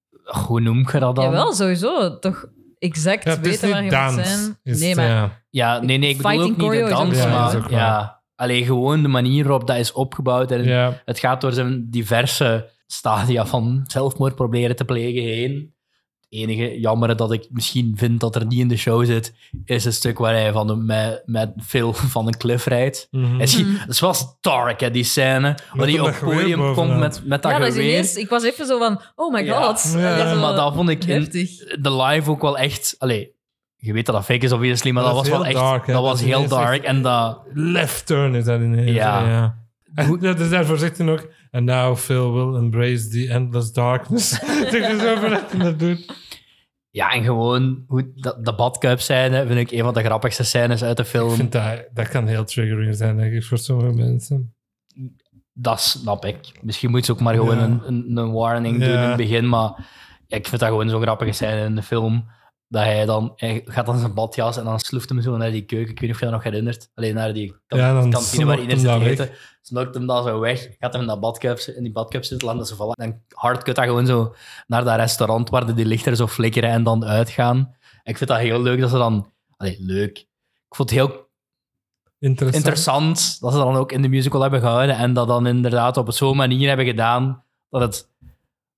Speaker 3: Hoe noem je dat dan?
Speaker 2: Jawel, sowieso. Toch exact
Speaker 1: Ja, het is
Speaker 2: weten waar
Speaker 1: niet
Speaker 2: je moet
Speaker 1: dans.
Speaker 2: zijn.
Speaker 1: is
Speaker 2: nee,
Speaker 1: het,
Speaker 2: maar
Speaker 1: ja.
Speaker 3: Ja, nee, nee, ik bedoel
Speaker 2: Fighting
Speaker 3: ook niet de
Speaker 2: choreo is
Speaker 3: dans,
Speaker 1: ook waar. Ja, dat is
Speaker 3: maar...
Speaker 1: ook waar.
Speaker 3: Ja, alleen gewoon de manier waarop dat is opgebouwd. En
Speaker 1: Ja.
Speaker 3: Het gaat door zijn diverse stadia van zelfmoord proberen te plegen heen. Het enige jammer dat ik misschien vind dat er niet in de show zit, is het stuk waar hij van de, met, met Phil van een cliff rijdt.
Speaker 1: Mhm.
Speaker 3: En zie- Het was dark, hè, die scène. Waar
Speaker 1: Met
Speaker 3: hij
Speaker 1: dat
Speaker 3: op het
Speaker 1: geweer
Speaker 3: podium komt
Speaker 1: bovenaan.
Speaker 3: met, met dat
Speaker 2: ja, dat is
Speaker 3: geweer.
Speaker 2: ineens... Ik was even zo van... Oh my
Speaker 3: Ja.
Speaker 2: god.
Speaker 1: Ja.
Speaker 2: Dat is zo
Speaker 3: maar dat vond ik in
Speaker 2: Eh, Heftig.
Speaker 3: de live ook wel echt... Allee, je weet dat dat fake is, obviously, maar
Speaker 1: Dat
Speaker 3: dat,
Speaker 1: is
Speaker 3: was wel
Speaker 1: heel
Speaker 3: echt...
Speaker 1: dark, hè.
Speaker 3: dat
Speaker 1: Dat
Speaker 3: was
Speaker 1: is
Speaker 3: heel
Speaker 1: ineens echt-
Speaker 3: dark. En dat...
Speaker 1: Left turn is dat ineens.
Speaker 3: Ja.
Speaker 1: Ja. ja. En dat is daarvoor zegt hij ook... And now Phil will embrace the endless darkness. Het is zo van dat hij dat doet.
Speaker 3: Ja, en gewoon hoe dat, de badkuip-scène vind ik een van de grappigste scènes uit de
Speaker 1: Ik
Speaker 3: film.
Speaker 1: vind dat, dat kan heel triggering zijn, denk ik, voor sommige mensen.
Speaker 3: Dat snap ik. Misschien moet ze ook maar gewoon
Speaker 1: Ja.
Speaker 3: een, een, een warning doen in
Speaker 1: Ja.
Speaker 3: het begin. Maar ja, ik vind dat gewoon zo'n grappige scène in de film. Dat hij dan hij gaat dan zijn badjas en dan sloeft hem zo naar die keuken. Ik weet niet of je dat nog herinnert. Alleen naar die kan-
Speaker 1: Ja, dan
Speaker 3: kantine waar
Speaker 1: snort
Speaker 3: iedereen
Speaker 1: hem
Speaker 3: zit te
Speaker 1: dat
Speaker 3: eten. Snort hem dan zo weg. Gaat hem in, dat badcup, in die badcup zitten, landen ze vallen. En hardcut dat gewoon zo naar dat restaurant waar de- die lichter zo flikkeren en dan uitgaan. Ik vind dat heel leuk dat ze dan... Allee, leuk. Ik vond het heel
Speaker 1: Interessant.
Speaker 3: interessant dat ze dat dan ook in de musical hebben gehouden en dat dan inderdaad op zo'n manier hebben gedaan dat het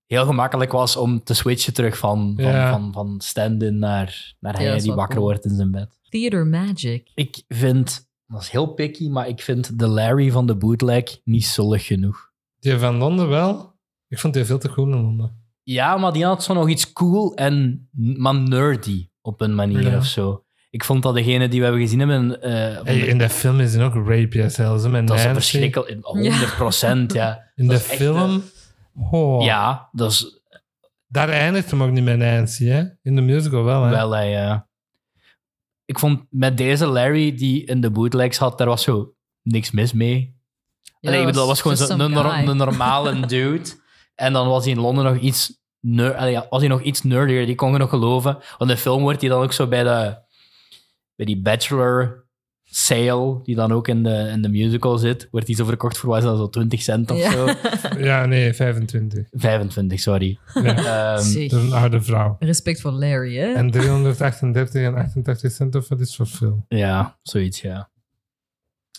Speaker 3: heel gemakkelijk was om te switchen terug van, van,
Speaker 1: Ja.
Speaker 3: van, van stand-in naar, naar
Speaker 2: dat
Speaker 3: hij
Speaker 2: is
Speaker 3: die
Speaker 2: wel
Speaker 3: wakker
Speaker 2: cool.
Speaker 3: wordt in zijn bed.
Speaker 2: Theater magic.
Speaker 3: Ik vind, dat is heel picky, maar ik vind de Larry van de bootleg niet zullig genoeg.
Speaker 1: Die van Londen wel. Ik vond die veel te cool in Londen.
Speaker 3: Ja, maar die had zo nog iets cool en maar nerdy op een manier
Speaker 1: Ja.
Speaker 3: of zo. Ik vond dat degene die we hebben gezien hebben... eh, van
Speaker 1: Hey,
Speaker 3: de-
Speaker 1: in de film is hij ook rape yourself. Dat
Speaker 3: dat is een verschrikkel, 100 procent, ja.
Speaker 1: In
Speaker 3: Dat
Speaker 1: de
Speaker 3: is echt eh,
Speaker 1: film... Oh,
Speaker 3: Ja, dat is
Speaker 1: Daar eindigt hem ook niet met Nancy, hè? In de musical wel, hè?
Speaker 3: Wel, hij, eh, ik vond met deze Larry die in de bootlegs had, daar was zo niks mis mee.
Speaker 2: Ja,
Speaker 3: Allee, ik bedoel, dat was gewoon
Speaker 2: just
Speaker 3: zo'n
Speaker 2: some
Speaker 3: nor-
Speaker 2: guy.
Speaker 3: een normale dude. En dan was hij in Londen nog iets, ner allee, was hij nog iets nerdier, die kon je nog geloven. Want in de film wordt hij dan ook zo bij, de, bij die bachelor sale, die dan ook in de, in de musical zit, wordt hij zo verkocht voor wat is dat, zo 20 cent of
Speaker 2: Ja.
Speaker 3: zo.
Speaker 1: Ja, nee, 25.
Speaker 3: 25, sorry.
Speaker 1: Ja.
Speaker 3: Ehm,
Speaker 2: Zeg.
Speaker 1: Dat is een oude vrouw.
Speaker 2: Respect voor Larry, hè?
Speaker 1: En 338 en 88 cent of wat is voor veel.
Speaker 3: ja, zoiets, ja.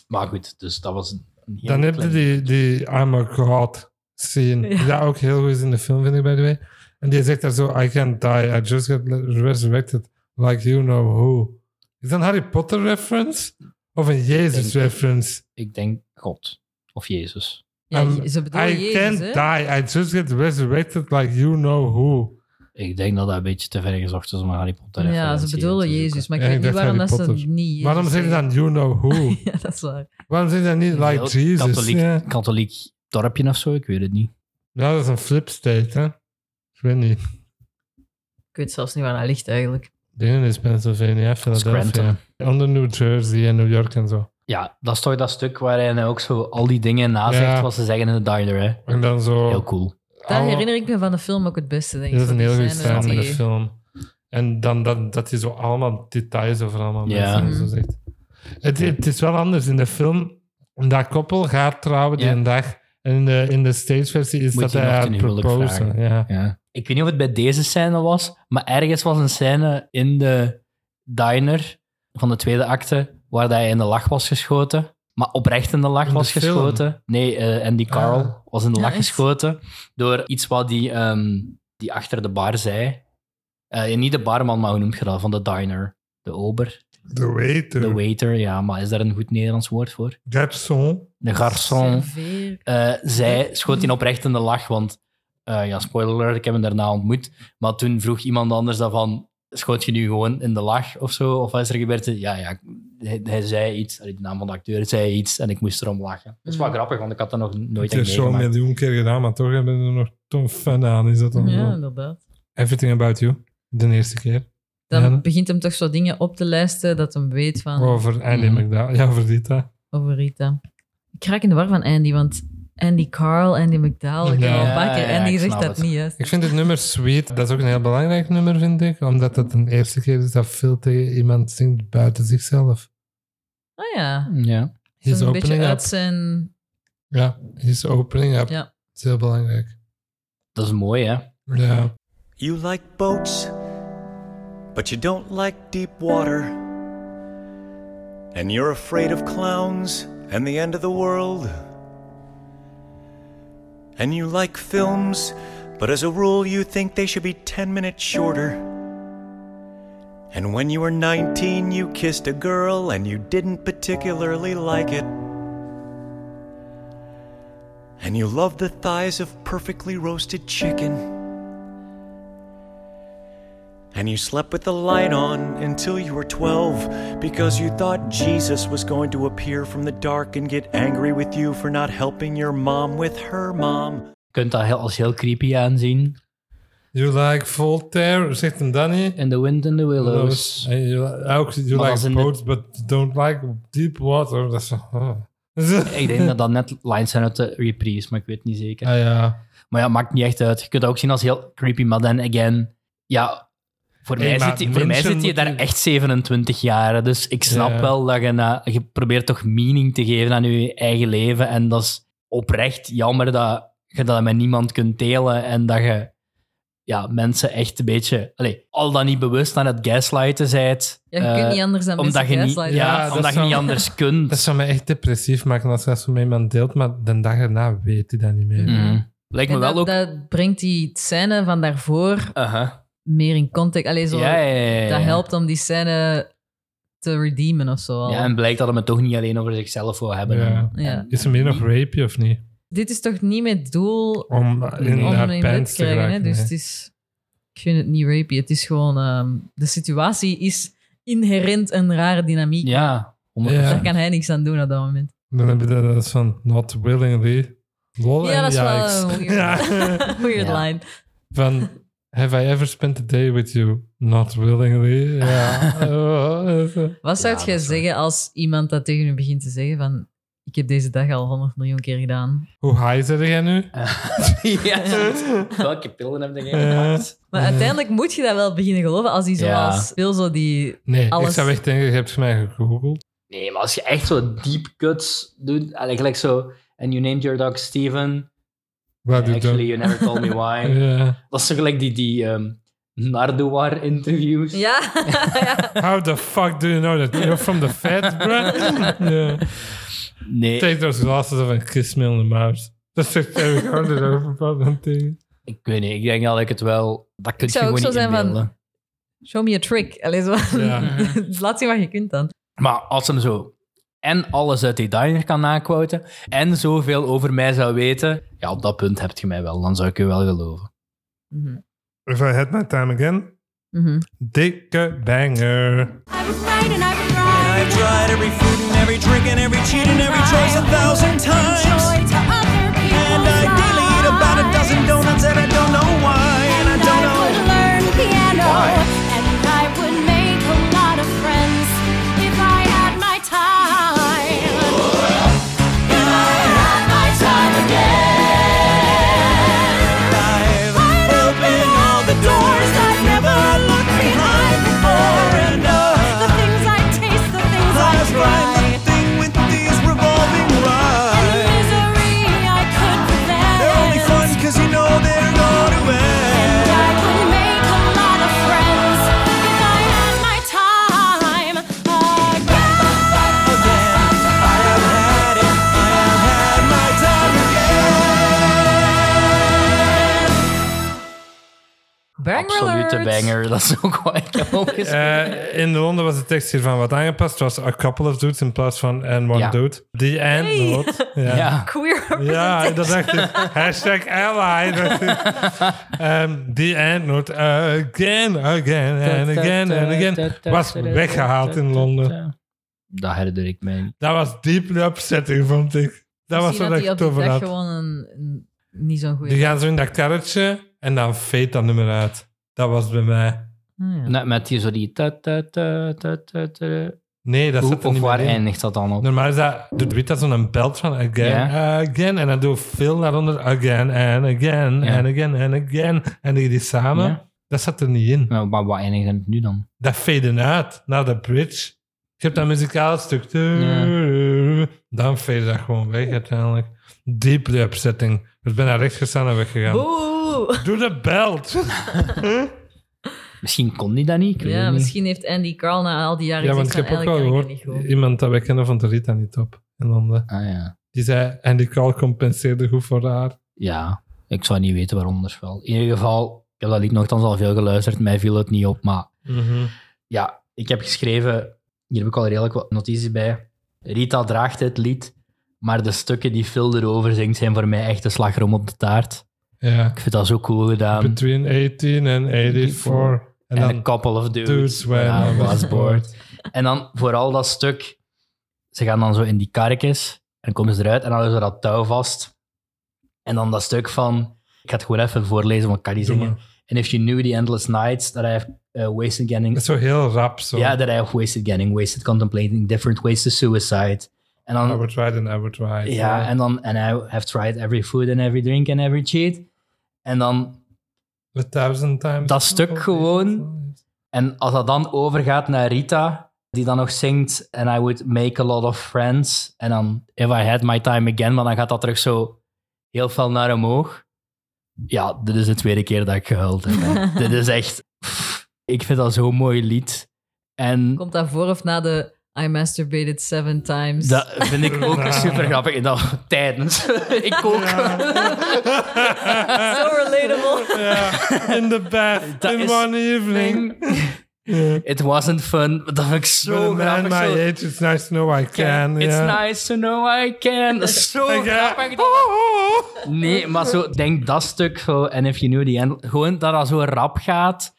Speaker 3: Maar goed, dus dat was een een heel
Speaker 1: Dan heb je
Speaker 3: klein-
Speaker 1: die, die I'm a God scene.
Speaker 2: Ja.
Speaker 1: Ja. Dat ook heel goed is in de film, vind ik, by the way. En die zegt daar zo, I can't die, I just got resurrected like you know who. Is dat een Harry Potter reference? Of een Jezus-reference.
Speaker 3: Ik denk God of Jezus.
Speaker 2: Ja,
Speaker 1: Um,
Speaker 2: ze bedoelen
Speaker 1: I
Speaker 2: Jezus, hè?
Speaker 1: can't die. I just get resurrected like you know who.
Speaker 3: Ik denk dat dat een beetje te ver gezocht is om een Harry Potter
Speaker 2: Ja,
Speaker 3: referentie
Speaker 2: ze bedoelen
Speaker 3: in te zoeken.
Speaker 2: Jezus, maar ik
Speaker 1: Ja,
Speaker 2: weet
Speaker 1: ik
Speaker 2: niet
Speaker 1: dacht
Speaker 2: waarom dat
Speaker 1: Harry
Speaker 2: ze
Speaker 1: Potter.
Speaker 2: niet Jezus
Speaker 1: Waarom zeg je dan you know who?
Speaker 2: zeggen. Ja, dat is waar.
Speaker 1: Waarom zeg je dan niet like
Speaker 3: Heel
Speaker 1: Jesus?
Speaker 3: Katholiek,
Speaker 1: Ja.
Speaker 3: katholiek dorpje of zo, ik weet het niet.
Speaker 1: ja, dat is een flip state, hè? Ik weet niet.
Speaker 2: Ik weet zelfs niet waar dat ligt eigenlijk.
Speaker 1: Dingen is Pennsylvania, Philadelphia.
Speaker 3: Scranton.
Speaker 1: Onder New Jersey en New York en zo.
Speaker 3: Ja, dat is toch dat stuk waarin hij ook zo al die dingen nazegt
Speaker 1: Ja.
Speaker 3: wat ze zeggen in de diner. Hè.
Speaker 1: En dan zo.
Speaker 3: Heel cool.
Speaker 2: Daar
Speaker 1: alle-
Speaker 2: herinner ik me van de film ook het beste, denk ik.
Speaker 1: Oh. Dat is een
Speaker 2: Van
Speaker 1: heel
Speaker 2: die
Speaker 1: goede
Speaker 2: scène
Speaker 1: scène in de
Speaker 2: die-
Speaker 1: film. En dan dat, dat hij zo allemaal details over allemaal
Speaker 3: Ja.
Speaker 1: mensen en zo
Speaker 2: Mm.
Speaker 1: zegt. Het, het is wel anders. In de film, dat koppel gaat trouwen die
Speaker 3: Ja.
Speaker 1: een dag. En in de, in de stageversie is
Speaker 3: Moet
Speaker 1: dat
Speaker 3: je
Speaker 1: hij
Speaker 3: nog
Speaker 1: haar
Speaker 3: ten huwelijk
Speaker 1: proposen.
Speaker 3: vragen.
Speaker 1: Ja.
Speaker 3: Ja. Ik weet niet of het bij deze scène was, maar ergens was een scène in de diner van de tweede acte waar dat hij in de lach was geschoten. Maar oprecht in de lach
Speaker 1: In de
Speaker 3: was
Speaker 1: film?
Speaker 3: geschoten. Nee, eh, Andy Carl
Speaker 1: Ah.
Speaker 3: was in de
Speaker 2: Ja,
Speaker 3: lach
Speaker 2: echt?
Speaker 3: geschoten door iets wat die, ehm, die achter de bar zei. Eh, niet de barman, maar hoe noem je dat? Van de diner. De ober.
Speaker 1: The waiter,
Speaker 3: De waiter, ja, maar is daar een goed Nederlands woord voor?
Speaker 1: garçon.
Speaker 3: De garçon.
Speaker 2: Serveer.
Speaker 3: eh, zij schoot hij oprecht in de lach, want eh, ja, spoiler alert, ik heb hem daarna ontmoet. Maar toen vroeg iemand anders dan van, schoot je nu gewoon in de lach of zo? Of wat is er gebeurd? Ja, ja, hij, hij zei iets, allee, de naam van de acteur zei iets en ik moest erom lachen. Dat is wel
Speaker 2: Mm.
Speaker 3: grappig, want ik had dat nog nooit
Speaker 1: Het is
Speaker 3: echt
Speaker 1: zo'n
Speaker 3: meegemaakt.
Speaker 1: miljoen keer gedaan, maar toch hebben we er nog ton fan aan. Is dat dan
Speaker 2: Ja,
Speaker 1: zo?
Speaker 2: inderdaad.
Speaker 1: Everything About You, de eerste keer.
Speaker 2: Dan
Speaker 1: Ja. Oh.
Speaker 2: begint hem toch zo dingen op te lijsten dat hem weet van
Speaker 1: Over Andy
Speaker 3: Mhm.
Speaker 1: McDowell. Ja, over Rita.
Speaker 2: over Rita. Ik raak in de war van Andy, want Andy Carl, Andy McDowell, ik heb
Speaker 1: Ja,
Speaker 2: al een paar keer
Speaker 3: ja,
Speaker 2: Andy
Speaker 3: ik
Speaker 2: zegt
Speaker 3: snap
Speaker 2: dat
Speaker 3: het.
Speaker 2: niet. Hè.
Speaker 1: Ik vind het nummer Sweet, dat is ook een heel belangrijk nummer, vind ik. Omdat het een eerste keer is dat veel tegen iemand zingt buiten zichzelf.
Speaker 2: Ah ja,
Speaker 3: Ja.
Speaker 2: Zo'n
Speaker 1: His
Speaker 2: een beetje
Speaker 1: opening up.
Speaker 2: uit zijn...
Speaker 1: Ja, his opening up.
Speaker 2: Ja.
Speaker 1: Dat is heel belangrijk.
Speaker 3: Dat is mooi, hè?
Speaker 1: Ja.
Speaker 4: You like boats, but you don't like deep water. And you're afraid of clowns and the end of the world. And you like films, but as a rule, you think they should be 10 minutes shorter. And when you were 19, you kissed a girl and you didn't particularly like it. And you love the thighs of perfectly roasted chicken. And you slept with the light on until you were 12 because you thought Jesus was going to appear from the dark and get angry with you for not helping your mom with her mom.
Speaker 3: Je kunt dat heel, als heel creepy aanzien.
Speaker 1: You like Voltaire, zegt hem Danny.
Speaker 3: In the wind and the willows.
Speaker 1: En you, ook you
Speaker 3: Maar dat is
Speaker 1: like
Speaker 3: in de-
Speaker 1: boats, but you don't like deep water. Dat is zo- oh.
Speaker 3: Ik denk dat dat net lines zijn uit de reprise, maar ik weet het niet zeker.
Speaker 1: Ah ja.
Speaker 3: Maar ja, maakt niet echt uit. Je kunt dat ook zien als heel creepy, maar dan again, ja, voor
Speaker 1: Hey,
Speaker 3: mij
Speaker 1: maar
Speaker 3: zit, je- voor mij
Speaker 1: mensen
Speaker 3: zit je daar
Speaker 1: moeten-
Speaker 3: echt 27 jaar. Dus ik snap
Speaker 1: Ja.
Speaker 3: wel dat je, na, je probeert toch meaning te geven aan je eigen leven. En dat is oprecht jammer dat je dat met niemand kunt delen en dat je ja, mensen echt een beetje, allee, al dan niet bewust aan het gaslighten zijt.
Speaker 2: Ja, je kunt
Speaker 3: eh,
Speaker 2: niet anders dan
Speaker 3: omdat je
Speaker 2: mensen
Speaker 3: niet, ja,
Speaker 2: gaslighten.
Speaker 1: Ja, dat
Speaker 3: omdat je
Speaker 1: zou-
Speaker 3: niet anders kunt.
Speaker 1: Dat zou mij echt depressief maken als je dat zo met iemand deelt, maar de dag erna weet hij dat niet meer.
Speaker 3: Mhm. Lijkt me
Speaker 2: En
Speaker 3: wel
Speaker 2: dat,
Speaker 3: ook...
Speaker 2: dat brengt die scène van daarvoor
Speaker 3: Aha.
Speaker 2: meer in context. Allee, zo,
Speaker 3: Ja, ja, ja, ja,
Speaker 2: dat
Speaker 3: ja.
Speaker 2: helpt om die scène te redeemen of zo. al.
Speaker 3: Ja, en blijkt dat hij het toch niet alleen over zichzelf wil hebben.
Speaker 1: Ja.
Speaker 2: Ja.
Speaker 1: Is hem hier nog rapey of niet?
Speaker 2: Dit is toch niet met doel
Speaker 1: Om in
Speaker 2: om
Speaker 1: haar
Speaker 2: hem in bed
Speaker 1: pants
Speaker 2: te
Speaker 1: te
Speaker 2: krijgen. hè?
Speaker 1: geraken.
Speaker 2: Dus
Speaker 1: nee.
Speaker 2: het is, ik vind het niet rapey. Het is gewoon, ehm, de situatie is inherent een rare dynamiek.
Speaker 3: Ja, 100%.
Speaker 1: Ja.
Speaker 2: Daar kan hij niks aan doen op dat moment.
Speaker 1: Dan heb je dat als van not willingly. Lol
Speaker 2: ja,
Speaker 1: en
Speaker 2: dat is wel
Speaker 1: yikes.
Speaker 2: een
Speaker 1: Ja.
Speaker 2: weird, weird
Speaker 3: Ja.
Speaker 2: line.
Speaker 1: Van have I ever spent a day with you? Not willingly. Ja. Eh,
Speaker 2: Wat zou
Speaker 3: Ja,
Speaker 2: jij
Speaker 3: dat is waar.
Speaker 2: zeggen als iemand dat tegen u begint te zeggen van ik heb deze dag al 100 miljoen keer gedaan.
Speaker 1: Hoe high zit jij nu?
Speaker 3: Ja, Welke pillen heb je
Speaker 1: gepakt?
Speaker 2: Maar
Speaker 1: Eh.
Speaker 2: uiteindelijk moet je dat wel beginnen geloven als hij
Speaker 3: Ja.
Speaker 2: zoals veel zo die...
Speaker 1: Nee, ik
Speaker 2: Alles.
Speaker 1: zou echt denken, je hebt mij gegoogeld.
Speaker 3: Nee, maar als je echt zo deep cuts doet, eigenlijk zo... And you named your dog Steven.
Speaker 1: Wat doe
Speaker 3: Actually,
Speaker 1: je
Speaker 3: you never told me
Speaker 1: dan?
Speaker 3: why.
Speaker 1: Ja.
Speaker 3: Dat is zo gelijk die, die ehm Nardouar-interviews.
Speaker 2: Ja,
Speaker 1: How the fuck do you know that? You're from the feds, bruh? Ja.
Speaker 3: Nee,
Speaker 1: Take those glasses off and kiss me on the mouth. Dat zegt Eric Harder over van tegen.
Speaker 3: ik weet niet. Ik denk dat ik het wel... Dat kun je
Speaker 2: zou ook
Speaker 3: gewoon
Speaker 2: zo
Speaker 3: niet
Speaker 2: zijn van-
Speaker 3: inbeelden.
Speaker 2: show me a trick. Allee, zo.
Speaker 1: Ja.
Speaker 2: Laat zien wat je kunt dan.
Speaker 3: Maar als hem zo en alles uit die diner kan naquoten en zoveel over mij zou weten, ja, op dat punt heb je mij wel. Dan zou ik je wel geloven.
Speaker 2: Mhm.
Speaker 1: If I had my time again.
Speaker 2: Mhm.
Speaker 1: Dikke banger.
Speaker 7: I would fight and I would ride.
Speaker 4: I've tried every food and every drink and every cheat and every choice a thousand times.
Speaker 7: Joy to other people's
Speaker 4: And I daily eat about a dozen
Speaker 7: lives.
Speaker 4: donuts and I don't know why. And I
Speaker 7: And
Speaker 4: don't know.
Speaker 7: would learn piano.
Speaker 4: Why?
Speaker 7: And I would make a lot of friends if I had my time. If I had my time again.
Speaker 4: I've
Speaker 7: I'd
Speaker 4: opened all the doors I've never looked behind before. And uh,
Speaker 7: The
Speaker 4: I,
Speaker 7: things I taste, the things I
Speaker 4: I've
Speaker 7: try.
Speaker 4: tried the thing with these revolving
Speaker 7: And
Speaker 4: rides.
Speaker 7: misery I could
Speaker 4: They're only
Speaker 7: prevent.
Speaker 4: fun cause you know they're going to end.
Speaker 7: I could make a lot of friends if I had my time again.
Speaker 4: again. I have had it. I have had my time again.
Speaker 2: Banger
Speaker 3: Absolute
Speaker 2: alert.
Speaker 3: banger. Dat is ook wat ik heb opgeschreven.
Speaker 1: Eh, in Londen was de tekst hiervan wat aangepast. Het was a couple of dudes in plaats van and one
Speaker 3: Ja.
Speaker 1: dude. The and
Speaker 2: Hey.
Speaker 1: note. Ja. ja.
Speaker 3: ja.
Speaker 2: Queer
Speaker 1: dat dacht ik. Hashtag ally. Dat is- Ehm, the end note. eh, again, again, and again, and again. Was weggehaald in Londen.
Speaker 3: Dat herinner ik mij.
Speaker 1: Dat was diep een upsetting, vond ik. Dat was
Speaker 2: Misschien
Speaker 1: wat ik
Speaker 2: die op
Speaker 1: het
Speaker 2: die
Speaker 1: over
Speaker 2: dag
Speaker 1: had.
Speaker 2: gewoon een, een- niet zo'n goede.
Speaker 1: Die gaan zo in dat karretje en dan fade dat nummer uit. Dat was bij mij.
Speaker 2: Ah, ja.
Speaker 3: Net met die zo die... ta- ta- ta- ta- ta- ta.
Speaker 1: Nee, dat
Speaker 3: Hoe
Speaker 1: zat er
Speaker 3: of
Speaker 1: niet
Speaker 3: waar
Speaker 1: meer in.
Speaker 3: eindigt dat dan op?
Speaker 1: Normaal is dat, doet Wit dat zo'n belt van again,
Speaker 3: Ja.
Speaker 1: again. En dan doe ik veel daaronder again, and again,
Speaker 3: Ja.
Speaker 1: and again, and again. En die, die samen,
Speaker 3: Ja.
Speaker 1: dat zat er niet in.
Speaker 3: Nou, maar wat eindigt het nu dan?
Speaker 1: Dat faden uit naar de bridge. Je hebt dat muzikale stuk. Dan fade dat gewoon weg uiteindelijk. Deeply upsetting. Dus ben naar rechts gestaan en weggegaan.
Speaker 2: Boe!
Speaker 1: Doe de belt!
Speaker 3: Misschien kon die dat niet. Ik weet het
Speaker 2: Ja,
Speaker 3: niet.
Speaker 2: misschien heeft Andy Carl na al die jaren
Speaker 1: ja, want ik
Speaker 2: gezegd
Speaker 1: heb
Speaker 2: van,
Speaker 1: ook wel
Speaker 2: eigenlijk
Speaker 1: gehoord,
Speaker 2: kan ik dat niet goed.
Speaker 1: iemand dat wij kennen vond Rita niet op in Londen.
Speaker 3: Ah ja.
Speaker 1: Die zei, en die call compenseerde goed voor haar.
Speaker 3: Ja, ik zou niet weten waarom dus wel. In ieder geval, ik heb dat lied nogthans al veel geluisterd. Mij viel het niet op, maar
Speaker 1: Mhm.
Speaker 3: ja, ik heb geschreven, hier heb ik al redelijk wat notities bij. Rita draagt het lied, maar de stukken die Phil erover zingt zijn voor mij echt de slagroom op de taart.
Speaker 1: Ja.
Speaker 3: Ik vind dat zo cool gedaan.
Speaker 1: Between 18 en 84. En
Speaker 3: En a
Speaker 1: dan
Speaker 3: couple of
Speaker 1: Dudes
Speaker 3: dudes
Speaker 1: When
Speaker 3: when I was bored.
Speaker 1: Bored.
Speaker 3: En dan vooral dat stuk, ze gaan dan zo in die karretjes en komen ze eruit en dan houden ze dat touw vast. En dan dat stuk van, ik ga het gewoon even voorlezen, want ik kan niet
Speaker 1: Doe
Speaker 3: zingen. And if you knew the endless nights that I have uh, wasted getting
Speaker 1: Dat is zo heel rap zo.
Speaker 3: Yeah, that I have wasted getting, wasted contemplating different ways to suicide. En
Speaker 1: I
Speaker 3: dan,
Speaker 1: would ride and I would ride.
Speaker 3: ja, en dan, and I have tried every food and every drink and every cheat. En dan,
Speaker 1: A thousand times.
Speaker 3: Dat stuk gewoon. en als dat dan overgaat naar Rita, die dan nog zingt, and I would make a lot of friends. En dan, if I had my time again, maar dan gaat dat terug zo heel fel naar omhoog. Ja, dit is de tweede keer dat ik gehuild heb. hè. dit is echt, pff, ik vind dat zo'n mooi lied. En
Speaker 2: Komt dat voor of na de I masturbated seven times?
Speaker 3: Dat vind ik ook super grappig. En dat tijdens. ik ook.
Speaker 2: So relatable.
Speaker 1: Ja, in the bath,
Speaker 3: Dat
Speaker 1: in
Speaker 3: is-
Speaker 1: one evening.
Speaker 3: It wasn't fun. Maar Dat vind ik
Speaker 1: But a
Speaker 3: zo
Speaker 1: man
Speaker 3: grappig.
Speaker 1: my
Speaker 3: zo.
Speaker 1: age, it's nice to know I can.
Speaker 3: It's
Speaker 1: ja.
Speaker 3: nice to know I can. Dat is zo
Speaker 1: Ik, Oh, ja.
Speaker 3: grappig. Nee, maar zo, denk dat stuk zo. En if you knew the end. Gewoon dat dat zo rap gaat.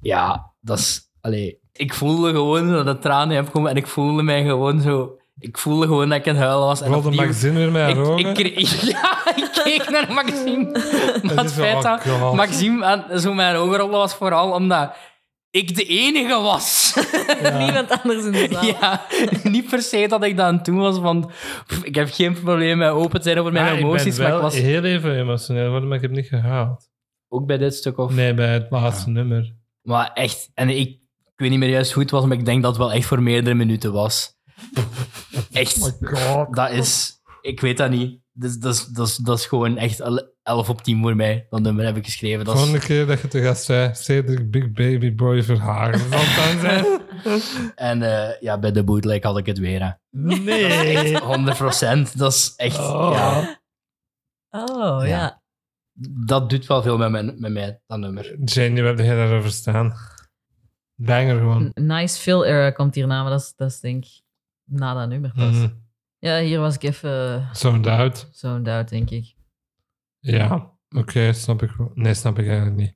Speaker 3: Ja, dat is... Allee, ik voelde gewoon dat de tranen hebben komen. En ik voelde mij gewoon zo... Ik voelde gewoon dat ik aan het huilen was. En
Speaker 1: Wilde
Speaker 3: opnieuw-
Speaker 1: Maxine weer met haar
Speaker 3: Ik,
Speaker 1: ogen?
Speaker 3: ik, kreeg- ja, ik keek naar Maxime. Maar
Speaker 1: Het
Speaker 3: het
Speaker 1: is wel
Speaker 3: feit dat
Speaker 1: awkward.
Speaker 3: Maxime aan- zo mijn ogen rolde was vooral omdat ik de enige was.
Speaker 2: Niemand anders in de zaal.
Speaker 3: ja, niet per se dat ik dat aan het doen was, want pff, ik heb geen probleem met open te zijn over mijn
Speaker 1: Ah, ik
Speaker 3: emoties.
Speaker 1: ben
Speaker 3: Maar
Speaker 1: wel
Speaker 3: ik was
Speaker 1: heel even emotioneel geworden, maar ik heb het niet gehaald.
Speaker 3: ook bij dit stuk of...
Speaker 1: Nee, bij het
Speaker 3: Ah.
Speaker 1: laatste nummer.
Speaker 3: Maar echt, en ik, ik weet niet meer juist hoe het was, maar ik denk dat het wel echt voor meerdere minuten was.
Speaker 1: Oh
Speaker 3: Echt,
Speaker 1: God.
Speaker 3: dat is... Ik weet dat niet. Dat is, dat is, dat is, dat is gewoon echt 11 op 10 voor mij. Dat nummer heb ik geschreven.
Speaker 1: De
Speaker 3: Dat is,
Speaker 1: volgende keer dat je te gast zei, Cedric Big Baby Boy Verhagen. Zal het dan zijn?
Speaker 3: En eh, ja, bij de bootleg had ik het weer. Hè.
Speaker 1: Nee.
Speaker 3: 100%. dat is echt.
Speaker 1: Oh.
Speaker 3: Ja,
Speaker 2: Oh, ja.
Speaker 3: Ja. dat doet wel veel met, mijn, met mij, dat nummer.
Speaker 1: Jane, je hebt er heel erg over staan. Banger gewoon.
Speaker 2: N- Nice Phil era komt hierna, maar dat is, dat is denk ik na dat nummer
Speaker 3: Hm.
Speaker 2: pas.
Speaker 1: Mhm.
Speaker 2: Ja, hier was ik even
Speaker 1: Zoned out.
Speaker 2: zo'n doubt, denk ik.
Speaker 1: Ja, oké, snap ik. wel. Nee, snap ik eigenlijk niet.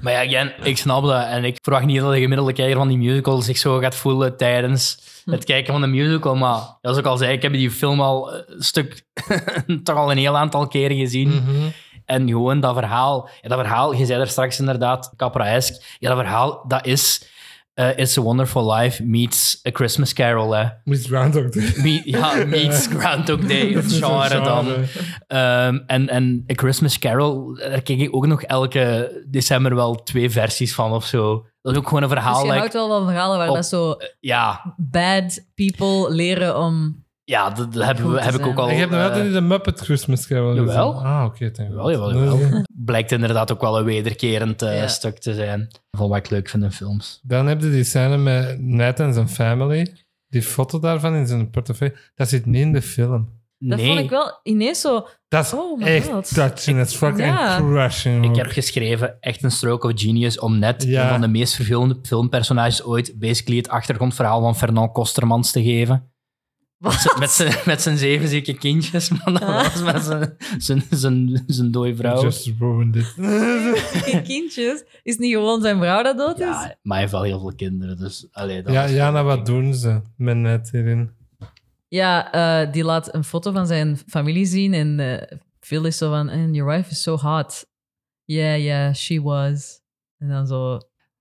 Speaker 3: Maar ja, again, ik snap dat. En ik verwacht niet dat de gemiddelde kijker van die musical zich zo gaat voelen tijdens het kijken van de musical. Maar zoals ik al zei, ik heb die film al eh, een stuk, toch al een heel aantal keren gezien. En gewoon dat verhaal, ja, dat verhaal, je zei daar straks inderdaad, Capra-esque. Ja, dat verhaal, dat is eh, It's a Wonderful Life meets A Christmas Carol. Hè.
Speaker 1: Moest Groundhog Day.
Speaker 3: Me- ja, meets Groundhog Day, het genre dan. Ehm, en, en A Christmas Carol, daar keek ik ook nog elke december wel twee versies van of zo. Dat is ook gewoon een verhaal.
Speaker 2: Dus je
Speaker 3: like-
Speaker 2: houdt wel van verhalen waar
Speaker 3: op-
Speaker 2: dat zo
Speaker 3: ja,
Speaker 2: bad people leren om...
Speaker 3: ja, dat, dat hebben we-
Speaker 2: Goed te
Speaker 3: heb ik
Speaker 2: zijn.
Speaker 3: ook al.
Speaker 2: Ik
Speaker 1: Ik heb nog
Speaker 3: eh,
Speaker 1: altijd niet de Muppet Christmas Carol gezien.
Speaker 3: Jawel.
Speaker 1: Ah, oké. thank
Speaker 3: Jawel,
Speaker 1: God.
Speaker 3: jawel, jawel. Blijkt inderdaad ook wel een wederkerend eh,
Speaker 2: Ja.
Speaker 3: stuk te zijn. Van wat ik leuk vind in films.
Speaker 1: Dan heb je die scène met Ned en zijn family. Die foto daarvan in zijn portefeuille. Dat zit niet in de film.
Speaker 2: Dat
Speaker 3: nee,
Speaker 2: vond ik wel ineens zo...
Speaker 1: Dat is
Speaker 2: Oh my
Speaker 1: echt
Speaker 2: God.
Speaker 1: touching. Dat is fucking
Speaker 2: Ja.
Speaker 1: crushing.
Speaker 3: ik
Speaker 1: ook.
Speaker 3: heb geschreven echt een stroke of genius om net
Speaker 1: Ja.
Speaker 3: een van de meest vervelende filmpersonages ooit basically het achtergrondverhaal van Fernand Kostermans te geven. Met z'n- Met zijn, met zijn zeven zieke kindjes, maar dat was met zijn, zijn, zijn, zijn dode
Speaker 1: You
Speaker 3: vrouw.
Speaker 1: Just ruined it.
Speaker 2: Die kindjes, is niet gewoon zijn vrouw dat dood is?
Speaker 3: Ja, maar hij heeft wel heel veel kinderen, dus allee, dat
Speaker 1: ja,
Speaker 3: was-
Speaker 1: Jana, wat doen ze met Ned hierin?
Speaker 2: Ja, eh, die laat een foto van zijn familie zien en eh, Phil is zo van, and your wife is so hot. Yeah, yeah, she was. En dan zo...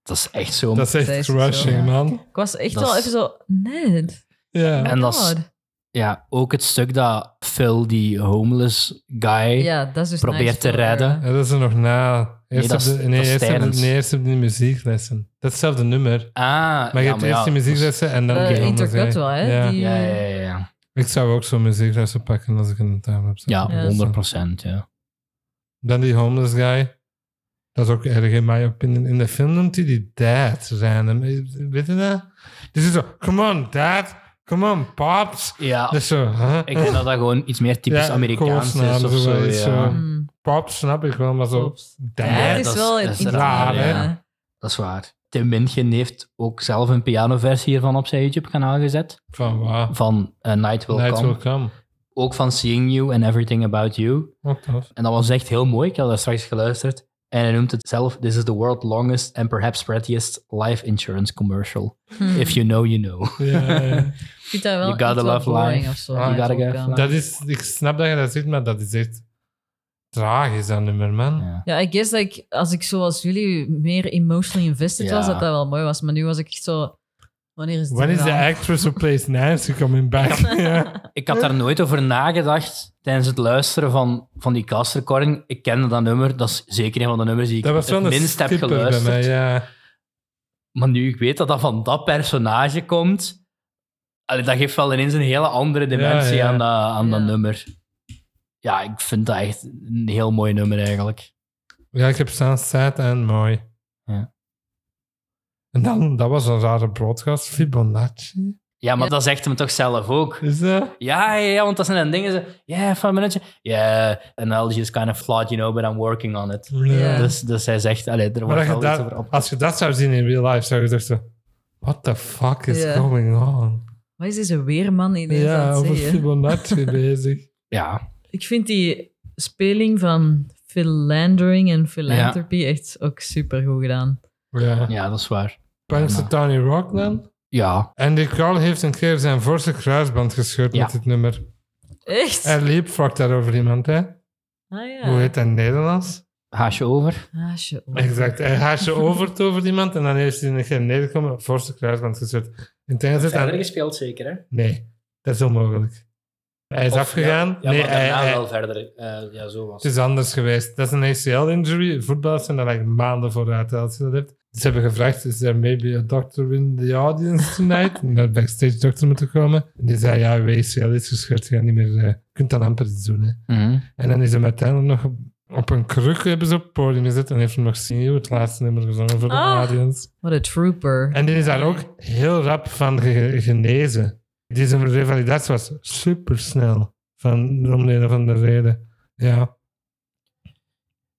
Speaker 3: dat is echt zo.
Speaker 1: Dat is
Speaker 2: Zij is
Speaker 1: echt
Speaker 2: zo,
Speaker 1: crushing,
Speaker 2: ja.
Speaker 1: man.
Speaker 2: Ik was echt
Speaker 3: Dat
Speaker 2: wel
Speaker 3: is-
Speaker 2: even zo, Ned.
Speaker 1: Ja.
Speaker 3: En dat is-
Speaker 2: God.
Speaker 3: Ja, ook het stuk dat Phil, die homeless guy,
Speaker 2: Ja, dat is dus
Speaker 3: Probeer
Speaker 2: nice
Speaker 3: te
Speaker 2: voor haar,
Speaker 3: redden.
Speaker 2: hè.
Speaker 1: Ja, dat is er nog na. Eerst op
Speaker 3: dat
Speaker 1: de,
Speaker 3: is-
Speaker 1: nee,
Speaker 3: dat is
Speaker 1: eerst op de,
Speaker 3: tijdens.
Speaker 1: nee, eerst op die muzieklessen. Dat is hetzelfde nummer.
Speaker 3: Ah,
Speaker 1: Maar je
Speaker 3: ja,
Speaker 1: hebt eerst
Speaker 3: ja,
Speaker 1: die
Speaker 3: dat is-
Speaker 1: muzieklessen en dan...
Speaker 2: Eh,
Speaker 1: die andere
Speaker 2: intercut
Speaker 1: zee.
Speaker 2: wel, hè?
Speaker 1: Ja.
Speaker 2: Die-
Speaker 3: Ja, ja, ja, ja.
Speaker 1: Ik zou ook zo'n muzieklessen pakken als ik een time heb.
Speaker 3: ja,
Speaker 2: Ja,
Speaker 3: 100 procent. Ja.
Speaker 1: Dan die homeless guy. Dat is ook erg in mijn opinion. In de film noemt hij die dad random. Weet je dat? Die zit zo, come on dad, come on pops.
Speaker 3: ja,
Speaker 1: Dat is zo, huh?
Speaker 3: ik denk dat dat gewoon iets meer typisch
Speaker 1: Ja,
Speaker 3: Amerikaans is
Speaker 1: koosnaam,
Speaker 3: of
Speaker 1: zo
Speaker 3: zo.
Speaker 1: is,
Speaker 3: Ja.
Speaker 1: eh,
Speaker 2: Mm.
Speaker 1: Pops snap ik wel, maar zo,
Speaker 2: Pops.
Speaker 1: dad.
Speaker 2: Ja, het
Speaker 3: dat
Speaker 2: is
Speaker 3: is-
Speaker 2: wel eh,
Speaker 3: dat is
Speaker 2: een
Speaker 1: raar, hè?
Speaker 2: ja.
Speaker 3: Dat is waar. Tim Mintgen heeft ook zelf een pianoversie hiervan op zijn YouTube-kanaal gezet.
Speaker 1: Van waar?
Speaker 3: Van eh, Night Will
Speaker 1: Night
Speaker 3: Come.
Speaker 1: will come.
Speaker 3: Ook van Seeing You and Everything About You.
Speaker 1: Wat tof.
Speaker 3: En dat was echt heel mooi. Ik had dat straks geluisterd. En hij noemt het zelf... This is the world's longest and perhaps prettiest life insurance commercial. If you know, you know.
Speaker 1: Ja, ja.
Speaker 2: Ik vind dat wel
Speaker 3: You gotta
Speaker 2: echt wel
Speaker 3: love
Speaker 2: boring
Speaker 3: life.
Speaker 2: of zo.
Speaker 1: You
Speaker 2: ja,
Speaker 3: gotta
Speaker 2: zo
Speaker 3: get
Speaker 2: kan.
Speaker 3: life.
Speaker 1: Dat is, ik snap dat je dat zegt, maar dat is echt tragisch, dat nummer, man.
Speaker 3: Ja.
Speaker 2: Ja, ik guess dat ik, als ik zoals jullie meer emotionally invested
Speaker 3: Ja.
Speaker 2: was, dat dat wel mooi was. Maar nu was ik echt zo... Wanneer is het
Speaker 1: When is the
Speaker 2: gedaan?
Speaker 1: actress who plays Nancy coming back? ja.
Speaker 3: Ik had daar nooit over nagedacht tijdens het luisteren van, van die castrecording. Ik kende dat nummer. Dat is zeker een van de nummers die ik
Speaker 1: Dat was wel
Speaker 3: het
Speaker 1: een
Speaker 3: minst heb
Speaker 1: skipper bij
Speaker 3: geluisterd.
Speaker 1: mij, ja.
Speaker 3: Maar nu ik weet dat dat van dat personage komt, allee, dat geeft wel ineens een hele andere dimensie
Speaker 1: Ja, ja.
Speaker 3: aan, dat, aan dat
Speaker 2: Ja.
Speaker 3: nummer. Ja, ik vind dat echt een heel mooi nummer eigenlijk.
Speaker 1: Ja, ik heb staan sad en mooi.
Speaker 3: Ja.
Speaker 1: En dan, dat was een rare broadcast, Fibonacci.
Speaker 3: Ja, maar
Speaker 2: Ja.
Speaker 3: dat zegt hem toch zelf ook.
Speaker 1: Is dat?
Speaker 3: Ja, ja, ja, want dat zijn dan dingen. zo, Yeah, van een minuutje. Yeah, analogy is kind of flawed, you know, but I'm working on it.
Speaker 2: Ja.
Speaker 3: Dus, dus hij zegt, allee, er
Speaker 1: Maar
Speaker 3: wordt
Speaker 1: dat je
Speaker 3: wel iets over
Speaker 1: dat,
Speaker 3: op.
Speaker 1: als je dat zou zien in real life, zou je toch zo... What the fuck is
Speaker 2: Ja.
Speaker 1: going on?
Speaker 2: Wat is deze weerman die deze aan
Speaker 1: Ja,
Speaker 2: het
Speaker 1: over
Speaker 2: zeggen?
Speaker 1: Fibonacci bezig.
Speaker 3: Ja,
Speaker 2: Ik vind die speling van philandering en philanthropy echt ook super goed gedaan.
Speaker 1: Ja.
Speaker 3: Ja, dat is waar.
Speaker 1: Punks
Speaker 3: Ja.
Speaker 1: to Tony Rock dan?
Speaker 3: Ja,
Speaker 1: Andy Carl heeft een keer zijn voorste kruisband gescheurd
Speaker 3: Ja.
Speaker 1: met dit nummer.
Speaker 2: Echt?
Speaker 1: En leapfrog daarover iemand, hè?
Speaker 2: ah ja.
Speaker 1: Hoe heet dat in Nederlands?
Speaker 3: haasje over.
Speaker 2: Ah, shit.
Speaker 1: Exact. Hij haast je over over iemand en dan heeft hij een keer neergekomen, voorste kruisband gescheurd. In het einde zit aan-
Speaker 3: gespeeld zeker, hè?
Speaker 1: Nee, dat is onmogelijk. Hij is afgegaan. nee, hij, hij-
Speaker 3: verder. eh, ja, zo was
Speaker 1: het is anders geweest. Dat is een ACL-injury. Voetballers zijn daar eigenlijk maanden vooruit als je dat hebt. Ze hebben gevraagd, is there maybe a doctor in the audience tonight? En naar backstage dokter moeten komen. En die zei, ja, uw ACL is gescheurd, je gaat niet meer... eh, je kunt dan amper iets doen, hè.
Speaker 3: Mhm.
Speaker 1: En dan is hem uiteindelijk nog op- op een kruk hebben ze op het podium gezet en heeft hem nog zien het laatste nummer gezongen voor de
Speaker 2: Ah.
Speaker 1: audience.
Speaker 2: What a trooper.
Speaker 1: En die is daar ook heel rap van ge- genezen. Die zijn revalidatie was supersnel, van, om de een of andere reden. Ja.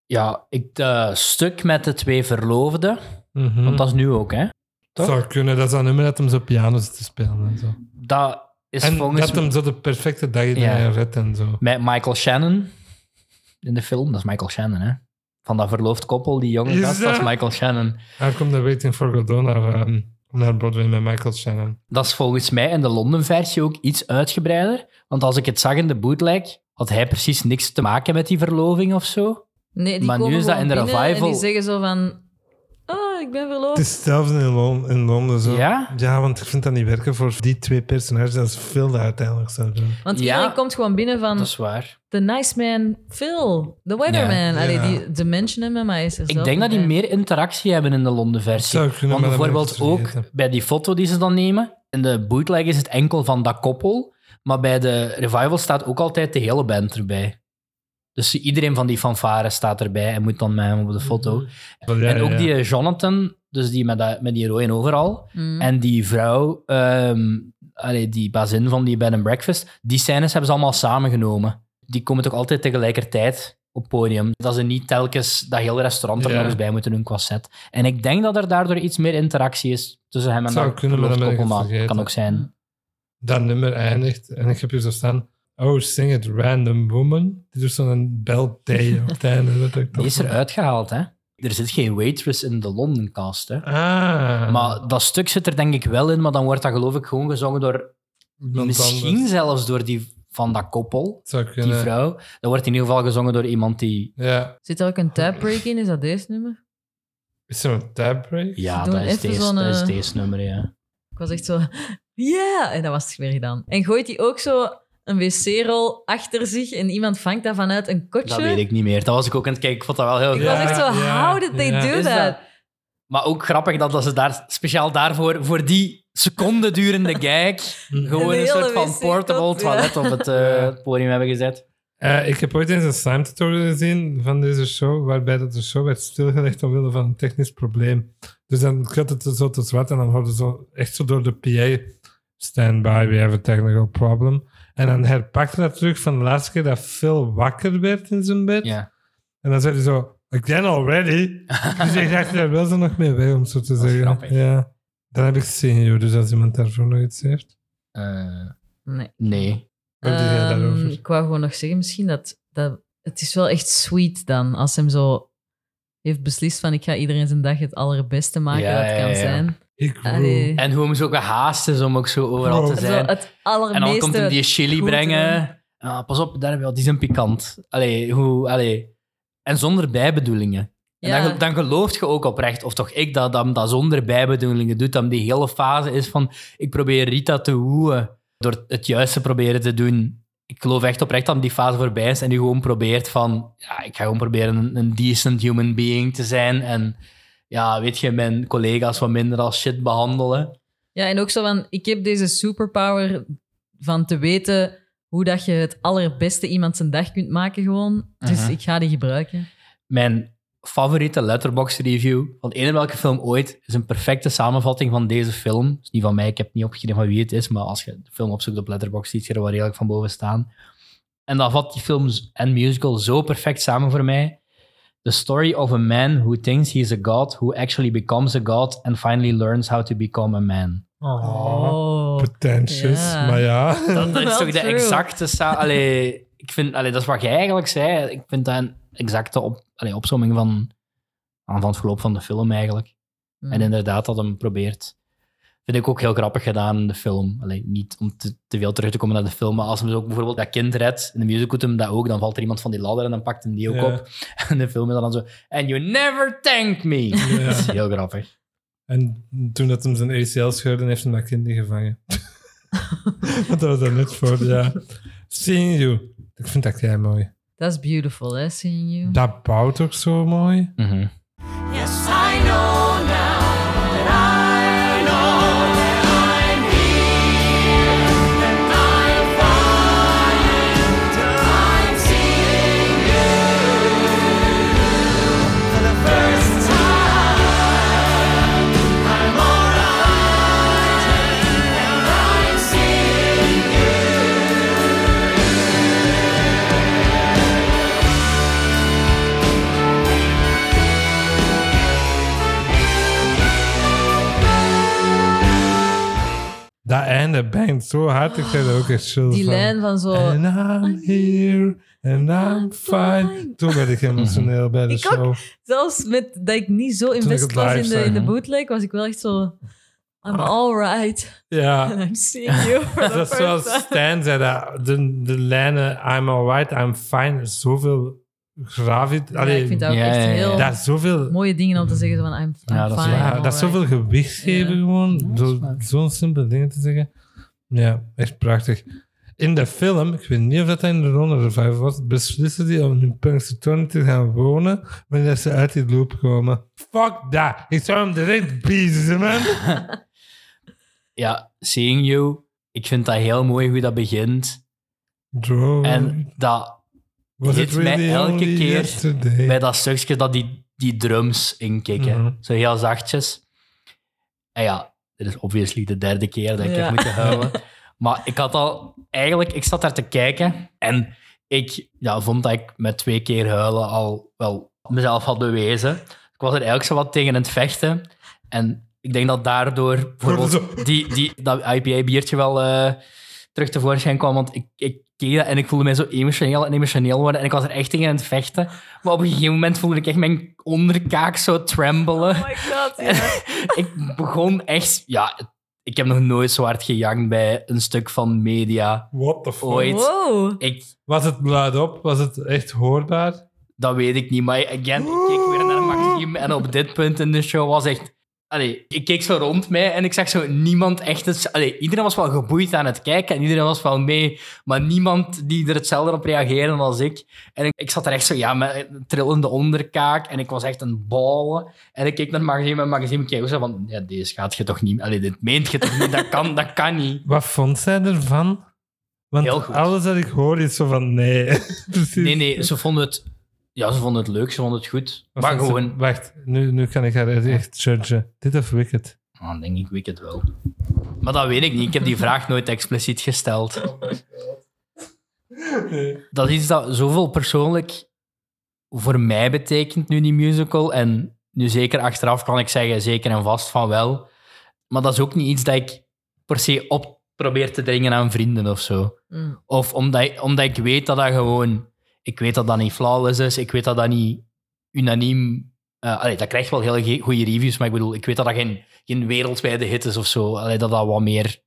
Speaker 3: Ja, ik, eh, stuk met de twee verloofden.
Speaker 1: Mhm.
Speaker 3: Want dat is nu ook, hè? Toch?
Speaker 1: Zou kunnen, dat is dat nummer dat hem zo piano zit te spelen en zo.
Speaker 3: Dat is
Speaker 1: en
Speaker 3: volgens
Speaker 1: dat hem zo de perfecte dag in
Speaker 3: Ja.
Speaker 1: redt en zo.
Speaker 3: met Michael Shannon in de film. Dat is Michael Shannon, hè? Van dat verloofd koppel, die jonge
Speaker 1: Is
Speaker 3: gast, dat is
Speaker 1: dat-
Speaker 3: Michael Shannon.
Speaker 1: Hij komt de Waiting for Godot naar, ehm, naar Broadway met Michael Shannon.
Speaker 3: Dat is volgens mij in de Londen-versie ook iets uitgebreider. Want als ik het zag in de bootleg, had hij precies niks te maken met die verloving of zo.
Speaker 2: Nee, die
Speaker 3: Maar nu
Speaker 2: komen
Speaker 3: is dat
Speaker 2: gewoon
Speaker 3: in de
Speaker 2: binnen en
Speaker 3: revival.
Speaker 2: die zeggen zo van... Oh, ik ben verloofd.
Speaker 1: Het is hetzelfde in, Lon- in Londen zo.
Speaker 3: Ja?
Speaker 1: Ja, want ik vind dat niet werken voor die twee personages. Dat is veel dat uiteindelijk zou doen.
Speaker 2: Want
Speaker 3: Ja.
Speaker 2: iedereen komt gewoon binnen van...
Speaker 3: Dat is waar.
Speaker 2: The Nice Man Phil, The Weatherman.
Speaker 1: Ja.
Speaker 2: Allee,
Speaker 1: Ja.
Speaker 2: die dimension in mij is er
Speaker 3: Ik
Speaker 2: zelf
Speaker 3: denk dat die
Speaker 2: bij.
Speaker 3: meer interactie hebben in de Londen-versie.
Speaker 1: Zou kunnen,
Speaker 3: Want
Speaker 1: maar dat ben ik
Speaker 3: bijvoorbeeld
Speaker 1: dus
Speaker 3: ook
Speaker 1: vergeten.
Speaker 3: bij die foto die ze dan nemen, in de bootleg is het enkel van dat koppel, maar bij de revival staat ook altijd de hele band erbij. Dus iedereen van die fanfare staat erbij en moet dan met hem op de foto.
Speaker 1: Ja,
Speaker 3: en ook
Speaker 1: ja.
Speaker 3: die eh, Jonathan, dus die met, dat, met die rode overal,
Speaker 2: Mm.
Speaker 3: en die vrouw, ehm, allee, die bazin van die bed and breakfast, die scènes hebben ze allemaal samengenomen. Die komen toch altijd tegelijkertijd op podium. Dat ze niet telkens dat hele restaurant er
Speaker 1: Ja.
Speaker 3: nog eens bij moeten doen qua set. En ik denk dat er daardoor iets meer interactie is tussen hem en
Speaker 1: Zou
Speaker 3: dat
Speaker 1: kunnen, maar dan ben ik het
Speaker 3: verloofd koppel, maar
Speaker 1: vergeten.
Speaker 3: Kan ook zijn.
Speaker 1: dat nummer eindigt. En ik heb hier zo staan. Oh, sing it, random woman. Dit is zo'n bel day op het einde. Dat ik
Speaker 3: Die
Speaker 1: toch-
Speaker 3: is er uitgehaald, hè? Er zit geen waitress in de Londoncast, hè?
Speaker 1: Ah.
Speaker 3: Maar dat stuk zit er denk ik wel in, maar dan wordt dat geloof ik gewoon gezongen door...
Speaker 1: iemand
Speaker 3: misschien
Speaker 1: anders.
Speaker 3: zelfs door die van dat koppel,
Speaker 1: Zou
Speaker 3: die
Speaker 1: kunnen.
Speaker 3: vrouw. Dat wordt in ieder geval gezongen door iemand die
Speaker 1: Ja.
Speaker 2: Zit er ook een tabbreak in? Is dat deze nummer?
Speaker 1: Is er een tabbreak?
Speaker 3: Ja,
Speaker 2: Ze doen
Speaker 3: dat is,
Speaker 2: even
Speaker 3: deze,
Speaker 2: zo'n,
Speaker 3: dat is
Speaker 2: eh,
Speaker 3: deze nummer, ja.
Speaker 2: Ik was echt zo... Ja! En dat was het weer gedaan. En gooit hij ook zo een wc-rol achter zich en iemand vangt dat vanuit een kotje?
Speaker 3: Dat weet ik niet meer. Dat was ik ook aan het kijken. Ik vond dat wel heel
Speaker 2: Ik
Speaker 1: Ja,
Speaker 2: was echt zo,
Speaker 1: ja,
Speaker 2: how did they
Speaker 1: ja.
Speaker 2: do
Speaker 3: Is dat-
Speaker 2: that?
Speaker 3: Maar ook grappig dat, dat ze daar speciaal daarvoor, voor die seconde durende gijk, gewoon
Speaker 2: Een
Speaker 3: een soort
Speaker 2: hele
Speaker 3: van
Speaker 2: wc
Speaker 3: portable
Speaker 2: top, ja.
Speaker 3: toilet op het eh, podium hebben gezet.
Speaker 1: Eh, ik heb ooit eens een slime tutorial gezien van deze show, waarbij dat de show werd stilgelegd omwille van een technisch probleem. Dus dan gaat het zo tot zwart en dan hoorden ze echt zo door de PA stand by, we have a technical problem. En dan herpakte dat terug van de laatste keer dat Phil wakker werd in zijn bed.
Speaker 3: Ja.
Speaker 1: En dan zei hij zo, again already. dus ik dacht, daar wil ze nog mee weg, om zo te
Speaker 3: is
Speaker 1: zeggen.
Speaker 3: grappig.
Speaker 1: Ja. Dan heb ik senior, dus als iemand daarvoor nog iets heeft.
Speaker 3: Eh,
Speaker 2: Nee.
Speaker 3: nee.
Speaker 1: Wat doe jij
Speaker 2: Ehm,
Speaker 1: daarover?
Speaker 2: ik wou gewoon nog zeggen, misschien dat, dat... Het is wel echt sweet dan, als hem zo heeft beslist van ik ga iedereen zijn dag het allerbeste maken
Speaker 3: Ja,
Speaker 2: dat het kan
Speaker 3: ja, ja.
Speaker 2: zijn.
Speaker 1: Ik
Speaker 2: Allee.
Speaker 1: wil...
Speaker 3: En hoe hem zo gehaast is om ook zo overal
Speaker 1: Wow.
Speaker 3: te
Speaker 2: Zo,
Speaker 3: zijn.
Speaker 2: het
Speaker 3: En
Speaker 2: allermeeste...
Speaker 3: dan komt hem die chili
Speaker 2: goed
Speaker 3: brengen. Ah, pas op, daar hebben we al, die zijn pikant. Allee, hoe, allee. En zonder bijbedoelingen. En
Speaker 2: Ja.
Speaker 3: dan, ge- dan gelooft je ook oprecht, of toch ik, dat dat, dat zonder bijbedoelingen doet. Dat die hele fase is van, ik probeer Rita te woeien door het juiste proberen te doen. Ik geloof echt oprecht dat die fase voorbij is en die gewoon probeert van, ja, ik ga gewoon proberen een, een decent human being te zijn. En ja, weet je, mijn collega's wat minder als shit behandelen.
Speaker 2: Ja, en ook zo van, ik heb deze superpower van te weten hoe dat je het allerbeste iemand zijn dag kunt maken gewoon. Dus
Speaker 3: Mhm.
Speaker 2: ik ga die gebruiken.
Speaker 3: Mijn favoriete letterbox review van eender welke film ooit is een perfecte samenvatting van deze film. Dus niet van mij, ik heb niet opgeschreven van wie het is, maar als je de film opzoekt op Letterboxd, ziet je er wel redelijk van boven staan. En dat vat die film en musical zo perfect samen voor mij. The story of a man who thinks he is a god, who actually becomes a god and finally learns how to become a man.
Speaker 2: Oh.
Speaker 1: Pretentious,
Speaker 2: Ja.
Speaker 1: Ah, maar ja.
Speaker 3: Dat, dat is
Speaker 2: Wel
Speaker 3: toch de
Speaker 2: true.
Speaker 3: exacte... sa- Allee, ik vind, allee, dat is wat jij eigenlijk zei. Ik vind dat een exacte op, allee, opzomming van, van het verloop van de film eigenlijk.
Speaker 2: Mm.
Speaker 3: En inderdaad, dat hem probeert. Vind ik ook heel grappig gedaan in de film. Allee, niet om te, te veel terug te komen naar de film, maar als hem ook bijvoorbeeld dat kind redt, in de musical doet hem dat ook, dan valt er iemand van die ladder en dan pakt hem die ook
Speaker 1: Ja.
Speaker 3: op. En de film is dan zo, and you never thanked me. Dat is heel grappig.
Speaker 1: En toen dat hem zijn ACL scheurde, heeft hem dat kind niet gevangen. Want dat was daar net voor, ja. Seeing you. Ik vind dat jij mooi.
Speaker 2: That's beautiful, hè, seeing you.
Speaker 1: Dat bouwt ook zo mooi.
Speaker 2: Mm.
Speaker 3: Mhm.
Speaker 4: Yes, I know now that I know that I'm here, that I'm fine, that I'm seeing you for the first time. I'm alright, and I'm seeing you.
Speaker 1: lijn zo hard. Ik zei dat ook echt chill
Speaker 2: Die
Speaker 1: van.
Speaker 2: lijn van zo...
Speaker 1: And I'm here, and I'm fine.
Speaker 2: fine.
Speaker 1: Toen werd ik emotioneel bij de
Speaker 2: Ik ook.
Speaker 1: show.
Speaker 2: Zelfs met dat ik niet zo
Speaker 1: ik
Speaker 2: invest
Speaker 1: het
Speaker 2: was
Speaker 1: live
Speaker 2: in de,
Speaker 1: zag,
Speaker 2: in de
Speaker 1: hè.
Speaker 2: bootleg, was ik wel echt zo... I'm alright.
Speaker 1: Ja,
Speaker 2: And I'm seeing you for the
Speaker 1: dat is zoals
Speaker 2: first time.
Speaker 1: Stan zei, dat de, de lijnen I'm alright, I'm fine, is zoveel gravit.
Speaker 2: Ja, ik vind dat ook
Speaker 3: Ja,
Speaker 2: echt
Speaker 3: ja, ja.
Speaker 2: heel
Speaker 1: dat is zoveel,
Speaker 2: mooie dingen om te zeggen van I'm, I'm
Speaker 3: Ja, dat is
Speaker 2: fine.
Speaker 1: Ah, ja,
Speaker 2: I'm
Speaker 1: dat is zoveel
Speaker 2: alright.
Speaker 1: gewicht geven
Speaker 2: Ja.
Speaker 1: gewoon,
Speaker 3: dat
Speaker 1: door
Speaker 3: is waar.
Speaker 1: zo'n simpele dingen te zeggen. Ja, echt prachtig. In de film, ik weet niet of dat in de Ronde Revival was, beslissen die om in Punxsutawney te gaan wonen wanneer ze uit die loop komen. Fuck dat! Ik zou hem direct biezen, man.
Speaker 3: Ja, Seeing You, ik vind dat heel mooi hoe dat begint.
Speaker 1: Drone.
Speaker 2: Hmm.
Speaker 3: En dat,
Speaker 1: was
Speaker 3: dit mij elke
Speaker 1: only
Speaker 3: keer
Speaker 1: yesterday?
Speaker 3: bij dat stukje dat die, die drums inkikken.
Speaker 1: Mhm.
Speaker 3: Zo heel zachtjes. En ja, dit is obviously de derde keer dat ik
Speaker 2: Ja.
Speaker 3: heb moeten huilen. Maar ik had al... Eigenlijk, ik zat daar te kijken en ik ja, vond dat ik met twee keer huilen al wel mezelf had bewezen. Ik was er eigenlijk zo wat tegen aan het vechten. En ik denk dat daardoor bijvoorbeeld die, die, dat IPA-biertje wel eh, terug tevoorschijn kwam. Want ik, ik keek dat en ik voelde mij zo emotioneel en emotioneel worden. En ik was er echt tegen aan het vechten. Maar op een gegeven moment voelde ik echt mijn onderkaak zo trembelen.
Speaker 2: Oh my god, ja.
Speaker 3: ik begon echt... Ja, ik heb nog nooit zo hard gejankt bij een stuk van media
Speaker 1: What the fuck?
Speaker 3: ooit.
Speaker 2: Wow.
Speaker 3: Ik,
Speaker 1: Was het luid op? Was het echt hoorbaar?
Speaker 3: dat weet ik niet, maar again, ik keek weer naar Maxime en op dit punt in de show was echt... Allee, ik keek zo rond mij en ik zag zo niemand echt... Het, allee, iedereen was wel geboeid aan het kijken en iedereen was wel mee, maar niemand die er hetzelfde op reageerde als ik. En ik, ik zat er echt zo, ja, met een trillende onderkaak en ik was echt een ballen. En ik keek naar Maxime en Maxime keek ook zo van, ja, deze gaat je toch niet... Allee, dit meent je toch niet, dat kan, dat kan niet.
Speaker 1: Wat vond zij ervan? Want
Speaker 3: Heel goed.
Speaker 1: alles dat ik hoor is zo van nee. Precies.
Speaker 3: Nee, nee, ze vonden het... Ja, ze vonden het leuk, ze vonden het goed.
Speaker 1: Wat
Speaker 3: Maar
Speaker 1: vond ze-
Speaker 3: gewoon...
Speaker 1: Wacht, nu, nu kan ik haar echt judgen. Dit of Wicked?
Speaker 3: Ah, Dan denk ik, weet het wel. Maar dat weet ik niet. Ik heb die vraag nooit expliciet gesteld. Dat is iets dat zoveel persoonlijk voor mij betekent, nu die musical. En nu zeker achteraf kan ik zeggen, zeker en vast van wel. Maar dat is ook niet iets dat ik per se op probeer te dringen aan vrienden of zo.
Speaker 2: Mm.
Speaker 3: Of omdat, ik- omdat ik weet dat dat gewoon... Ik weet dat dat niet flawless is. Ik weet dat dat niet unaniem... eh, allee, dat krijgt wel heel ge- goede reviews, maar ik bedoel, ik weet dat dat geen, geen wereldwijde hit is of zo. Allee, dat dat wat meer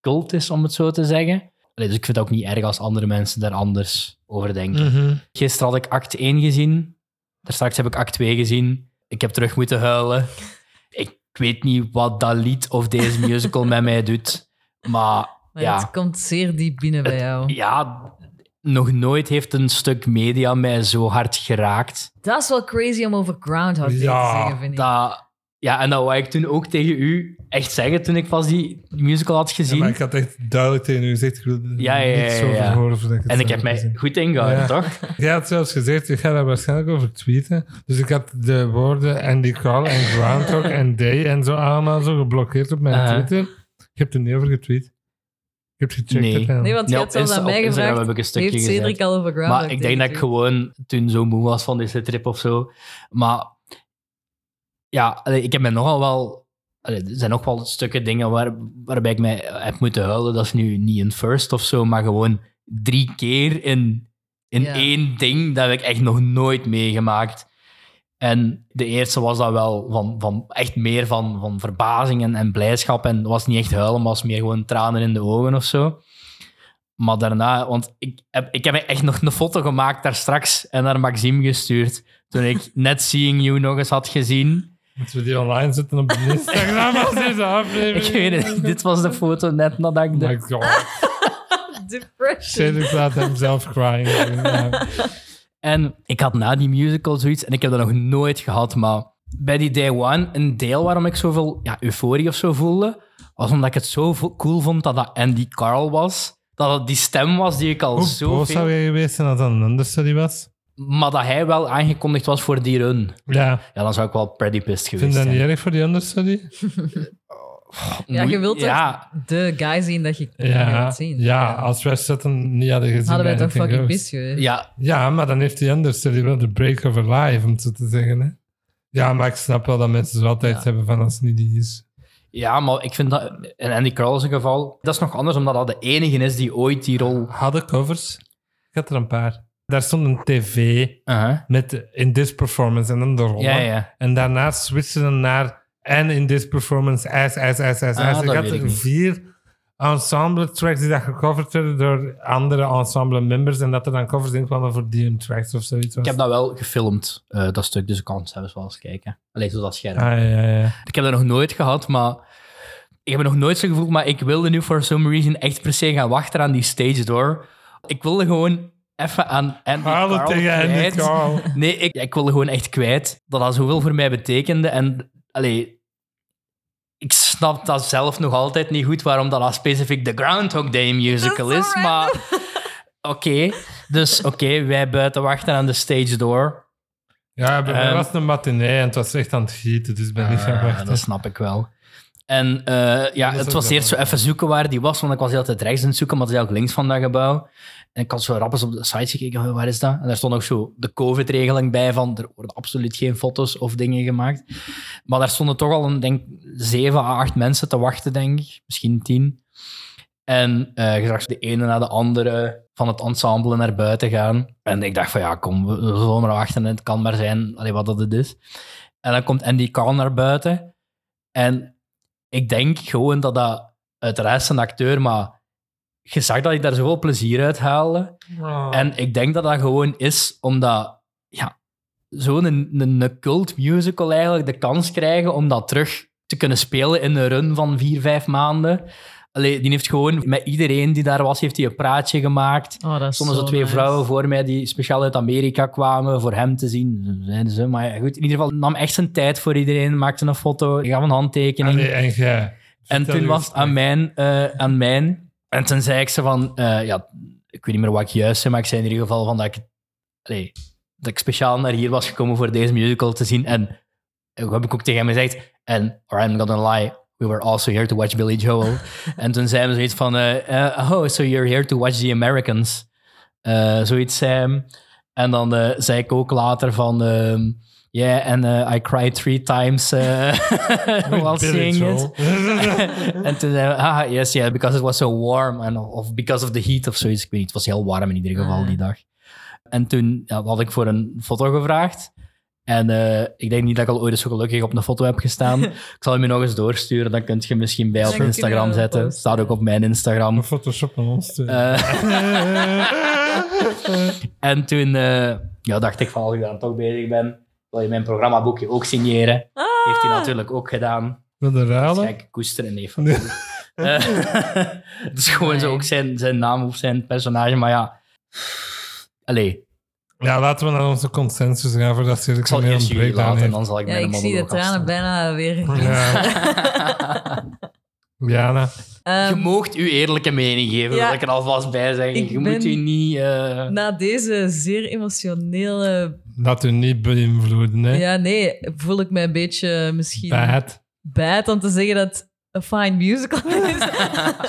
Speaker 3: cult is, om het zo te zeggen. Allee, dus ik vind het ook niet erg als andere mensen daar anders over denken. Gisteren had ik act 1 gezien. Daarstraks heb ik act 2 gezien. Ik heb terug moeten huilen. Ik weet niet wat dat lied of deze musical met mij doet. Maar,
Speaker 2: Maar
Speaker 3: ja.
Speaker 2: het komt zeer diep binnen bij jou.
Speaker 3: Ja, nog nooit heeft een stuk media mij zo hard geraakt.
Speaker 2: Dat is wel crazy om over Groundhog Day
Speaker 1: Ja,
Speaker 2: te zeggen, vind ik.
Speaker 3: Dat, ja, en dat wou ik toen ook tegen u echt zeggen toen ik pas die musical had
Speaker 1: Ja,
Speaker 3: gezien.
Speaker 1: maar ik had echt duidelijk tegen u gezegd, ik wil er
Speaker 3: Ja, ja, ja,
Speaker 1: niets over
Speaker 3: ja.
Speaker 1: horen voordat ik het
Speaker 3: en ik
Speaker 1: zelf
Speaker 3: heb mij
Speaker 1: gezien.
Speaker 3: goed ingehouden,
Speaker 1: Ja.
Speaker 3: toch?
Speaker 1: Jij had zelfs gezegd, ik ga daar waarschijnlijk over tweeten. Dus ik had de woorden Andy Call en Groundhog en Day en zo allemaal zo geblokkeerd op mijn
Speaker 3: Uh-huh.
Speaker 1: Twitter. Ik heb er niet over getweet. Ik heb gecheckt.
Speaker 3: Nee.
Speaker 1: uiteindelijk.
Speaker 2: Nee, want je
Speaker 3: Ja,
Speaker 2: had zelfs
Speaker 3: Insta-
Speaker 2: aan mij
Speaker 3: op Instagram
Speaker 2: gevraagd,
Speaker 3: heb ik een stukje
Speaker 2: heeft Cedric
Speaker 3: gezet.
Speaker 2: al over Groundhog
Speaker 3: Maar ik
Speaker 2: Day
Speaker 3: denk dat ik
Speaker 2: gezien?
Speaker 3: gewoon toen zo moe was van deze trip of zo. Maar ja, allee, ik heb me nogal wel. allee, er zijn nog wel stukken dingen waar, waarbij ik mij heb moeten huilen. Dat is nu niet een first of zo, maar gewoon drie keer in, in
Speaker 2: Ja.
Speaker 3: één ding. Dat heb ik echt nog nooit meegemaakt. En de eerste was dat wel van, van echt meer van, van verbazing en, en blijdschap. En het was niet echt huilen, maar was meer gewoon tranen in de ogen of zo. Maar daarna, want ik heb, ik heb echt nog een foto gemaakt daar straks en naar Maxime gestuurd. Toen ik net Seeing You nog eens had gezien.
Speaker 1: Moeten we die online zetten op de Instagram als deze aflevering?
Speaker 3: Ik weet het, dit was de foto net nadat ik
Speaker 1: Oh
Speaker 3: de-
Speaker 1: my god.
Speaker 2: Depression.
Speaker 1: Cedric laat hem zelf crying. Ja.
Speaker 3: En ik had na die musical zoiets, en ik heb dat nog nooit gehad, maar bij die Day One, een deel waarom ik zoveel ja, euforie of zo voelde, was omdat ik het zo vo- cool vond dat dat Andy Carl was. Dat het die stem was die ik al
Speaker 1: Hoe
Speaker 3: zo
Speaker 1: boos
Speaker 3: veel...
Speaker 1: zou jij geweest zijn als dat een understudy was?
Speaker 3: Maar dat hij wel aangekondigd was voor die run.
Speaker 1: Ja.
Speaker 3: Ja, dan zou ik wel pretty pissed
Speaker 1: Vind
Speaker 3: geweest
Speaker 1: je dat
Speaker 3: zijn.
Speaker 1: niet erg voor die understudy?
Speaker 2: Ja, je wilt toch
Speaker 3: Ja,
Speaker 2: de guy zien dat je niet
Speaker 1: Ja.
Speaker 2: wilt zien.
Speaker 1: Ja, als wij Sutton niet hadden gezien.
Speaker 2: Hadden wij
Speaker 1: bij
Speaker 2: toch
Speaker 1: Anything
Speaker 2: fucking
Speaker 1: Goes.
Speaker 2: pis geweest.
Speaker 3: ja,
Speaker 1: Ja, maar dan heeft die understudy wel de break of her life, om het zo te zeggen. Hè? Ja, maar ik snap wel dat mensen zo altijd
Speaker 2: Ja.
Speaker 1: hebben van als het niet die is.
Speaker 3: Ja, maar ik vind dat in Andy Carroll zijn geval, dat is nog anders, omdat dat de enige is die ooit die rol.
Speaker 1: Hadden covers? Ik had er een paar. Daar stond een tv
Speaker 3: Uh-huh.
Speaker 1: met in this performance en dan de rollen.
Speaker 3: Ja, ja.
Speaker 1: En daarna switchen ze naar en in this performance as, as, as, as,
Speaker 3: Ah,
Speaker 1: as. Ik
Speaker 3: dat
Speaker 1: had
Speaker 3: weet ik niet.
Speaker 1: vier ensemble tracks die dat gecoverd werden door andere ensemble members en dat er dan covers in kwamen voor DM tracks of zoiets.
Speaker 3: Ik
Speaker 1: was.
Speaker 3: heb dat wel gefilmd, eh, dat stuk, dus ik kan het zelfs wel eens kijken. Alleen zo dat scherm.
Speaker 1: Ah, ja, ja, ja.
Speaker 3: Ik heb dat nog nooit gehad, maar... Ik heb het nog nooit zo gevoeld, maar ik wilde nu for some reason echt per se gaan wachten aan die stage door. Ik wilde gewoon even aan Andy
Speaker 1: Halen
Speaker 3: Carroll
Speaker 1: tegen Andy
Speaker 3: kwijt.
Speaker 1: Carl.
Speaker 3: Nee, ik, ik wilde gewoon echt kwijt dat dat zoveel voor mij betekende. En allee, ik snap dat zelf nog altijd niet goed waarom dat, dat specifiek de Groundhog Day musical
Speaker 7: Dat
Speaker 3: is.
Speaker 7: is zo
Speaker 3: maar oké, dus oké, wij buiten wachten aan de stage door.
Speaker 1: Ja, bij mij
Speaker 3: Ehm.
Speaker 1: was het een matinee en het was echt aan het gieten, dus ik ben niet gaan
Speaker 3: Ah,
Speaker 1: wachten.
Speaker 3: dat snap ik wel. En eh, ja,
Speaker 1: is
Speaker 3: het
Speaker 1: ook
Speaker 3: was
Speaker 1: wel
Speaker 3: eerst zo
Speaker 1: waar,
Speaker 3: even zoeken waar die was, want ik was de hele tijd rechts aan het zoeken, maar het is eigenlijk links van dat gebouw. En ik had zo rap eens op de site gekeken, "Oh, waar is dat? En daar stond ook zo de COVID-regeling bij van, er worden absoluut geen foto's of dingen gemaakt. Maar daar stonden toch al, een, denk zeven à acht mensen te wachten, denk ik. Misschien tien. En eh je zag de ene na de andere van het ensemble naar buiten gaan. En ik dacht van, ja, kom, we, we zullen maar wachten. Het kan maar zijn allee, wat dat het is. En dan komt Andy Carl naar buiten. En ik denk gewoon dat dat... Uiteraard is een acteur, maar... Je zag dat hij daar zoveel plezier uit haalde.
Speaker 2: Ah.
Speaker 1: Oh.
Speaker 3: En ik denk dat dat gewoon is omdat... Ja, zo'n een, een cult musical eigenlijk de kans krijgen om dat terug te kunnen spelen in een run van vier, vijf maanden. Allee, die heeft gewoon... Met iedereen die daar was, heeft hij een praatje gemaakt.
Speaker 2: Oh, dat is
Speaker 3: Stonden zo
Speaker 2: zo
Speaker 3: twee
Speaker 2: nice.
Speaker 3: vrouwen voor mij die speciaal uit Amerika kwamen voor hem te zien. Zo Zeiden ze. Maar ja, goed, in ieder geval nam echt zijn tijd voor iedereen, maakte een foto, gaf een handtekening.
Speaker 1: Allee, en jij?
Speaker 3: en
Speaker 1: Vertel
Speaker 3: toen
Speaker 1: uw
Speaker 3: was het aan mijn, eh, aan mijn. En toen zei ik ze van, eh, ja, ik weet niet meer wat ik juist zei, maar ik zei in ieder geval van dat ik, allee, dat ik speciaal naar hier was gekomen voor deze musical te zien. En eh, wat heb ik ook tegen hem gezegd? En, or I'm not gonna lie, we were also here to watch Billy Joel. en toen zei hij zoiets van, eh, eh, oh, so you're here to watch the Americans. Eh, zoiets zei hem. En dan eh, zei ik ook later van... ehm Yeah, and eh, I cried three times eh, while
Speaker 1: Billy
Speaker 3: seeing it.
Speaker 1: Joel.
Speaker 3: en toen zei we, ah, yes, yeah, because it was so warm. And, of because of the heat of zoiets. Ik weet niet, het was heel warm in ieder geval die dag. En toen ja, had ik voor een foto gevraagd. En eh, ik denk niet dat ik al ooit zo gelukkig op een foto heb gestaan. ik zal hem je nog eens doorsturen, dan kunt je misschien bij op
Speaker 2: kunnen we
Speaker 3: Instagram
Speaker 2: wel
Speaker 3: zetten.
Speaker 2: posten.
Speaker 3: Staat ook op mijn Instagram.
Speaker 1: Een Photoshop aan ons te-
Speaker 3: Eh, en toen eh, ja, dacht ik van, als ik dan toch bezig ben, wil je mijn programmaboekje ook signeren. Heeft hij natuurlijk ook gedaan.
Speaker 1: Wil je ruilen?
Speaker 3: Kijk, koesteren en even. Het is gewoon zo ook zijn, zijn naam of zijn personage, maar ja. Allee,
Speaker 1: Ja, laten we naar onze consensus gaan voordat Cirque
Speaker 3: ik zal
Speaker 1: meer een
Speaker 3: eerst jullie
Speaker 1: breakdown
Speaker 3: laten en
Speaker 1: heeft.
Speaker 3: dan zal ik
Speaker 2: Ja,
Speaker 3: mijn
Speaker 2: ik zie de
Speaker 3: monoloog
Speaker 2: tranen
Speaker 3: afsluiten.
Speaker 2: bijna weer.
Speaker 1: Ja, Jana.
Speaker 2: Ehm,
Speaker 3: Je moogt uw eerlijke mening geven,
Speaker 2: Ja.
Speaker 3: wil ik er alvast bij zeggen.
Speaker 2: Ik
Speaker 3: je
Speaker 2: ben-
Speaker 3: moet je niet... eh,
Speaker 2: na deze zeer emotionele...
Speaker 1: Laat u niet beïnvloeden, hè.
Speaker 2: Ja, nee, voel ik mij een beetje misschien
Speaker 1: Bad.
Speaker 2: bad om te zeggen dat het een fine musical is.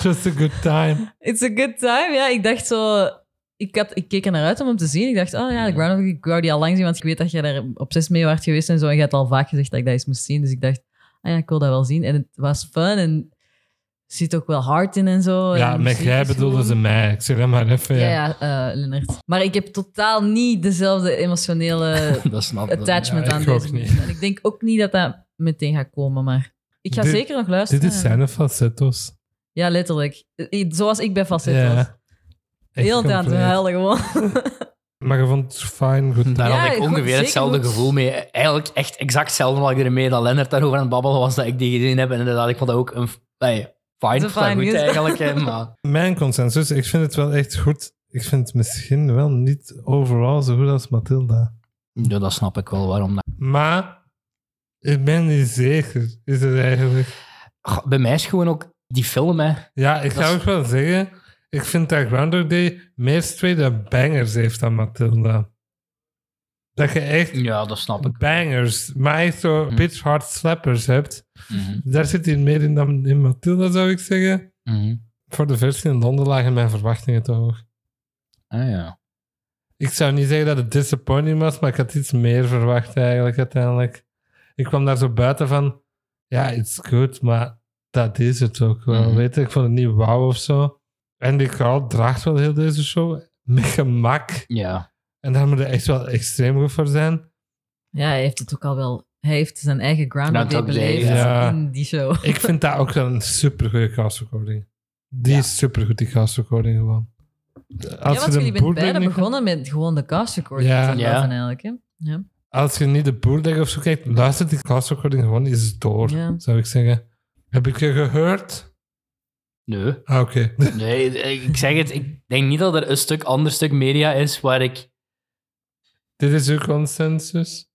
Speaker 1: Just a good time.
Speaker 2: It's a good time. Ja, ik dacht zo... Ik, had, ik keek er naar uit om hem te zien. Ik dacht, oh ja, de Groundhog, Day, ik wou die al lang zien, want ik weet dat jij daar op zes mee werd geweest en zo. En je had al vaak gezegd dat ik dat eens moest zien. Dus ik dacht, ah ja, ik wil dat wel zien. En het was fun en er zit ook wel hard in en zo.
Speaker 1: Ja,
Speaker 2: En Oh, de
Speaker 1: met
Speaker 2: muziek
Speaker 1: jij
Speaker 2: is
Speaker 1: bedoelden
Speaker 2: gewoon-
Speaker 1: ze mij. Ik zeg dat maar even.
Speaker 2: Ja,
Speaker 1: Ja.
Speaker 2: ja, eh, Lennart. Maar ik heb totaal niet dezelfde emotionele
Speaker 3: dat snap ik.
Speaker 2: attachment
Speaker 1: Ja, ik
Speaker 2: aan
Speaker 1: ook
Speaker 2: deze
Speaker 1: niet.
Speaker 2: muziek. En ik denk ook niet dat dat meteen gaat komen, maar ik ga
Speaker 1: Dit-
Speaker 2: zeker nog luisteren.
Speaker 1: Dit is zijn falsetto's.
Speaker 2: Ja, letterlijk. I- Zoals ik bij Facet was.
Speaker 1: Ja. Echt
Speaker 2: Heel aan het
Speaker 1: compleet.
Speaker 2: huilen gewoon.
Speaker 1: Maar je vond het fijn, goed
Speaker 3: Daar
Speaker 1: time.
Speaker 2: Ja,
Speaker 3: had ik
Speaker 2: goed,
Speaker 3: ongeveer
Speaker 2: zeker
Speaker 3: hetzelfde
Speaker 2: goed.
Speaker 3: gevoel mee. Eigenlijk echt exact hetzelfde wat ik ermee dat Lennart daarover aan het babbelen was, dat ik die gezien heb. En inderdaad, ik vond dat ook een... Hey,
Speaker 2: is een
Speaker 3: fine, ik vond dat
Speaker 2: fine
Speaker 3: goed
Speaker 2: musical.
Speaker 3: eigenlijk, hè, maar...
Speaker 2: Hm.
Speaker 1: Mijn consensus, ik vind het wel echt goed. Ik vind het misschien wel niet overal zo goed als Mathilda.
Speaker 3: Ja, dat snap ik wel waarom. dat-
Speaker 1: Maar ik ben niet zeker, is het eigenlijk.
Speaker 3: Goh, bij mij is gewoon ook die film, hè.
Speaker 1: Ja, ik
Speaker 3: Dat
Speaker 1: zou
Speaker 3: is-
Speaker 1: ook wel zeggen, ik vind dat Groundhog Day meer straight up bangers heeft dan Matilda. Dat je echt
Speaker 3: Ja, dat snap ik.
Speaker 1: bangers, maar echt zo
Speaker 3: Mhm.
Speaker 1: bitch hard slappers hebt. Daar zit hij meer in dan in Matilda, zou ik zeggen.
Speaker 3: Mhm.
Speaker 1: Voor de versie in Londen lagen mijn verwachtingen te hoog.
Speaker 3: Ah ja.
Speaker 1: Ik zou niet zeggen dat het disappointing was, maar ik had iets meer verwacht eigenlijk uiteindelijk. Ik kwam daar zo buiten van, ja, it's good, maar dat is het ook wel.
Speaker 3: Mhm.
Speaker 1: Weet je, ik vond het niet wauw of zo. Andy Carl draagt wel heel deze show met gemak.
Speaker 3: Ja.
Speaker 1: En daar moet je echt wel extreem goed voor zijn.
Speaker 2: Ja, hij heeft het ook al wel... Hij heeft zijn eigen Groundhog Day
Speaker 3: Groundhog Day,
Speaker 2: beleefd
Speaker 1: ja.
Speaker 2: in die show.
Speaker 1: Ik vind dat ook wel een supergoeie cast recording. Die is supergoed, die cast recording gewoon.
Speaker 2: ja, want jullie bent
Speaker 1: bootleg
Speaker 2: beide
Speaker 1: niet-
Speaker 2: begonnen met gewoon de cast recording
Speaker 1: Ja.
Speaker 2: van
Speaker 3: Ja.
Speaker 2: Love eigenlijk. Hè? Ja.
Speaker 1: Als je niet de bootleg of zo kijkt, luister die cast recording gewoon eens door,
Speaker 2: Ja.
Speaker 1: zou ik zeggen. Heb ik je gehoord?
Speaker 3: Nee.
Speaker 1: Ah, oké.
Speaker 3: Nee, ik zeg het. Ik denk niet dat er een stuk ander stuk media is waar ik...
Speaker 1: Dit is uw consensus.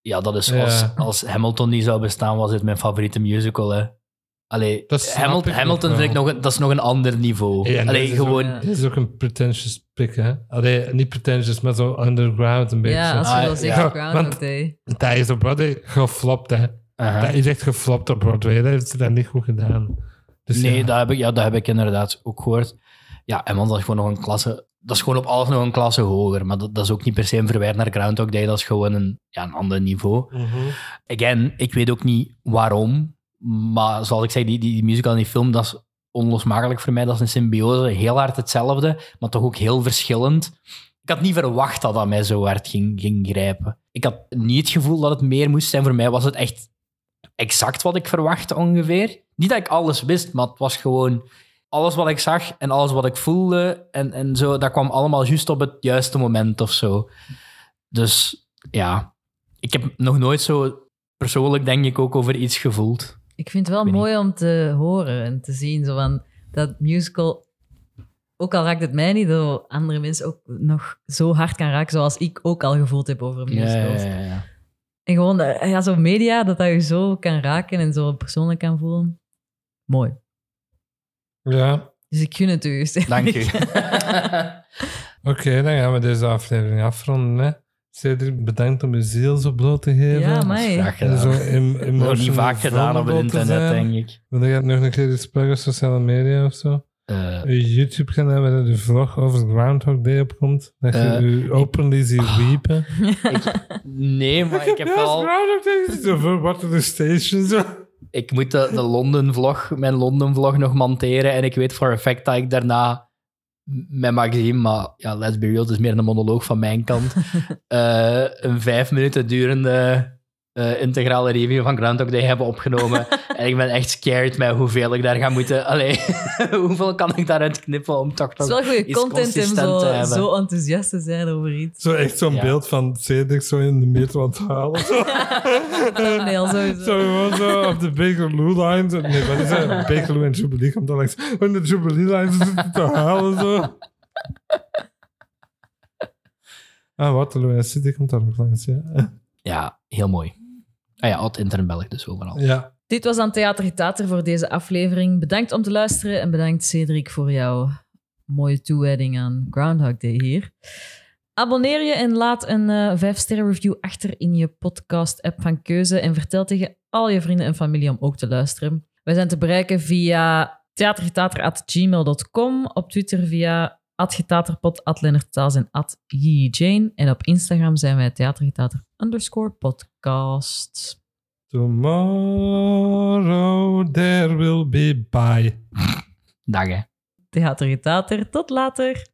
Speaker 3: Ja, dat is
Speaker 1: Ja.
Speaker 3: als, als Hamilton die zou bestaan, was dit mijn favoriete musical, hè. Allee,
Speaker 1: Dat snap
Speaker 3: Hamil-
Speaker 1: ik ook
Speaker 3: Hamilton vind ik
Speaker 1: wel.
Speaker 3: nog, een- dat is nog een ander niveau.
Speaker 1: Ja, en
Speaker 3: Allee,
Speaker 1: dit is
Speaker 3: gewoon...
Speaker 2: ook-
Speaker 1: Dit is ook een pretentious pik, hè? Allee, niet pretentious, maar zo underground een beetje.
Speaker 2: ja, als je
Speaker 3: Ah,
Speaker 2: wel zegt
Speaker 1: ja.
Speaker 2: Groundhog
Speaker 1: Want-
Speaker 2: Day.
Speaker 1: Dat is op Broadway geflopt, hè?
Speaker 3: Aha.
Speaker 1: Dat is echt geflopt op Broadway. Dat heeft ze dat niet goed gedaan. Dus
Speaker 3: nee,
Speaker 1: ja.
Speaker 3: dat, heb ik, ja, dat heb ik inderdaad ook gehoord. Ja, en want dat is gewoon nog een klasse... Dat is gewoon op alles nog een klasse hoger. Maar dat, dat is ook niet per se een verwijt naar Groundhog Day. Dat is gewoon een, ja, een ander niveau.
Speaker 1: Mhm.
Speaker 3: Again, ik weet ook niet waarom. Maar zoals ik zei, die, die, die musical en die film, dat is onlosmakelijk voor mij. Dat is een symbiose. Heel hard hetzelfde, maar toch ook heel verschillend. Ik had niet verwacht dat dat mij zo hard ging, ging grijpen. Ik had niet het gevoel dat het meer moest zijn. Voor mij was het echt exact wat ik verwachtte ongeveer. Niet dat ik alles wist, maar het was gewoon alles wat ik zag en alles wat ik voelde. En, en zo, dat kwam allemaal juist op het juiste moment of zo. Dus ja, ik heb nog nooit zo persoonlijk, denk ik, ook over iets gevoeld.
Speaker 2: Ik vind het wel
Speaker 3: Ik weet
Speaker 2: mooi om te horen en te zien zo van dat musical. Ook al raakt het mij niet, dat andere mensen ook nog zo hard kan raken, zoals ik ook al gevoeld heb over
Speaker 3: Dus
Speaker 2: musicals.
Speaker 3: ja.
Speaker 2: En gewoon dat- ja, zo'n media, dat dat je zo kan raken en zo persoonlijk kan voelen. Mooi.
Speaker 1: Ja,
Speaker 2: Dus ik gun het u. Stefan.
Speaker 3: Dank u.
Speaker 1: oké, dan gaan we deze aflevering afronden. Hè. Cedric, bedankt om je ziel zo bloot te geven.
Speaker 2: Ja, mij.
Speaker 3: Graag
Speaker 1: En zo
Speaker 3: gedaan.
Speaker 1: em-
Speaker 3: Nog niet
Speaker 1: emotioneel
Speaker 3: vaak gedaan op het
Speaker 1: vulnerable te
Speaker 3: internet,
Speaker 1: zijn.
Speaker 3: denk ik.
Speaker 1: Wil je het nog een keer iets pluggen, sociale media of zo?
Speaker 3: Eh,
Speaker 1: Uw YouTube-kanaal waar de vlog over Groundhog Day op komt. Dat je
Speaker 3: Eh,
Speaker 1: u openly ziet wiepen.
Speaker 3: nee, maar ik heb wel...
Speaker 1: Groundhog Day is zo voor Water the Station. Zo.
Speaker 3: Ik moet de, de Londen-vlog, mijn Londen-vlog nog monteren. En ik weet voor een fact dat ik daarna m- met Maxime, maar ja, let's be real, het is meer een monoloog van mijn kant, eh, een vijf minuten durende eh, integrale review van Groundhog Day hebben opgenomen. en ik ben echt scared met hoeveel ik daar ga moeten... Allee, hoeveel kan ik daaruit knippen om toch
Speaker 2: Het is
Speaker 3: nog...
Speaker 2: wel goede
Speaker 3: Iets
Speaker 2: content om
Speaker 3: consistent eh, te
Speaker 2: zo,
Speaker 3: hebben.
Speaker 2: zo enthousiast te zijn over iets.
Speaker 1: zo echt zo'n
Speaker 3: Ja.
Speaker 1: beeld van Cedric zo in de metro aan het halen. Zo,
Speaker 2: Thumbnail sowieso.
Speaker 1: zo gewoon zo op de Bakerloo line. Zo, nee, wat is dat? Bakerloo en Jubilee komt dan langs. En de Jubilee line zitten te halen. Zo. Ah, Waterloo en City komt daar ook langs, ja.
Speaker 3: Ja, heel mooi. Ah ja, het internet Belg dus overal.
Speaker 1: Ja,
Speaker 2: Dit was dan Theater Tater voor deze aflevering. Bedankt om te luisteren en bedankt Cedric voor jouw mooie toewijding aan Groundhog Day hier. Abonneer je en laat een eh 5-sterren review achter in je podcast-app van keuze en vertel tegen al je vrienden en familie om ook te luisteren. Wij zijn te bereiken via theatergetater.gmail.com, op Twitter via atgetaterpod, atlennertaals en at Jane. En op Instagram zijn wij theatergetater underscore podcast.
Speaker 1: Tomorrow there will be bye.
Speaker 3: Dag hè.
Speaker 2: Theater Getater. Tot later.